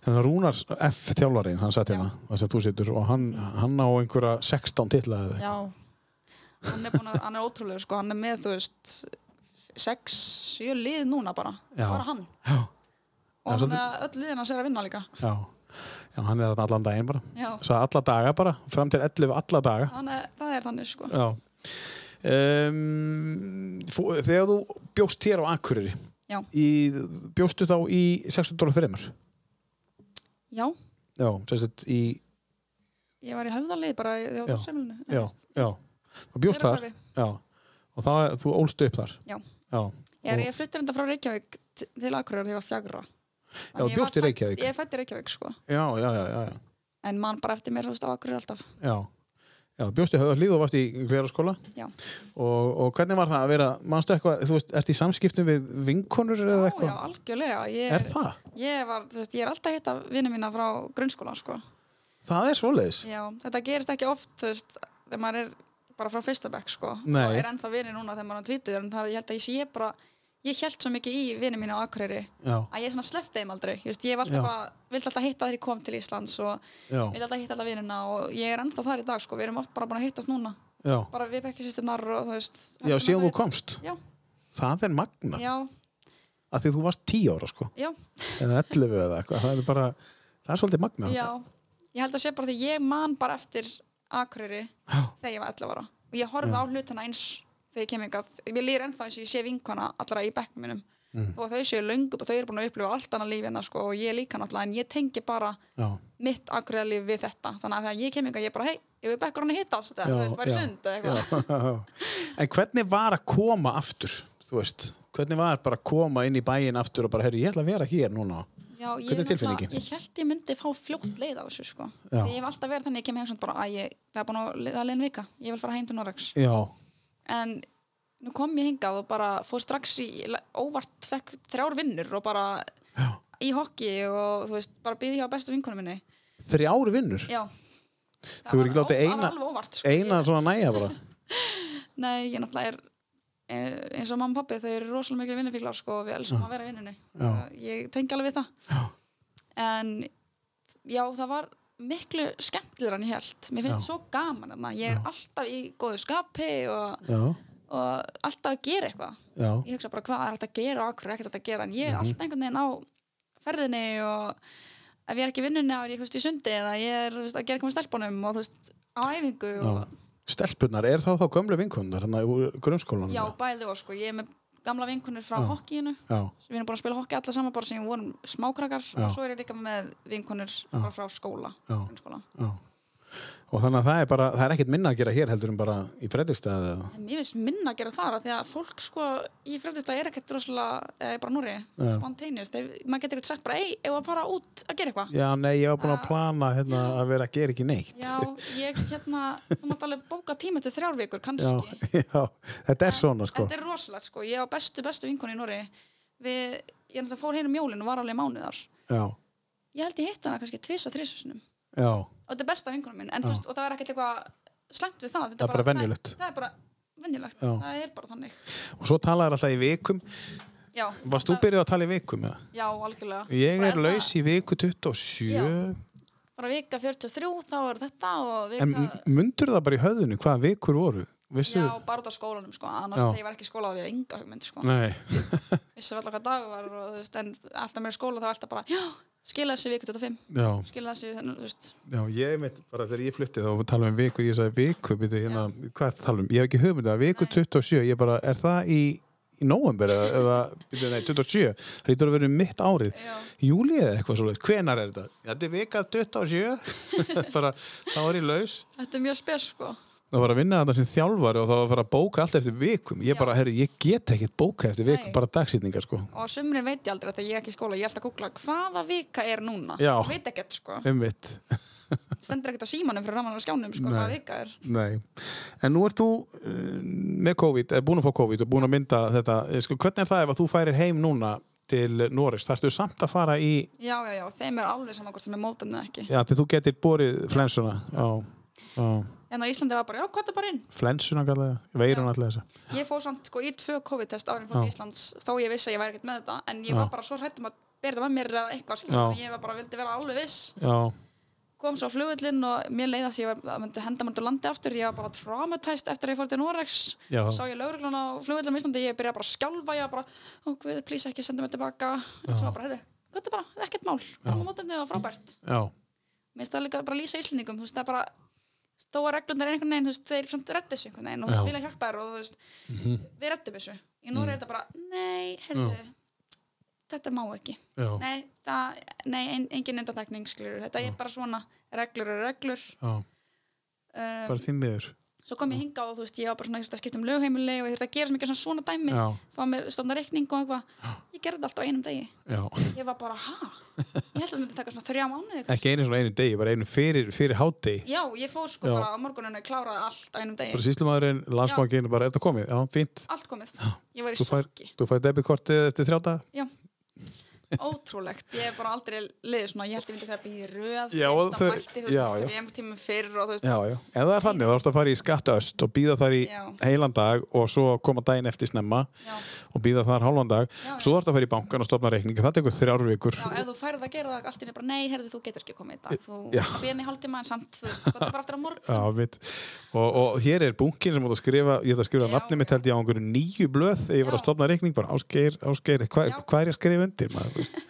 Þannig að Rúnar F. þjálfarinn, hann satt hérna, þess að þú situr, og hann, hann á einhverja 16 titla eða eitthvað.
já hann er, búin að, hann er ótrúlega sko, hann er með þú veist sex, sjö lið núna bara
Já.
bara hann
Já,
og
Já,
hann er öll liðin hans er að vinna líka
já, já, hann er þarna allan daginn bara.
já,
Svo alla daga bara, fram til 11 alla daga.
hann er, það er þannig sko
Já um, fó- Þegar þú bjóst hér á Akureyri
Já.
í, Bjóstu þá í 603
já,
Já, sem sagt í
ég var í höfðalið bara í
Já. Já,
þjóðarsemlinu
já Þú bjóst þar Já Og það, þú ólst upp þar
Já.
Já,
Ég, er- ég fluttir enda frá Reykjavík t- til Akureyrar þegar ég var fjagra
já
Þannig ég
bjóst
var
í
fædd-
Reykjavík
Ég er fætt í Reykjavík sko
Já, já, já, já, já.
En mann bara eftir mér þú veist á Akureyri alltaf
já. Já, bjóst í höfðarlíð og varst í hveraskóla
Já.
og, og hvernig var það að vera, manstu eitthvað, þú veist, ert í samskiptum við vinkonur eða
Já, já,
eitthvað?
algjörlega ég,
Er það?
ég, var, þú veist, ég er alltaf að hitta vinni mína frá grunnskóla sko.
Það er svoleiðis?
Já, Þetta gerist ekki oft þú veist, þegar maður er bara frá fyrsta bekk sko.
Nei.
og er ennþá vinni núna þegar maður er tvítur en það, ég held að ég sé bara ég held svo mikið í vinni mína á Akureyri
Já,
að ég svona sleppti þeim aldrei Just, ég hef
Já.
alltaf bara, vildi alltaf hitta þegar ég kom til Íslands og
já,
vildi alltaf hitta alla vinnina og ég er ennþá þar í dag sko. við erum oft bara búin að hittast núna
já.
bara við bekki sýstinnar og þú veist
Já,
höldum
síðan þú
að
komst.
Já.
Það er magna,
við- já,
af því þú varst 10 ára sko,
já,
eða 11 eða eitthvað, það er bara, það er svolítið magna.
já ég held að sé bara því ég man bara eftir Akureyri
Já.
þegar ég var 11 ára og ég horfi á hlutina eins þegar ég kem yngað ég lýr ennþá eins og ég sé vinkona allra í bekknum minnum mm. og þau séu löngum og þau eru búin að upplifa allt annað lífið hennar sko og ég líka náttúrulega en ég tengi bara
Já,
mitt Akureyri líf við þetta þannig að þegar ég kem yngað ég bara hei, ég vil bekkur hann að hittast eða
Já,
þú veist, væri
já,
sund eða eitthvað
en hvernig var að koma aftur, þú veist, hvernig var bara að koma inn í bæin aftur og bara, herri, ég ætla að vera hér núna.
Já,
Hvernig
ég,
er
er nefnilega-
tilfinningin?
ég held ég myndi fá fljótt leið á þessu sko.
Já.
Því ég hef alltaf verið þannig, ég kem heim svona bara að ég, það er búin að leiða leiðin vika, ég vil fara heim til Noregs
Já,
en nú kom ég hingað og bara fór strax í óvart fekk þrjár vinnur og bara
Já.
í hokki og þú veist, bara býði hjá bestu vinkonum minni
þrjár vinnur,
Já,
Þú hefur ekki
var-
látið
það var
eina-
alveg óvart sko.
eina svona næja bara.
ég, Nei, ég náttúrulega er eh, eins og mamma og pappi, þau eru rosalega mikið vinnufílar sko, og við elsum að vera í vinnunni
Já.
Og ég tengi alveg við það en já, það var miklu skemmtilegur en ég held mér finnst
Já.
svo gaman þarna. ég er alltaf í góðu skapi og,
Já,
og alltaf að gera eitthvað
já,
ég hugsa bara hvað er þetta að gera og akkur er ekkert að gera en
Mhm.
ég er alltaf einhvern veginn á ferðinni og ef ég er ekki í vinnunni þá er ég þú veist, í sundi eða ég er þú veist, að gera eitthvað með stelpunum og þú veist á æfingu
já.
og,
Stelpunar, er það þá gömlu vinkunnar, hérna úr grunnskólanum?
já, bæði og sko ég er með gamla vinkunir frá
Já.
hokkíinu
Já,
við erum búin að spila hokki alla saman bara sem við vorum smákrakkar
Já.
og svo er ég líka með vinkunir bara frá skóla,
Já.
grunnskóla.
já. Og þannig að það er bara, það er ekkert minna að gera hér heldur en bara í predikstæði eða...
En Mér finnst minna að gera þar af því að fólk sko í fredagstæð er ekkert rosalega, eða bara núri,
Já.
spontaneous, Ef- maður getur ekkert sagt bara, ei, ef að fara út að gera eitthvað.
Já, nei, ég var búin að plana hérna, að vera að gera ekki neitt.
Já, ég hérna, þú mátt alveg bóka tíma til þrjár vikur, kannski.
já, já, þetta er svona sko.
Þetta er rosalegt sko, ég á bestu, bestu vinkonu í Núri. Við, ég náttúrulega fór hérna um jólin og var alveg í mánuðar.
Já,
Ég held ég hitt hana kannski tvis og þrisunum.
já,
Og þetta er besta vinkonu minn, en þú
Já.
veist, og það er ekkert eitthvað slemt við það. Þetta
Það er bara venjulegt.
Það, það er bara venjulegt,
Já.
það er bara þannig.
og svo talaður alltaf í vikum.
Já,
Varst þú
það-
byrjuð að tala í vikum? Eða?
já, algjörlega.
Ég
Bara
er
það-
laus í viku 27.
Já. bara vika 43 þá er þetta og
En
vika
mundur það bara í höðunni hvaða vikur voru? Vistu?
já, bara út af skólanum sko, annars
Já.
þegar ég var ekki í skóla þá var ég enga hugmynd sko,
Nei,
vissi alltaf hvað dag var og, þú veist, en alltaf mér í skóla þá var alltaf bara já, skila þessu í viku 25
já,
skila þessu, í þennan, þú veist,
já, ég veit bara þegar ég flutti þá talaðum við um vikur, ég sagði viku, byrju, hérna, hvað er það að tala um? Ég hef ekki hugmyndið að viku 27, ég bara, er það í, í nóvember eða, eða byrju, nei, 27, það lítur að vera um mitt árið.
já,
júli eða eitthvað svoleiðis, hvenar er þetta? Já, þetta er vika 27 bara, þá er ég laus
þetta er mjög spes sko
það var að vinna þetta sem þjálfari og það var að fara að bóka allt eftir vikum, ég
Já.
bara, herri, ég get ekkert bóka eftir vikum,
Nei.
bara dagsýtningar sko
og á sumrin veit ég aldrei að þegar ég er ekki í skóla ég er alltaf að googla hvaða vika er núna
Já.
Ég veit ekkert sko,
einmitt,
stendur ekkert á símanum fyrir ramanlega skjánum sko, hvaða vika er
nei en nú ert þú uh, eh, með COVID, eða búin að fá COVID og búin að mynda þetta, Eh, sko, hvernig er það ef að þú færir heim núna til Norris, þarftu samt að fara í
já, já, já, þeim er alveg saman hvort sem er mótan eða ekki
já, til þú getur borið flensuna á, á
en á Íslandi var bara, já, hvað bara inn
flensuna kallega, veirun alltaf þessa
ég fór samt sko í tvö COVID-test árin fór til Íslands þó ég vissi að ég væri ekkert með þetta en ég
Já.
var bara svo hrættum að bera þetta með mér eða eitthvað skilur,
Já.
þannig að ég var bara vildi vera alveg viss
já,
kom svo á flugullin og mér leiðast ég var, að myndi henda mér til landi aftur ég var bara traumatized eftir að ég fór til Noregs
Já.
sá ég lögreglun á flugullin á Íslandi ég byrjaði bara að skjálfa, ég var bara ó guð, please ekki, senda mér tilbaka en svo var bara, heyrðu, gott er bara, ekkert mál bara mótandi og frábært
já,
mér finnst það líka bara að lýsa íslendingum þú veist það er bara þó að reglurnar er einhvern veginn þú veist þeir samt redda þessu einhvern veginn og þú veist
Já. Mm.
vilja hjálpa þér og þú veist
Mhm,
við reddum þessu í Nóri er þetta bara nei, herðu þetta má ekki
já,
nei, það, nei en, engin endatekning skilur þetta er bara svona reglur og reglur
já
um,
bara þín miður
svo kom ég hingað og þú veist ég var bara svona ég þurfti að skipta um lögheimili og ég þurfti að gera sem ekki svona svona dæmi
Já.
fá mér stofna reikning og eitthvað ég gerði þetta allt á einum degi
já,
ég var bara ha ég held að þetta myndi taka svona þrjá mánuði eitthvað.
ekki einu svona einu degi, bara einu fyrir, fyrir hátdegi
já ég fór sko
Já.
bara á morguninu kláraði allt á einum degi
bara síslumæðurinn, landsbankinn, bara er þetta komið já, fínt,
allt komið, ég var í
þú fær,
sjokki
þú fær debitkortið eftir þrjáta
já, ótrúlegt ég hef bara aldrei liðið svona, ég held ég myndi þegar að býja í röð
Já,
fyrst
þau-
og mætti,
já,
þú veist,
já.
þegar ég einhver tíma fyrr og þú veist,
já, já, en það er þannig, þú ert að fara í skattaöst og býða þar í
Já.
heilan dag og svo koma daginn eftir snemma
Já.
og býða þar hálfan dag,
Já, já.
svo þarf að fara í bankan og stopna reikning, það tekur þrjár vikur
já, ef þú færð að gera það allt í einu bara, nei, herðu, þú getur ekki komið í dag þú
Já.
að býja henni í hálftíma en samt, þú veist, gott er bara aftur á morgun
Já, mitt. Og, og hér er bunkin sem átt að skrifa, ég ætla að skrifa
Já,
nafni mitt
já.
held ég á einhverju nýju blöð þegar ég var að
Já.
stopna reikning, bara ásgeir, ásgeir, hvað
Já.
hva er ég að skrifa undir? Maður, þú veist?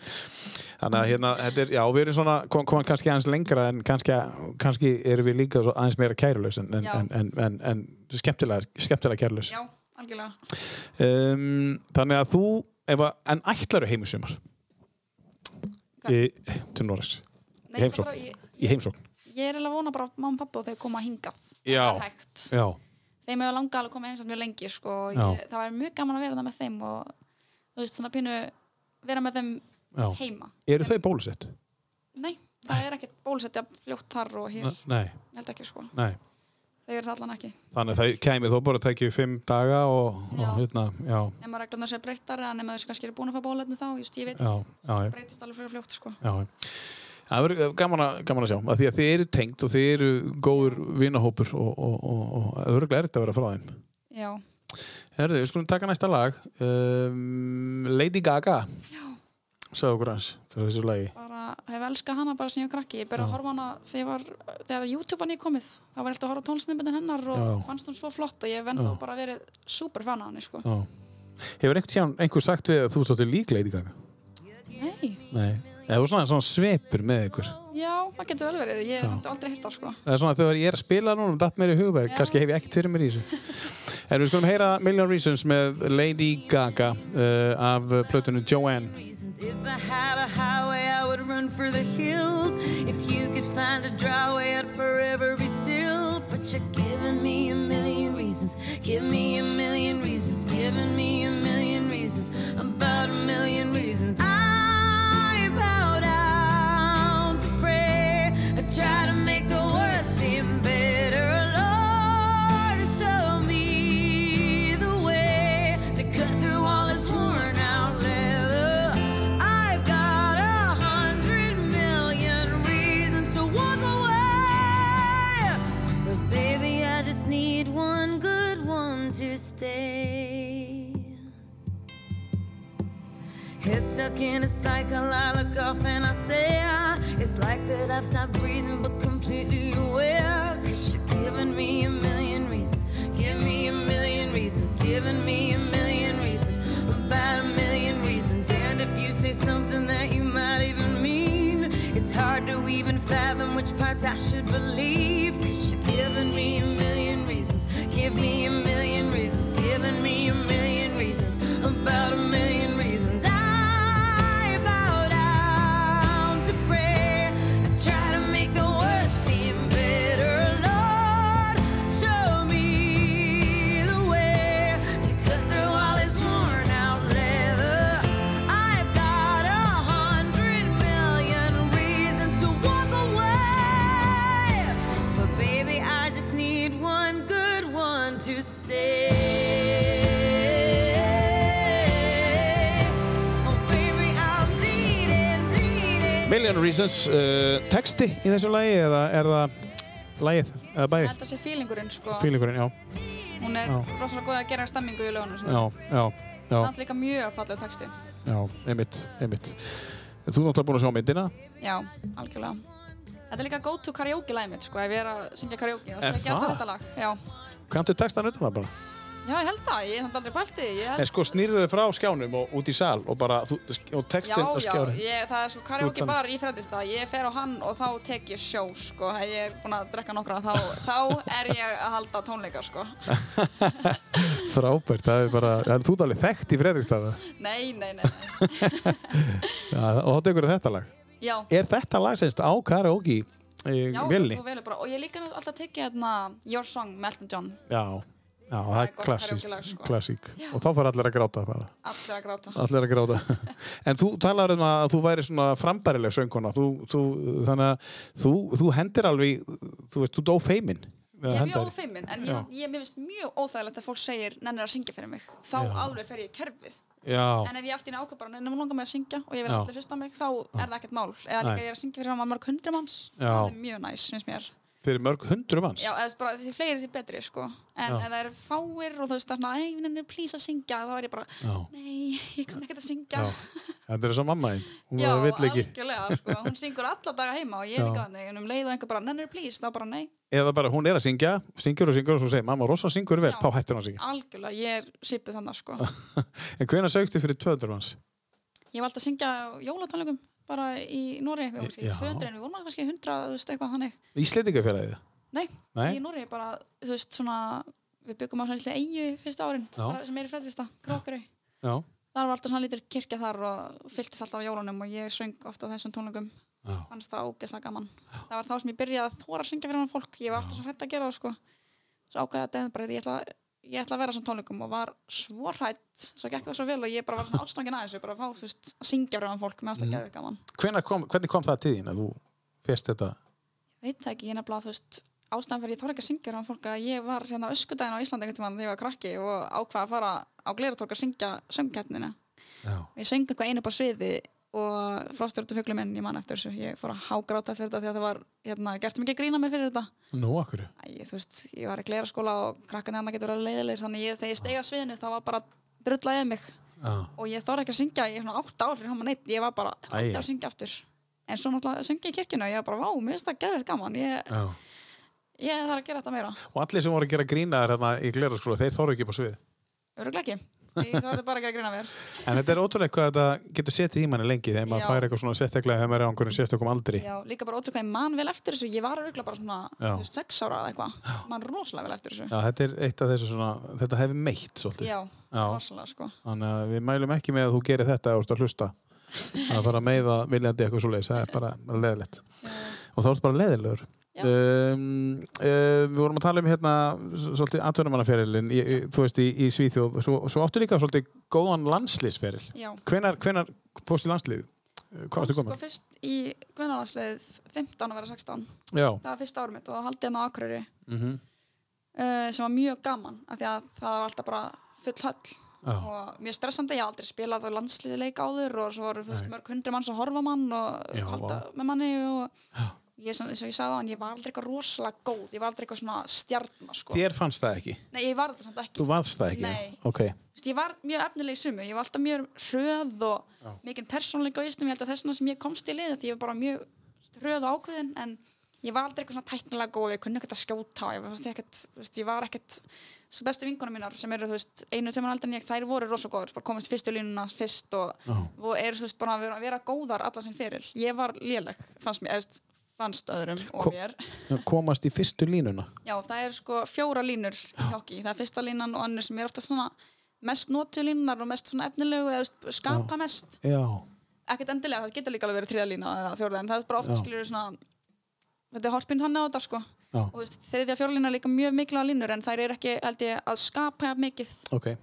Þannig að hérna, þetta er, já, við erum svona, kom, komum kannski aðeins lengra en kannski, kannski erum við líka svo aðeins meira kærulaus en, en,
Já.
en, en, en, en skemmtilega, skemmtilega kærulaus.
já, algjörlega,
Um, þannig að þú, ef að, en ætlaru heimsumar
Hvert?
í, til Norris,
nei,
heimsókn.
það bara ég,
í heimsókn.
ég er eiginlega að vona bara að mamma og pappa og þau koma hingað
Já.
Það er hægt.
Já,
þeim hefur langað að koma heim samt mjög lengi sko, og
Já.
ég, það var mjög gaman að vera það með þeim og þú veist, svona pínu vera með þeim
já.
heima
Eru þau bólusett?
Nei, það er ekkert bólusetja fljótt þar og hér,
Nei,
ég held ekki sko
nei.
þau eru það allan ekki,
Þannig að það kæmi þó bara að tekja fimm daga og,
Já.
og hérna, já,
nema reglum það sé breyttar en nema þau sem kannski eru búin að fá bólefni þá just, ég veit,
já, já,
breytist alveg fyrir fljótt sko
já. Það verður gaman, að- gaman að sjá, að því að þið eru tengt og þið eru góður vinahópur og, og, og, og örgulega er þetta að vera frá þeim.
já,
Herðu, við skulum taka næsta lag, um, Lady Gaga, sagði okkur hans fyrir þessu lagi.
bara, hef elskað hana bara sem ég var krakki ég byrja að horfa á hana þegar, ég var, þegar YouTube var nýkomið þá var ég alltaf að horfa tónsmyndin hennar og
Já.
fannst hún svo flott og ég hef ennþá bara verið super fan af henni sko
Já. Hefur einhvern tíðan einhver sagt við að þú stóttir lík Lady Gaga?
Nei,
Nei. Eða þú svona, svona svepur með ykkur?
já, það getur vel verið ég hef samt aldrei hýrt það sko
Það er svona þegar ég er að spila núna og datt mér í hugveg, kannski hef ég ekkert fyrir mér í þessu. En við skulum heyra Million Reasons með Lady Gaga uh, af plötunum Joanne.
reasons. If I had a highway, I would run for the hills. If you could find a dry way, I'd forever be still. But you're giving me a million reasons. Give me a million reasons. Giving me a million reasons. About a million reasons. I bow down to pray. I try to make the worst seem better. Lord, show me the way to cut through all this worn out leather. I've got a hundred million reasons to walk away. But baby, I just need one good one to stay. Head stuck in a cycle, I look off and I stare. It's like that I've stopped breathing, but completely aware. Cause you're giving me a million reasons. Give me a million reasons. Giving me a million reasons. About a million reasons. And if you say something that you might even mean, it's hard to even fathom which parts I should believe. Cause you're giving me a million reasons. Give me a million reasons. Giving me a million reasons. About a million reasons. I bow down to prayer. I try to make the worst seem better. Lord, show me the way to cut through all this worn out leather. I've got a hundred million reasons to walk away. Oh,
Million Reasons uh, texti í þessu lagi eða er það lagið eða
Ég
bæði
held að sé feelingurinn sko
fílingurinn, já,
hún er
Já.
rosalega góð að gera stemmingu í lögunum svona.
já, já, já,
samt líka mjög falleg texti
já, einmitt, einmitt. Þú ert náttúrulega búin að sjá myndina.
já, algjörlega þetta er líka go to karaoke lagið mitt sko ef ég er að syngja karaoke þá
Er
tekja alltaf
það?
þetta lag já.
Kanntu textan utan það bara?
já, ég held það, ég hef aldrei pælt í því ég
En
held...
sko snýrðu þau frá skjánum og út í sal og bara, þú, og
Já,
textin og
já,
skjánum.
ég, það er svo karaoke
þannig.
bar í fredist ég fer á hann og þá tek ég sjó sko, ef ég er búin að drekka nokkra þá, þá er ég að halda tónleikar sko
Frábært, það er bara, það er þú ert alveg þekkt í Fredrikstaða.
nei, nei, nei,
Já, og þá tekur þetta lag.
já
Er þetta lag semst á karaoke í
Já,
vilni?
þú velur bara, og ég hef líka alltaf tekið hérna Your Song, Melton John,
Já, já, það er
gott karaoke-lag,
klassískt,
sko.
klassík. Og þá fara allir að gráta bara.
allir að gráta.
Allir að gráta. en þú talar um að þú væri svona frambærileg söngkona. Þú, þú, þannig að þú, þú hendir alveg, í- þú veist, þú dó feimin.
Ég
Eða
er mjög
hendaðir.
ófeimin, en ég, ég mér finnst mjög óþægilegt að fólk segir nennir að syngja fyrir mig, þá alveg fer ég í kerfið.
Já,
En ef ég allt í nákvæm bara nennir að langa mig að syngja og ég vil
Já.
allir hlusta á mig, þá er það ekkert mál. Eða líka
Nei.
ég er að syngja fyrir hann mörg hundra manns,
Já.
það er mjög næs, finnst mér.
fyrir mörg hundru manns.
Já, eða þú veist bara því fleiri því betri, sko. En ef það eru fáir og þú veist þarna, ei, nennir please að syngja, þá er ég bara,
Já.
nei, ég kann ekkert að syngja.
Já. Þetta er svo mamma þín. Hún
Já,
var vill ekki.
algjörlega, sko. Hún syngur alla daga heima og ég
Já.
er líka þannig, en um leið og einhver bara, nennir please, þá bara nei,
Eða bara hún er að syngja, syngur og syngur og svo segir mamma rosa syngur vel,
Já.
þá hættir hún að syngja.
algjörlega, ég er sýpið þannig, sko.
En hvenær sögtu fyrir 200 manns?
Ég valdi að syngja á jólatónleikum bara í Nóri, við vorum kannski
Já.
200 en við vorum alveg kannski 100, þú veist, eitthvað þannig.
Íslendingafélagið?
Nei,
Nei?
í Nóri bara, þú veist, svona, við byggum á svona lítið eigu fyrstu árin,
Já.
bara sem er í Fredrista, Krókari.
Já.
Þar var alltaf svona lítil kirkja þar og fylltist alltaf á jólunum og ég söng ofta þessum tónleikum.
Já.
Fannst það ógeðslega gaman. Það var þá sem ég byrjaði að þóra að syngja fyrir hann fólk. Ég var alltaf svo hrætt að gera það, sko. Svo ákvæði að deðin bara, ég ætla, ég ætla að vera á svona tónleikum og var svo hrætt. Svo gekk það svo vel og ég bara var svona ástangin aðeins og bara að fá, þú veist, að syngja fyrir hann fólk. Mér fannst það geðveikt gaman.
Hvenær Kom, hvernig kom það til þín að þú férst þetta?
veit það ekki, ég nefnilega, þú veist, ástæðan fyrir ég þorði ekki að syngja ráðan fólk að ég var hérna öskudaginn á Íslandi einhvern tímann þegar ég var krakki og ákvað að fara á Gleiratorg að syngja söngkeppnina.
Já.
Ég söng eitthvað einu upp á sviði og frostur út af fuglum minn, ég man eftir þessu, ég fór að hágráta eftir þetta því að það var, hérna, gerstu mikið grína mér fyrir þetta.
Nú, akkur.
Æ, þú veist, ég var í Gleiraskóla og krakkan hérna getur verið leiðilegir, þannig ég, þegar ég steig af sviðinu þá var bara drullaðið mig
Já.
og ég þorði ekki að syngja í svona 8 ár fyrir hann neitt, ég var bara
Æi.
aldrei að syngja aftur. En svo náttúrulega söng ég í kirkjunni og ég var bara, vá, mér finnst það geðveikt gaman, ég,
Já.
Ég þarf að gera þetta meira.
Og allir sem voru að gera grínaðar hérna í gleraskóla, þeir þóru ekki upp á svið.
Öruglega ekki. Ég þarf bara ekki að grina mér.
En þetta er ótrúlega hvað þetta getur setið í manni lengi þegar maður
Já.
fær eitthvað svona sérstaklega þegar maður er á einhverjum sérstökum aldri.
Já, líka bara ótrúlega hvað ég man vel eftir þessu. Ég var öruglega bara svona,
Já.
þú veist, sex ára eða eitthvað. Man rosalega vel eftir þessu.
Já, þetta er eitt af þessu svona, þetta hefur meitt svolítið.
Já,
Já.
rosalega sko.
Þannig að við mælum ekki með að þú gerir þetta eða þú ert að hlusta. Að fara að meiða viljandi eitthvað svo það er bara leðilegt. Og þá ertu bara leðilegur.
Já.
Um, uh, við vorum að tala um hérna s- svolítið atvinnumannaferilin, þú veist, í, í Svíþjóð. Svo, svo áttu líka svolítið góðan landslýsferil.
Já.
Hvenar, hvenar fórst í landslið? Hvað varstu
sko
komin?
fyrst í kvennalandsliðið 15 að vera 16.
Já.
Það var fyrsta árum mitt og það haldi hérna á Akureyri
Mm -hmm.
uh, sem var mjög gaman af því að það var alltaf bara full höll
Já.
og mjög stressandi, ég haf aldrei spilað á landsliðileik áður og svo voru þú veist,
Nei.
mörg hundri manns að horfa á mann og
Já,
halda með manni og ég, sem, sem ég sagði á hann, ég var aldrei eitthvað rosalega góð, ég var aldrei eitthvað svona stjarnar sko.
Þér fannst það ekki?
Nei, ég var þetta samt ekki
Þú varst það ekki?
Nei.
Ok.
Vist, ég var mjög efnileg í sumu, ég var alltaf mjög hröð og mikinn persónleika á ístum, ég held að þessna sem ég komst í liðið, því ég var bara mjög hröð og ákveðin, en ég var aldrei eitthvað svona tæknilega góð, ég kunni ekkert að skjóta, ég var, ekkert, þú veist, ég var ekkert, svo bestu vinkunum mínar sem eru, þú veist, einu tömur aldrei en ég, þær voru rosa góður, bara komist fyrstu línuna fyrst og, og eru, þú veist, bara að vera, vera góðar allar sinn fyrir. Ég var léleg, fannst mér, eða, fannst öðrum og
Ko-
mér.
Komast í fyrstu línuna?
Já, það er sko fjóra línur í hokki. Það er fyrsta línan og annir sem er ofta svona mest notu línunar og mest svona efnilegu eða þú veist, skapa mest.
Já.
Ekkert endilega, það getur líka alveg verið þriða lína eða fjórða, en það er bara ofta skilur svona þetta er horfbind hann á þetta sko.
Já.
Og þú veist, þriðja og fjórða lína er líka mjög mikla línur en þær eru ekki, held ég, að skapa jafn mikið.
Ok.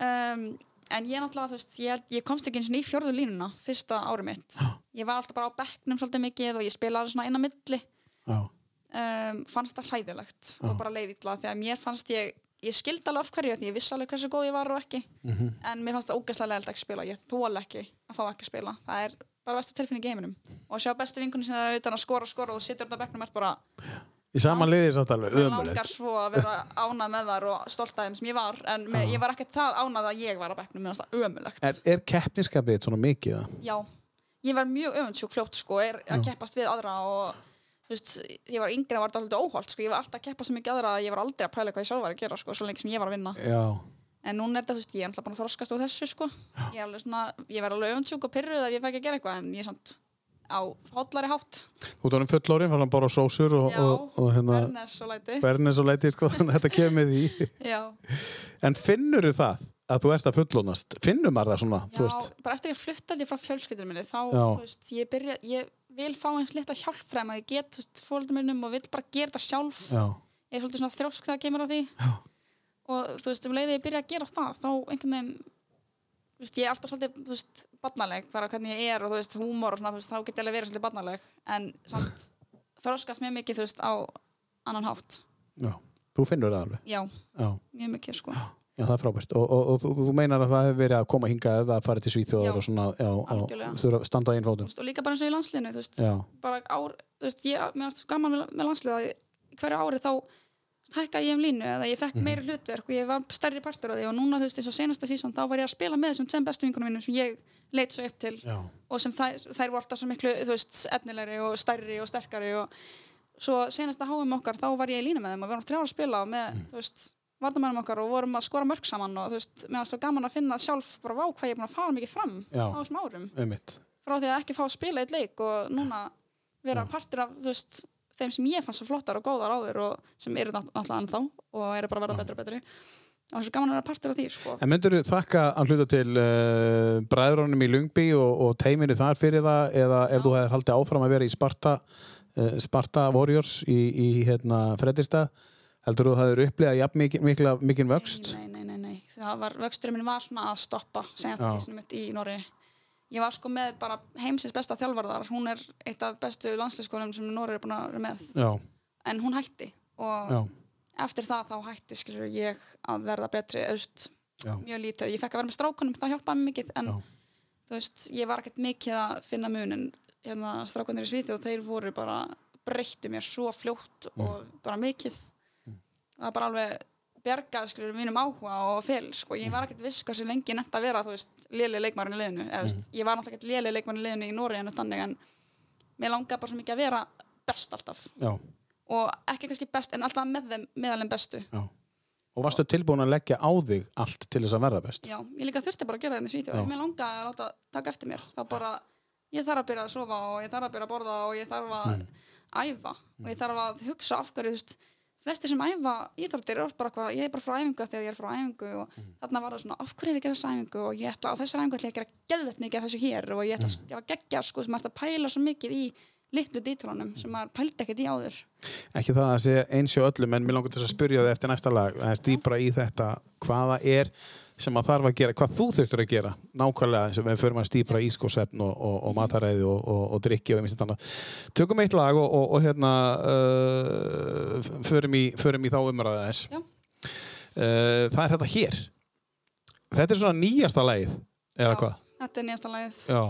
Um, en ég náttúrulega, þú veist, ég, held- ég komst ekki eins og í fjórðu línuna fyrsta árið mitt. Ég var alltaf bara á bekknum svolítið mikið og ég spilaði svona inn á milli
Já.
um, fannst það hræðilegt og bara leið illa þegar mér fannst ég ég skildi alveg af hverju því ég vissi alveg hversu góð ég var og ekki en mér fannst það ógeðslega leðilegt ekki spila ég þóla ekki að fá ekki að spila það er bara besta tilfinning í heiminum og að sjá bestu vinkunni sinna auðvitað að skora skora og þú situr þetta bekknum er bara
Í saman liði er þetta alveg
Mér langar
ömulegt.
svo að vera ánað með þar og stolt af þeim sem ég var en með, ég var ekkert það ánað að ég var á bekknum mér fannst það ömulegt
Er, er keppniskapið þitt svona mikið? eða?
já, ég var mjög öfundsjúk fljótt sko, er að keppast við aðra og þú veist, ég var yngri að var þetta alltaf óholt sko, ég var alltaf að keppa svo mikið aðra að ég var aldrei að pæla hvað ég sjálf var að gera sko, svo lengi sem ég var að vinna
Já.
en núna er þetta, þú veist, ég er alltaf bara að þroskast úr þessu sko, ég er alveg svona, ég verð alveg öfundsjúk og pyrruð ef ég fæ ekki að gera eitthvað en ég er samt á hollari hátt
Þú tónum fullóri, fann hann bara sósur og,
já,
og, og hérna
Ernest og læti
bernes og leiti, sko, þannig að þetta kemur með því.
já,
En finnur það að þú ert að fullónast? Finnur maður það svona,
Já,
þú veist?
bara eftir að ég flutt aldrei frá fjölskyldinu minni þá,
Já.
þú veist, ég byrja ég vil fá eins litla hjálp fræm að ég get, þú veist, fólöldum minnum og vil bara gera þetta sjálf
Já.
ég er svolítið svona þrjósk þegar kemur að því
Já.
og þú veist, um leiðið ég byrja að gera það þá einhvern veginn þú veist, ég er alltaf svolítið, þú veist, barnaleg bara hvernig ég er og þú veist, húmor og svona þú veist, þá get ég alveg verið svolítið barnaleg en samt þróskast mjög mikið, þú veist, á annan hátt,
Já. Þú finnur það alveg.
já,
Já.
mjög mikið, sko
Já, það er frábært. Og, og, og þú, þú meinar að það hefur verið að koma hingað eða að fara til
Já,
Svíþjóðar og svona, já,
algjörlega.
og þurfa að standa einn
Þú
fótum.
veist, og líka bara eins og í landsliðinu, þú veist,
Já,
bara ár, þú veist, ég, mér varst gaman með, með landsliða í hverju ári þá þú veist, hækkaði ég um línu eða ég
Mhm.
fekk meiri hlutverk og ég var stærri partur af því og núna þú veist eins og senasta sísón þá var ég að spila með þessum tveim bestu vingunum mínum sem ég leit svo upp til
já,
og sem þær, þær voru alltaf svo miklu þú veist, efnilegri og stærri og sterkari og svo senasta háum okkar þá var ég í línu með þeim og við vorum þrjá að spila og með,
Mhm.
þú veist, vartamennum okkar og vorum að skora mörg saman og þú veist, mér var svo gaman að finna sjálf bara vá hvað ég er búin að fara mikið fram
Já.
á þessum árum
einmitt.
frá því að ekki fá að spila eitt leik og núna vera partur af þú veist, þeim sem ég fannst svo flottar og góðar áður og sem eru nátt- náttúrulega ennþá og eru bara að verða betri og betri og það er svo gaman að vera partur af því sko.
En myndur þú þakka að hluta til uh, bræðrunum í Lungby og, og teiminu þar fyrir það eða ef þú hefur haldið áfram að vera í Sparta, uh, Sparta Warriors í, í hérna, Fredristad, heldur þú að það eru upplegað jafn mikil, mikil, mikil vöxt?
Nei, nei, nei, nei, nei. það var, vöxturinn minn var svona að stoppa senast
Já.
að sísunum mitt í Norri ég var sko með bara heimsins besta þjálfarðar hún er eitt af bestu landsleiskonum sem Norri er búin að vera með
Já,
en hún hætti og
já,
eftir það þá hætti skilur ég að verða betri eðust,
Já.
mjög lítið, ég fekk að vera með strákunum það hjálpaði mér mikið en
Já.
þú veist, ég var ekkert mikið að finna munin hérna strákunir í Svíþjóð, þeir voru bara breyttu mér svo fljótt
Mm.
og bara mikið það bara alveg bjargaði skilur mínum áhuga og fel, sko, ég var ekkert viss hversu lengi netta að vera, þú veist, léli leikmærin í liðinu, eða þú
Mm.
veist, ég var náttúrulega ekkert léli leikmærin í liðinu í Nóri en þannig en mér langaði bara svo mikið að vera best alltaf
já,
og ekki kannski best en alltaf með þeim meðalinn bestu
já. Og varstu tilbúin að leggja á þig allt til þess að verða best?
já, ég líka þurfti bara að gera þetta í
Já.
Svíþjóð mér langaði að láta taka eftir mér þá bara, ég þarf að byrja að sofa og ég þarf að byrja að borða og ég þarf að æfa og ég þarf að hugsa af hverju þú veist, flestir sem æfa íþróttir er oft bara hvað, ég er bara frá æfingu af því að ég er frá æfingu og þarna var það svona, af hverju er ég að gera þessa æfingu og ég ætla á þessar æfingu ætla ég að gera geðvett mikið af þessu hér og ég ætla að- ég var geggja sko sem ert að pæla svo mikið í litlu dítrunum sem maður pældi ekkert í áður
ekki það að segja eins og öllum en mér langar til þess að spyrja þig eftir næsta lag aðeins dýpra í þetta hvaða er sem að þarf að gera, hvað þú þurftur að gera nákvæmlega sem við förum að stýpra í sko svefn og, og, og mataræði og, og, og drikki og einmitt annað. Tökum eitt lag og, og, og hérna uh, förum, í, förum í þá umræða þess
Já.
uh, Það er þetta hér Þetta er svona nýjasta lagið eða
Já.
hvað?
þetta er nýjasta lagið
Já,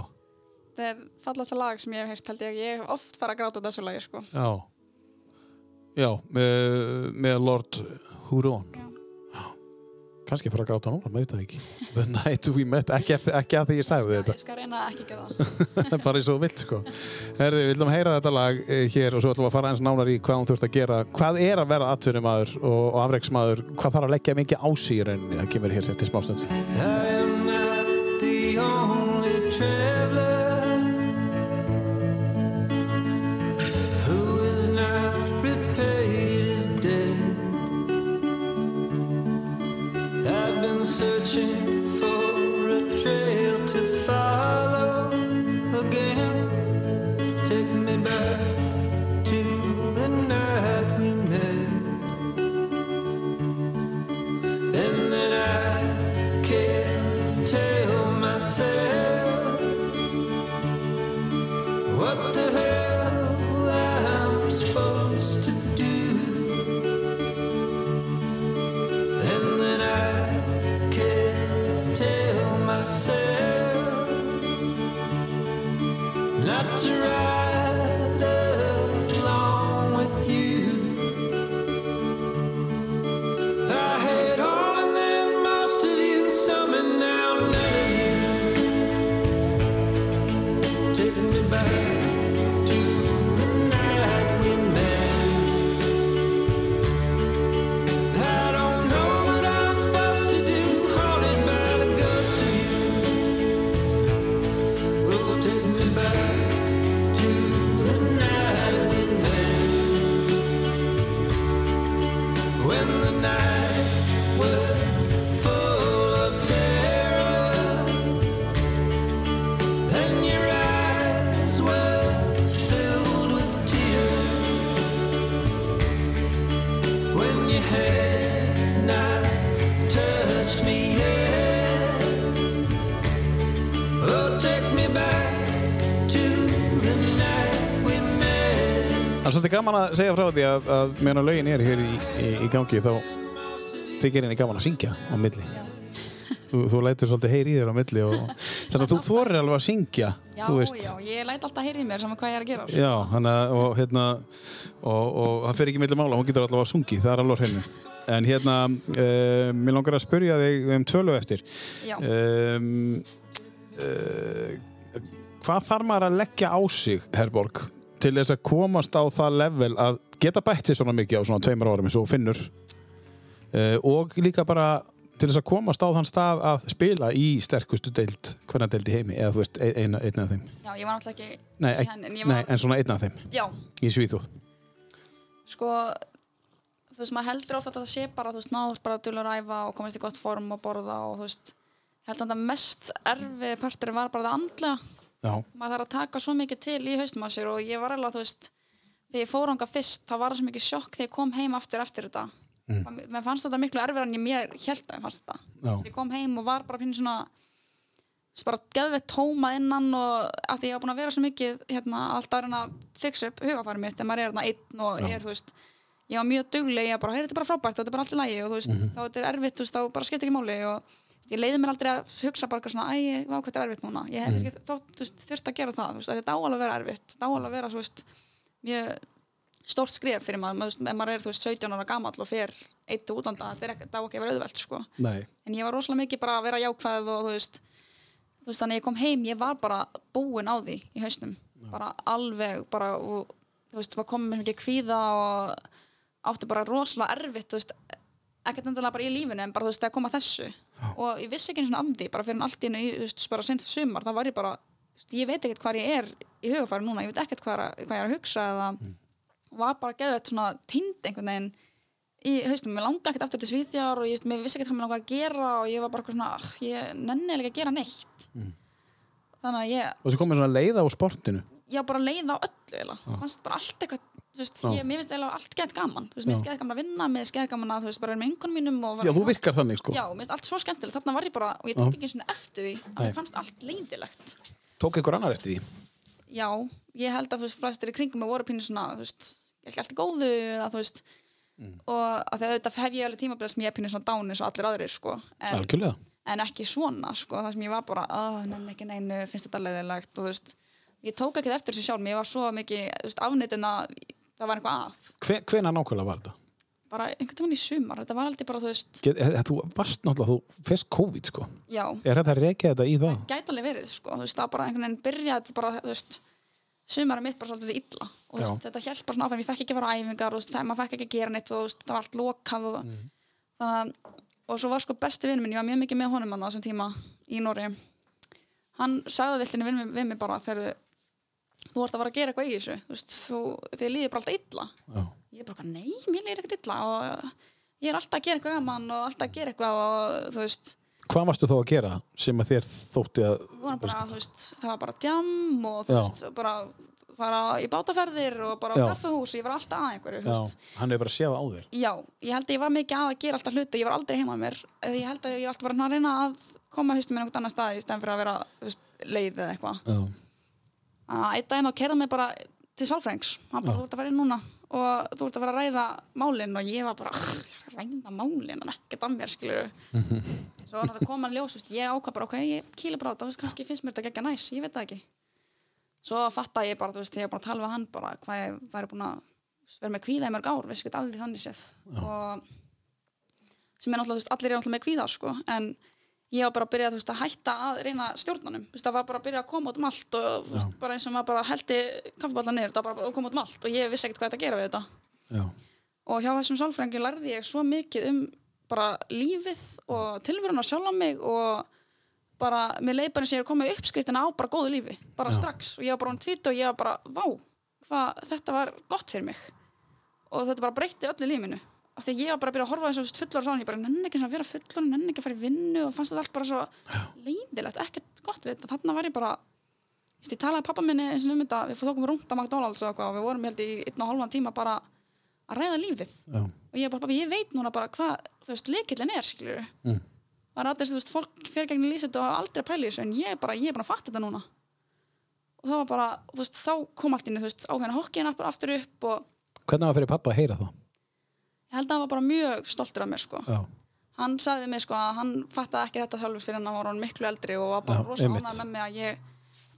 Þetta er fallasta lag sem ég hef heyrt, held ég. Ég hef oft farið að gráta út af þessu lagi, sko.
já Já, með, með Lord Huron
Já.
kannski bara að gráta núna, maður veit það ekki The night we met, ekki, eftir, ekki að því ég sagði
Ég,
þetta,
skal reyna að ekki gera það.
bara eins og þú vilt sko Herði, við viljum heyra þetta lag eh, hér og svo ætlum við að fara eins nánar í hvað hún þurft að gera hvað er að vera atvinnumadur og, og afreiksmadur, hvað þarf að leggja mikið á sig í rauninni, það kemur hér til smástund
I am not the only traveler who is not repaid his debt. I've been searching for a trail to follow again. Take me back to the night we met, and then I can't tell myself what the hell I'm supposed to do. And then I can't tell myself not to ride along with you. I had all and then most of you, some and now none of you. Taking me back to the night we met. I don't know what I'm supposed to do, haunted by the ghost of you. Will take me back to the night we met, when the night was full of terror, and your eyes were filled with tears when you had not touched me yet. Oh, take me back to the night we met.
Það er svolítið gaman að segja frá því að, að meðan að lögin er hér í, í, í gangi þá þykir henni gaman að syngja á milli. Þú, þú lætur svolítið heyri í þér á milli og þannig að þú þorir alveg að syngja,
Já,
þú veist.
já, ég læt alltaf heyrið mér saman hvað ég er að gera. sko.
Já, þannig að, og hérna, og, og það fer ekki milli mála, hún getur allavega að sungi, það er alveg á hreinu. En hérna, uh, mér langar að spyrja þig um tvölu eftir.
Já.
Um, uh, hvað þarf maður að leggja á sig, Herborg, til þess að komast á það level að geta bætt sér svona mikið á svona tveimur árum eins og finnur uh, og líka bara til þess að komast á þann stað að spila í sterkustu deild, hvernig deild í heimi eða þú veist, ein, eina, eina af þeim
Já, ég var náttúrulega ekki
Nei,
í
ek,
henni,
en,
en ég
nei,
var,
en svona einn af þeim
já,
í Svíþjóð
sko, þú veist, maður heldur ofta að það sé bara, þú veist, náður bara til að ræfa og komast í gott form og borða og þú veist, ég held að það mest erfi parturinn var bara það andlega,
Já,
maður þarf að taka svo mikið til í haustum að sér og ég var alveg, þú veist, þegar ég fór ánga fyrst, það var svo mikið sjokk þegar ég kom heim aftur eftir þetta. Mm. Mér fannst þetta miklu erfir en ég mér held að mér fannst þetta.
já,
ég kom heim og var bara pínu svona s- bara geðveitt tóma innan og að því ég var búin að vera svo mikið hérna, alltaf að reyna að fixa upp hugafæri mitt en maður er hérna einn og ég er þú veist ég var mjög dugleg, ég bara, heyrðu þetta er bara frábært þetta er bara allt í lagi og þú veist, þá þetta er erfitt þú veist, þá bara skiptir ekki máli og þú veist, ég leiði mér aldrei að hugsa bara eitthvað svona, æ, vá, hvað þetta er erfitt núna ég hef mm -hmm. þá veist, þurft að gera það, þú veist, að þetta á alveg að vera erfitt þetta á alveg að vera, þú veist, mjög stórt skrif fyrir maður, maður, þú veist, ef maður er, þú veist, 17 ára gamall og fer eitt til útlanda, þetta er ekki, það á ekki að vera auðvelt, sko
nei
en ég var rosalega mikið bara að vera jákvæð og þú veist, þú veist þannig að ég kom heim ég var bara búin á því í hausnum bara alveg bara og þú veist, var komin með mikið kvíða og átti bara rosalega erfitt þú veist, ekkert endilega bara í lífinu en bara þú veist, að koma að þessu og ég vissi ekki einu svona andi, bara fyrir en allt í einu í, þú veist, bara senst sumar, þá var ég bara þú veist, ég veit ekkert hvað ég er í hugafæri núna ég veit ekkert hvað, er að- hvað ég er að hugsa eða var bara geðveitt svona tind einhvern veginn í haustum, mér langa ekkert aftur til Svíþjár og ég, veist, mér vissi ekkert hvað mér langa að gera og ég var bara eitthvað svona, "Ah, ég nenni eiginlega ekki að gera neitt
Mm.
þannig að ég,
Og svo komið svona leiða á sportinu
ég var bara leið á öllu eiginlega, ah. fannst bara allt eitthvað þú veist, ég, mér finnst eiginlega allt gett gaman þú veist, mér finnst gett gaman að vinna, mér finnst gett gaman að þú veist, bara vera með yngunum mínum og
Já, þú virkar þannig sko
já, mér finnst allt svo skemmtilegt, þarna var ég bara og ég tók ekki svona eftir því, að mér fannst allt leyndilegt
Tók einhver annar eftir því
já, ég held að þú veist, flestir í kringum mig voru pínu svona, þú veist, er ekki allt í góðu eða þú veist og að því að auðvitað hef ég alveg tímabilega sem ég er pínu svona dán eins og allir aðrir sko en,
Algjörlega
en ekki svona sko, það sem ég var bara, að nenni ekki neinu, finnst þetta leiðilegt og þú veist, ég tók ekki eftir þessu sjálf, mér var svo mikið, þú veist, afnýtin að það var eitthvað að,
Hve- Hvenær nákvæmlega var þetta?
bara einhvern tímann í sumar, þetta var aldrei bara, þú veist,
Get, eh, þú varst náttúrulega, þú fyrst COVID sko
já,
Er þetta að rekja þetta í það?
gæti alveg verið sko, þú veist, það bara einhvern veginn byrjaði þetta bara, þú veist, sumar mitt bara svolítið illa og þú veist, þetta hjælt bara svona áfram, ég fekk ekki að fara á æfingar, þú veist, fe- maður fekk ekki að gera neitt og þú veist, það var allt lokað og þannig að, og svo var sko besti vinn minn, ég var mjög mikið með honum hann á þessum tíma í Nóri, hann sagði alltaf við, mig- við mig bara þegar þú þú ert að fara að gera eitthvað í þessu, þú veist, þú, þið líður bara alltaf illa
Já.
ég bara, eitthvað, nei, mér líður ekkert illa og ég er alltaf að gera eitthvað gaman og alltaf að gera eitthvað og þú veist,
Hvað varstu þá að gera sem að þér þótti að
vorum bara, þú veist, það var bara djam og þú
Já.
veist, og bara fara í bátaferðir og bara
Já.
á kaffehús ég var alltaf að einhverju, þú veist
hann hefur bara séð það á þér
Já, ég held að ég var mikið að að gera alltaf hluti ég var aldrei heima með mér, Eða ég held að ég var alltaf bara svona að reyna að koma haustum minn einhvern annar stað í stæðan fyrir að vera þú veist, leið eða eitthvað
Já,
Þannig að einn daginn þá kerði mig bara til sálfrængs hann bara, þú ert að fara inn núna og þú ert að fara að ræða málin og ég var bara, "Ugh, ræða málin en ekkert að mér, skilur svo þannig að það kom hann ljós, þú veist, ég ákvað bara, ok, ég kýla bara á þetta, þú veist, kannski finnst mér þetta geggja næs, ég veit það ekki svo fatta ég bara, þú veist, þegar ég var bara að tala við hann bara, hvað ég væri búin að vera með kvíða í mörg ár, veist ekki allir þannig séð og sem er náttúrulega, þú veist, allir er náttúrulega með kvíða sko, en ég var bara að byrja þú veist, að hætta að reyna stjórnunum þú veist, það var bara að byrja að koma út um allt og þú veist, bara eins og maður bara heldi kaffiballan niður það var bara að koma út um allt og ég vissi ekkert hvað þetta gera við þetta
já,
og hjá þessum sálfræðingi lærði ég svo mikið um bara lífið og tilverun að sjálfa mig og bara, mér leið bara eins og ég er komið uppskriftina á bara góðu lífi, bara strax og ég var bara hún tvít og ég var bara, vá hvað þetta var gott fyrir mig og þetta bara breytti öllu lífinu af því að ég var bara að byrja að horfa eins og þú veist, fullorðin sáðan ég bara nenni ekki svona að vera fullorðin, nenni ekki að fara í vinnu og fannst þetta allt bara svo leiðilegt ekkert gott við þetta, þannig var ég bara þú veist, ég talaði pappa minni eins og um þetta við tókum rúnt að McDonalds og eitthvað og við vorum ég held í einn og hálfan tíma bara að ræða lífið
já,
og ég bara, bara ég veit núna bara hvað, þú veist, leikillin er, skilur
Mm.
það er allir, þú veist, fólk fyrir gegn lýsit og hafa aldrei að pæla í þessu, en ég er bara, ég er bara að fatta þetta núna og það var bara, þú veist, þá kom allt inni, þú veist, áhengina hokkina bara aftur upp og
hvernig var fyrir pappa að heyra það
ég held að hann var bara mjög stoltur af mér, sko
já,
hann sagði við mig, sko, að hann fattaði ekki þetta þjálfur fyrir hann var hann miklu eldri og var bara
Já,
rosa
einmitt.
ánægð með mig að ég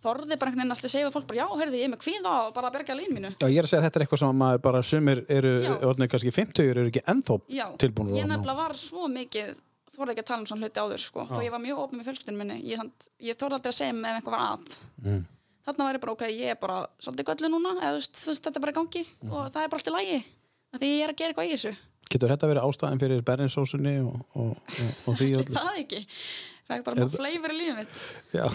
þorði bara einhvern veginn alltaf að segja við fólk bara, já, heyrðu, ég er með kvíða og bara að berga lín mínu
já, ég er að segja að þetta er eitthvað sem að maður bara sumir eru,
Já.
orðnir kannski 50 eru ekki ennþá
Já,
tilbúinur
ég nefnilega var svo mikið þorði ekki að tala um svona hluti áður sko. þó ég var mjög opin með fjölskyldinu minni ég, samt, ég þorði aldrei að segja með ef einhver var að mm. þarna var ég bara ok, ég er bara svolítið göllu núna, eða, þú veist, þú veist, þetta er bara í gangi og það er bara allt í lægi því ég er að gera eitthvað í þessu,
getur þetta verið ástæðan fyrir berninsósunni og, og, og, og því öllu
það er ekki það er bara fleifur í lífið mitt
Já.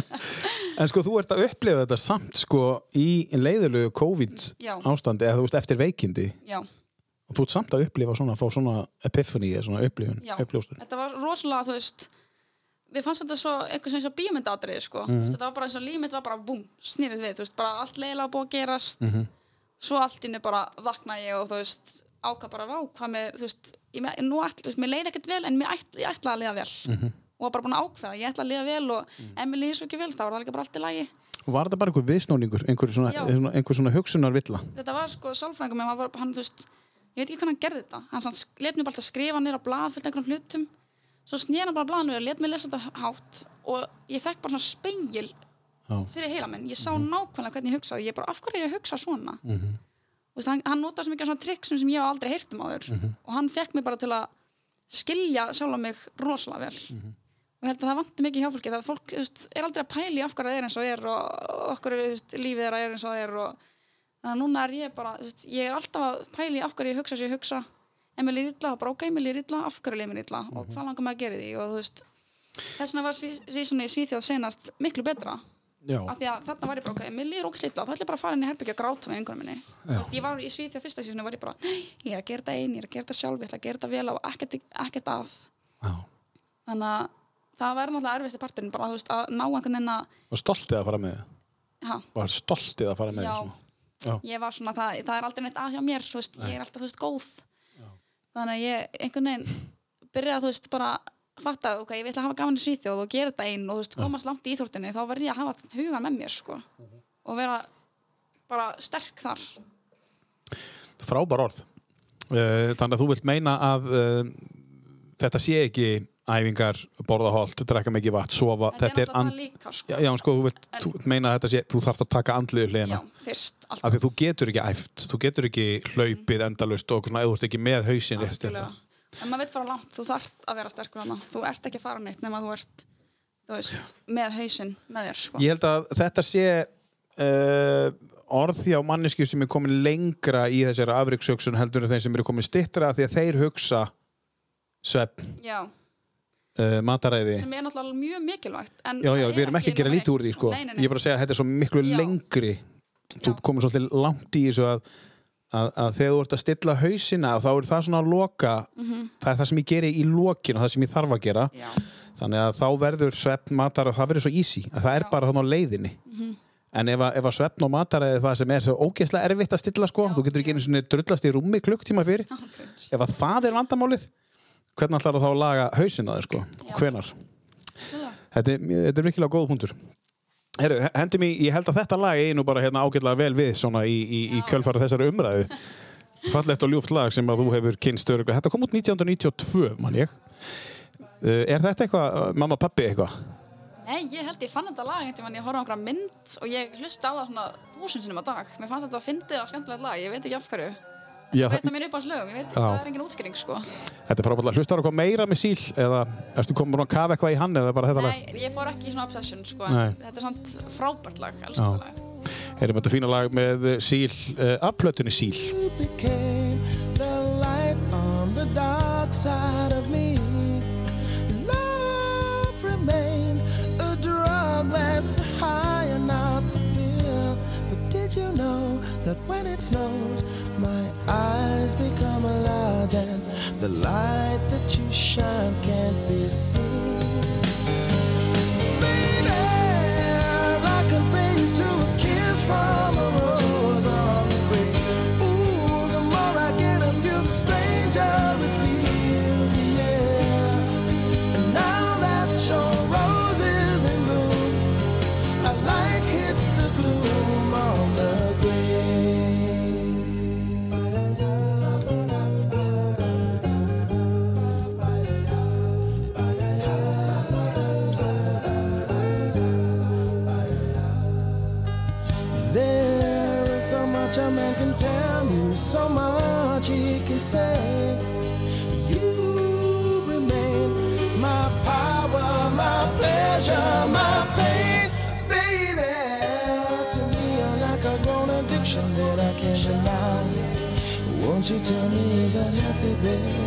en sko þú ert að upplifa þetta samt sko í leiðilegu COVID
Já.
ástandi eða þú veist eftir veikindi
já,
og þú ert samt að upplifa svona, fá svona epiphany eða svona upplifun,
já,
uppljóstun
þetta var rosalega þú veist við fannst þetta svo eitthvað sem eins og bímyndatriði sko. mm -hmm. þetta var bara eins og límit var bara búm, snýrið við, þú veist, bara allt leiðilega búið að gerast svo allt inni bara vakna ég og þú veist ákvað bara vá, hvað mér, þú veist ég, me- nú ætl, þú veist, mér leið ekkert vel en mér ætl, ég ætla að liða vel og var bara búin að ákveða, ég ætla að liða vel og ef mér liði svo ekki vel þá var það líka bara allt í lagi
og var þetta bara einhver viðsnóningur, einhver svona,
Já.
svona, einhver svona hugsunarvilla
þetta var sko, sálfræðingum minn, hann, var, hann þú veist ég veit ekki hvernig hann gerði þetta hann sann, let mér bara alltaf skrifa niður á blað fyllt einhverjum hlutum svo snýr hann bara blaðinu og let mér lesa þetta hátt og ég fekk bara svona speil fyrir heila minn, ég sá nákvæmlega hvernig ég hugsaði ég bara, af hverju er ég að hugsa svona mm -hmm. hann, hann notaði svo mikið af svona trikksum sem ég hef aldrei heyrt um áður og hann fekk mér bara til að skilja sjálfa mig rosalega vel og ég held að það vanti mikið hjá fólki það fólk þú veist, er aldrei að pæli af hverju það er eins og er og okkur þú veist, lífið þeirra er eins og það er og þannig að núna er ég bara þú veist, ég er alltaf að pæli af hverju ég hugsa sem ég hugsa ef mér líður illa, þá bara ok, mér líður illa af hverju líður mér illa og hvað langar maður að gera í því og þú veist þess vegna var sví- sísoni í Svíþjóð senast miklu betra
já,
af því að þarna var ég bara ok, mér líður ógst illa þá ætla ég bara að fara inn í herbyggja að gráta með einhverjum minni þú veist, ég var í Svíþjóð fyrsta sísoni var ég bara nei, ég er að gera þetta ein, ég er að gera þetta sjálf ég ætla að gera þetta vel og ekkert, ekkert að
já.
þannig að það var náttúrulega erfiðsti parturinn bara þú veist að ná einhvern veginn að
var stoltið að fara með það
ha,
var stoltið að fara með
Já.
það svona. Já.
ég var svona, það, það er aldrei neitt að hjá mér þú veist, ég er alltaf, þú veist, góð þannig að ég einhvern veginn byrjaði að, þú veist, bara fatta ok, ég vil að hafa gaman í Svíþjóð og gera þetta einn og þú veist, komast langt í íþórtinni, þá verð ég að hafa hugan með mér, sko
Mhm.
og vera bara sterk þar
frábær orð uh, þannig að þú vilt meina að uh, þetta sé ekki æfingar, borða holt, drekka mikið vatn sofa,
en
þetta
ég
er
náttúrulega
and,
það líka, sko,
já, já, en sko, þú vilt þú vilt meina að þetta sé, þú þarft að taka andliðu hliðina
já, fyrst
af
alltaf,
því að þú getur ekki æft, þú getur ekki hlaupið endalust og okkur svona, eða þú ert ekki með hausinn rétt til
algjörlega. en maður veit fara langt, þú þarft að vera sterkur hana þú ert ekki að fara neitt nema þú ert þú veist, með hausinn með þér, sko
Ég held að þetta sé uh, orð hjá mannesku sem er komin lengra í þessari afrikshugsun heldur en þeim sem eru komin stittra því að þeir hugsa svepp,
já,
uh, mataræði
sem er náttúrulega mjög mikilvægt en
Já, já,
það er
við erum ekki að gera
nema
lítið úr
eitt,
því sko.
nei, nei, nei.
Ég er bara að segja að þetta er svo miklu
Já.
lengri Þú
Já.
komur svolítið langt í þessu að, að, að þegar þú ert að stilla hausina þá er það svona að loka það er það sem ég geri í lokin og það sem ég þarf að gera
Mhm. Já.
þannig að þá verður svefn matar það verður svo easy, að það er bara þannig á leiðinni en ef, að- ef að svefn og matar er það sem er svo ógeðslega erfitt að stilla sko, þú getur ekki einu svona drullast í rúmi klukktíma fyrir ef að það er vandamálið hvernig ætlar þá að laga hausina þér sko, hvenar þetta er, þetta er virkilega góð punktur Heru, hendum í, ég held að þetta lag einu bara hérna ágætlega vel við svona í, í, í kjölfara þessari umræðu fallegt og ljúft lag sem að þú hefur kynst örugglega. þetta kom út Eh, 1992 mann ég uh, er þetta eitthvað, uh, mamma pappi eitthvað
Nei, ég held ég fann þetta lag einhvern veginn, ég horfði á einhverja mynd og ég hlusta á það svona þúsundsinnum á dag. Mér fannst þetta að fyndið og skemmtilegt lag, ég veit ekki af hverju.
Já,
Þetta er eitt af mér upp á slögum, ég veit
Já.
það er engin útskýring sko.
þetta er frábært lag. Hlustar eitthvað meira með síl eða erstu komin að kafa eitthvað í hann eða bara þetta lag?
Nei, ég fór ekki í svona obsession sko,
Nei.
en þetta er samt frábært lag, elsku
Já.
þetta lag.
Heyrðum þetta fína lag með eh, síl, uh, af plötunni síl.
became the light on the dark side of me. Love remains a drug that's the high and not the pill. But did you know that when it snows, my eyes become large and the light that you shine can't be seen? I can bring you to a kiss from a rose on the grave. Ooh, the more I get of you, the stranger it feels, yeah. And now that your rose is in bloom, a light hits the gloom on the There is so much a man can tell you, so much he can say. You remain my power, my pleasure, my pain, baby. To me, you're like a grown addiction that I can't deny. Won't you tell me, is that healthy, baby?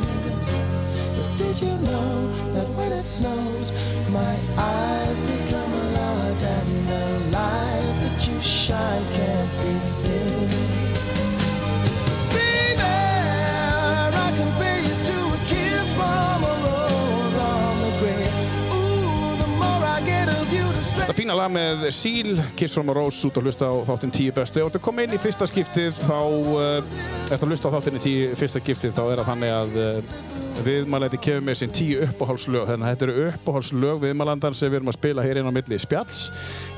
But did you know that when it snows, my eyes become large and the light that you shine can't be seen? Baby, I can pay you to a kiss from a rose on the grave. Ooh, the more I get of you, the stranger.
Þetta fína lag með Síl, Kiss from a Rose, út að hlusta á þáttinn 10 bestu. Ef þú ert að koma inn í fyrsta skiptið, þá uh, eftir að hlusta á þáttinn í 10 fyrsta skiptið, þá er það þannig að uh, viðmælæti kemur með sín 10 uppáhálslög. Þannig að þetta eru uppáhálslög viðmælandan sem við erum að spila hér inn á milli spjalls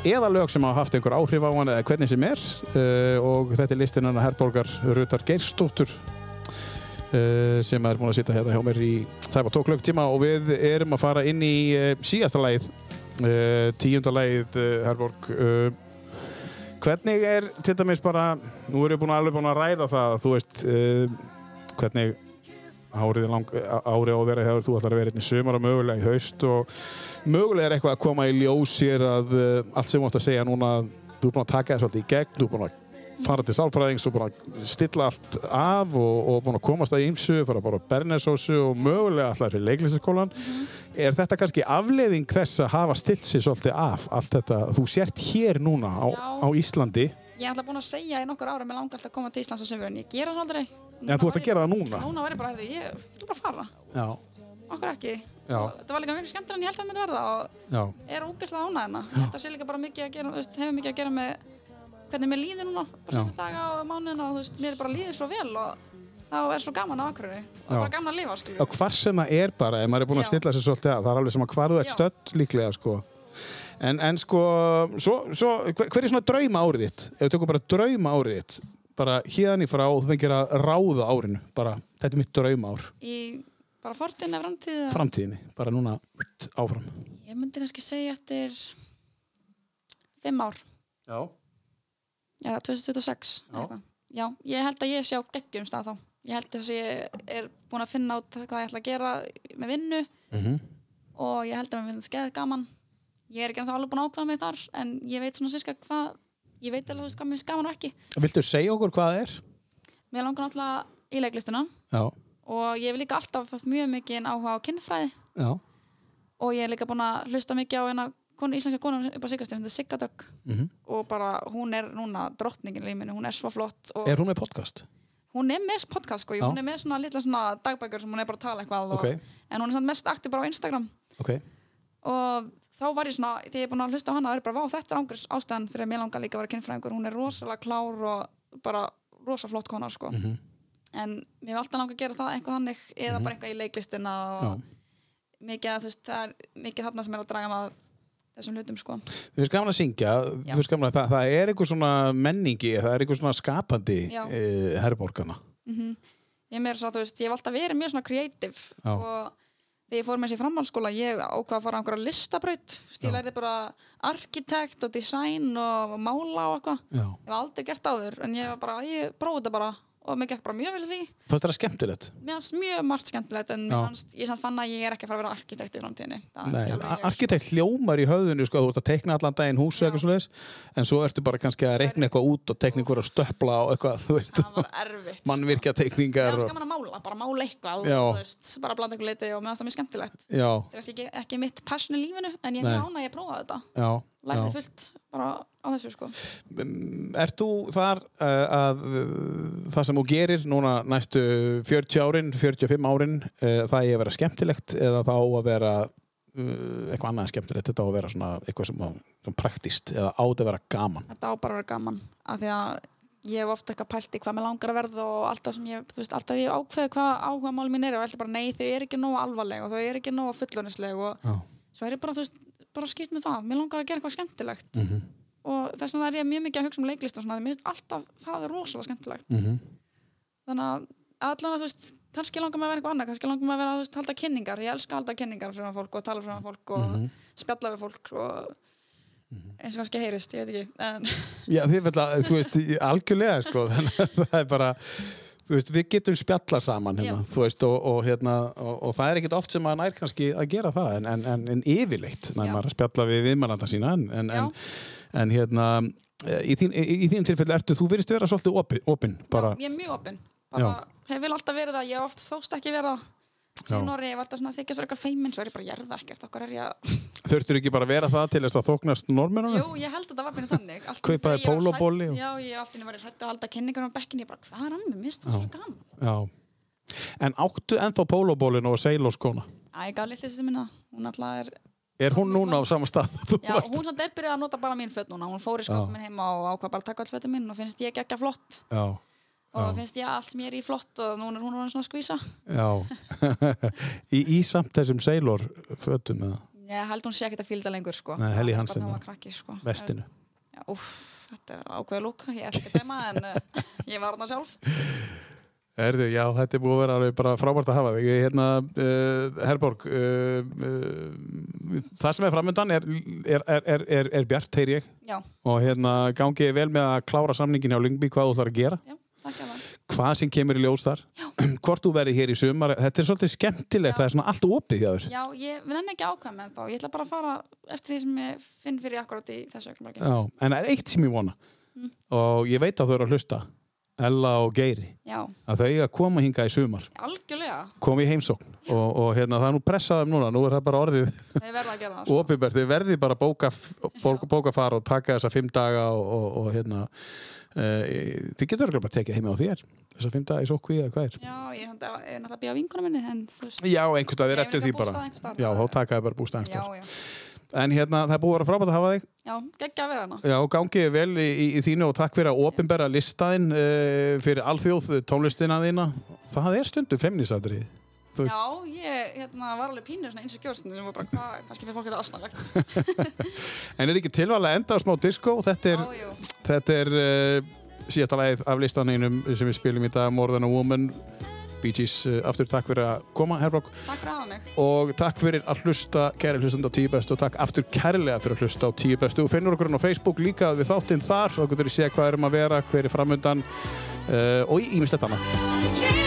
eða lög sem hafa haft einhver áhrif á hann eða hvernig sem er. Uh, og þetta er listinn hennar Herborgar Rutar Geirsdóttur eh, sem er búin að sitja hérna hjá mér í tæpa tók lögtíma og við erum að fara inn í eh, síðasta lagið uh, tíunda lagið uh, Herborg uh, hvernig er til dæmis bara nú erum við búin að alveg búin að ræða það þú veist uh, hvernig árið, er lang, árið á að vera hefur þú ætlar að vera einn í sumar og mögulega í haust og mögulega er eitthvað að koma í ljósir að uh, allt sem þú átt að segja núna þú er búin að taka það svolítið í gegn þú er búin að fara til sálfræðings og búin að stilla allt af og, og búin að komast að ýmsu, fara bara á bernesósu og mögulega allar í leiklistaskólan er þetta kannski afleiðing þess að hafa stillt sér svolítið af allt þetta, þú sért hér núna á,
Já.
á Íslandi,
Ég er alltaf búin að segja í nokkur ára, mér langar alltaf að koma til Íslands á sömurinn, ég gera það aldrei.
en þú ert að gera það núna
Núna var ég bara, heyrðu, ég, þú bara að fara,
Já,
okkur ekki.
Já.
Og Þetta var líka mjög skemmtilega en ég held að þetta verða og
já,
er ógeðslega ánæðina þetta sé líka bara mikið að gera, þú veist, hefur mikið að gera með hvernig mér líður núna
Já.
bara þessi daga og mánuðina og þú veist, mér bara líður svo vel og þá er svo gaman á akkurri og
Já.
bara gaman að lifa, skilju
og hvar sem það er bara ef maður er búin að
Já.
stilla sér svolítið af, það er alveg sem að hvar þú ert
Já.
stödd líklega sko en, en sko, svo, svo hver, hver er svona drauma árið þitt, ef við tökum bara drauma árið þitt bara hérðan í frá og þú fengir að ráða árinu, bara þetta er mitt drauma ár,
í bara fortin eða framtíð eða-
framtíðinni, bara núna áfram.
ég myndi kannski segja eftir fimm ár
Já.
Já, 2026 eða eitthvað. Já, ég held að ég sé á geggjum stað þá Ég held þess að ég er búin að finna át hvað ég ætla að gera með vinnu
Mhm.
og ég held að mér finnst skeið gaman Ég er ekki ennþá alveg búin að ákvaða mig þar en ég veit svona sérska hvað ég veit alveg þú veist hvað mér finnst gaman og ekki
Viltu segja okkur hvað það er?
Mér langar náttúrulega í leiklistina
Já,
og ég hef líka alltaf haft mjög mikið áhuga á kynfræði
já,
og ég er líka búin að hlusta mikið á hérna konu, íslenska konu upp á Siggastum, þetta er Siggadögg
Mhm.
og bara hún er núna drottningin í líminu, hún er svo flott og
er hún með podcast?
hún er með podcast sko,
Já.
hún er með svona litla svona dagbækur sem hún er bara að tala eitthvað
Ok.
og, en hún er samt mest aktiv bara á Instagram
Ok,
og þá var ég svona, þegar ég er búin að hlusta á hana þá er ég bara, vá, þetta er ángur ástæðan fyrir að mér langar líka að vera kynfræðingur, hún er rosalega klár og bara rosa flott kona sko
Mhm.
en mér hef alltaf langar að gera það eitthvað þannig, eða bara eitthvað í leiklistina og mikið að þú veist það er mikið þarna sem er að draga maður þessum hlutum sko,
þú finnst gaman að syngja,
Já.
þú finnst gaman að það, það er einhver svona menningi, það er einhver svona skapandi
Já.
uh, herborgana.
ég er meira svo að þú veist ég hef alltaf verið mjög svona kreatív
Já.
og þegar ég fór með sér framhaldsskóla ég ákvað að fara á einhverja listabraut Þú veist, ég lærði bara arkitekt og design og mála og eitthvað
Já.
ég hef aldrei gert áður en ég var bara, ég prófaði þetta bara og mér gekk bara mjög vel í því
Fannst þetta skemmtilegt?
mér fannst mjög margt skemmtilegt en
Já.
mér fannst, ég samt fann að ég er ekki að fara að vera arkitekt í framtíðinni Það er
Nei,
ekki alveg ég er.
arkitekt hljómar í höfðinu sko, þú ert að teikna allan daginn hús eða eitthvað svoleiðis en svo ertu bara kannski að reikna eitthvað út og teikna eitthvað að stöpla og eitthvað, þú veit,
það var erfitt
mannvirkja
Mér
teikningar
fannst
og,
gaman að mála, bara mála eitthvað
Já.
þú veist, bara blanda eitthvað liti og mér fannst það mjög skemmtilegt
já,
það er kannski ekki, ekki mitt passion í lífinu en ég
Nei.
er ána að ég prófaði þetta
já, já.
lærði fullt bara á þessu sko
Ert þú þar uh, að uh, það sem þú gerir núna næstu 40 árin, 45 árin uh, það eigi að vera skemmtilegt eða það á að vera uh, eitthvað annað en skemmtilegt, þetta á að vera svona eitthvað sem, sem praktist eða átt að vera gaman
þetta á bara að vera gaman af því að ég hef ofta eitthvað pælt í hvað mér langar að verða og alltaf sem ég, þú veist, alltaf ég ákveði hvað áhuga mál mín er og alltaf bara nei, þau eru ekki nógu alvarleg og þau eru ekki nógu fulloninsleg og
Já.
svo er ég bara, þú veist, bara skipt með það mér langar að gera eitthvað skemmtilegt og þess vegna er ég mjög mikið að hugsa um leiklist og svona því mér finnst alltaf, það er rosalega skemmtilegt
Mhm.
þannig að allan að þú veist kannski langar maður að vera eitthvað annað, kannski langar maður að vera þú veist, halda kynningar, ég elska að halda kynningar fyrir fólk og tala fyrir fólk og
Mhm.
spjalla við fólk og eins og kannski heyrist, ég veit ekki en
Já, þið vel að, þú veist, í- algjörlega sko, þannig að það er bara þú veist, við getum spjallar saman hérna, þú veist, og, og hérna og, og það er ekkert oft sem maður nær kannski að gera það en, en, en, en yfirleitt, nær
Já.
maður að spjalla við viðmælanda sína, en, en,
Já.
en, en hérna, eh, í þín, í, í þín tilfelli ertu, þú virðist vera svolítið opin, opin bara,
Já, ég er mjög opinn bara, hef vil alltaf verið það, ég hef oft þóst ekki verið það Í
Já.
Noregi, ég var alltaf svona að þykja sér eitthvað feimin svo er ég bara, ég er það ekkert, okkur er ég að
þurftur ekki bara að vera það til þess að þóknast normunum?
Jú, ég held að það var byrjun þannig Allt í einu
Kaupaði
þegar ég var
pólóbolli
hrædd-
og-
Já, ég allt í einu var hrætt að halda kynningar á bekkinu, ég bara, hvað er hann mér, mist það svo gaman
Já. En áttu ennþá pólóbólin og seilóskóna?
Æ, ég gaf litli sér minna, hún alltaf er
Er hún núna á sama stað? Þú
Já,
varst-
hún samt er byrjuð að nota bara mín fött núna Hún fór í skott minn heima og ákvað bara að taka all fötum minn og finnst ég ekki flott
Já.
og finnst ég allt sem ég er í flott og núna er hún orðin svona skvísa
Já, í, í samt þessum seilor fötum eða
Ég held hún sé ekkert að fílda lengur sko
Nei, Helly
Aðeins
Hansen
bara þegar hún
og
var krakki, sko.
vestinu.
Já, úf, þetta er ákveðu lúk, ég ætla ekki að dæma en uh, ég var hana sjálf.
Erðu, já, þetta er búið að vera alveg bara frábært að hafa þig. Ég, Hérna, uh, Herborg, uh, uh, það sem er framöndan er, er, er, er, er, er bjart, heyr ég,
Já,
og hérna gangi ég vel með að klára samningin hjá Lyngby, hvað þú ætlar að gera,
já, takk ég það.
hvað sem kemur í ljós þar, hvort þú verði hér í sumar, þetta er svolítið skemmtilegt, það er svona allt opið hjá þér.
Já, ég nenni ekki ákveð með þá, ég ætla bara að fara eftir því sem ég finn fyrir akkurat í þessu augnablikki.
Já, en það er eitt sem ég vona, og ég veit að þau eru að hlusta, Ella og Geiri,
Já,
að þau eiga að koma hinga í sumar.
algjörlega,
kom í heimsókn og, og hérna það er nú pressaðum núna, nú er það bara orðið
þau verða að gera það. sko.
opinbært, þið verðið bara að bóka, bóka, bóka fara og taka þessa fimm daga og, og, og hérna e, þið getur örugglega bara tekið heima á þér þessa fimm daga í sókví eða hvað er
Já, ég er náttúrulega ég er náttúrulega að býja á vingunum minni, en þú veist,
Já, einhvers stað, þið
Ég
rettu því
vil líka
bara
bústað einhvers staðar.
Já, þá takaði bara bústa
já,
einhverstað
já,
En hérna, það er búið að vera frábært að hafa þig
já, geggja að vera hana.
Já, gangið þér vel í, í, í þínu og takk fyrir að opinbera listaðin e, fyrir alþjóð tónlistina þína Það er stundu femnisadrið Þú veist-
Já, ég hérna, var alveg pínu svona eins og kjórstundum, ég var bara, hvað, kannski fyrir fólk þetta aðsnarlegt.
En er ekki tilvæglega enda á smá disco Þetta er,
Já, jú.
Þetta er uh, síðasta lagið af listaninum sem við spilum í dag, More Than a Woman Bee Gees, uh, aftur takk fyrir að koma Herblokk
Takk fyrir að hafa mig.
og takk fyrir að hlusta, kæri hlustandi á 10 bestu og takk aftur kærlega fyrir að hlusta á 10 bestu og finnur okkur inn á Facebook líka við þáttinn þar og getur þið séð hvað erum að vera, hver er framöndan uh, og ímislegt eh, annað
Dream Oh,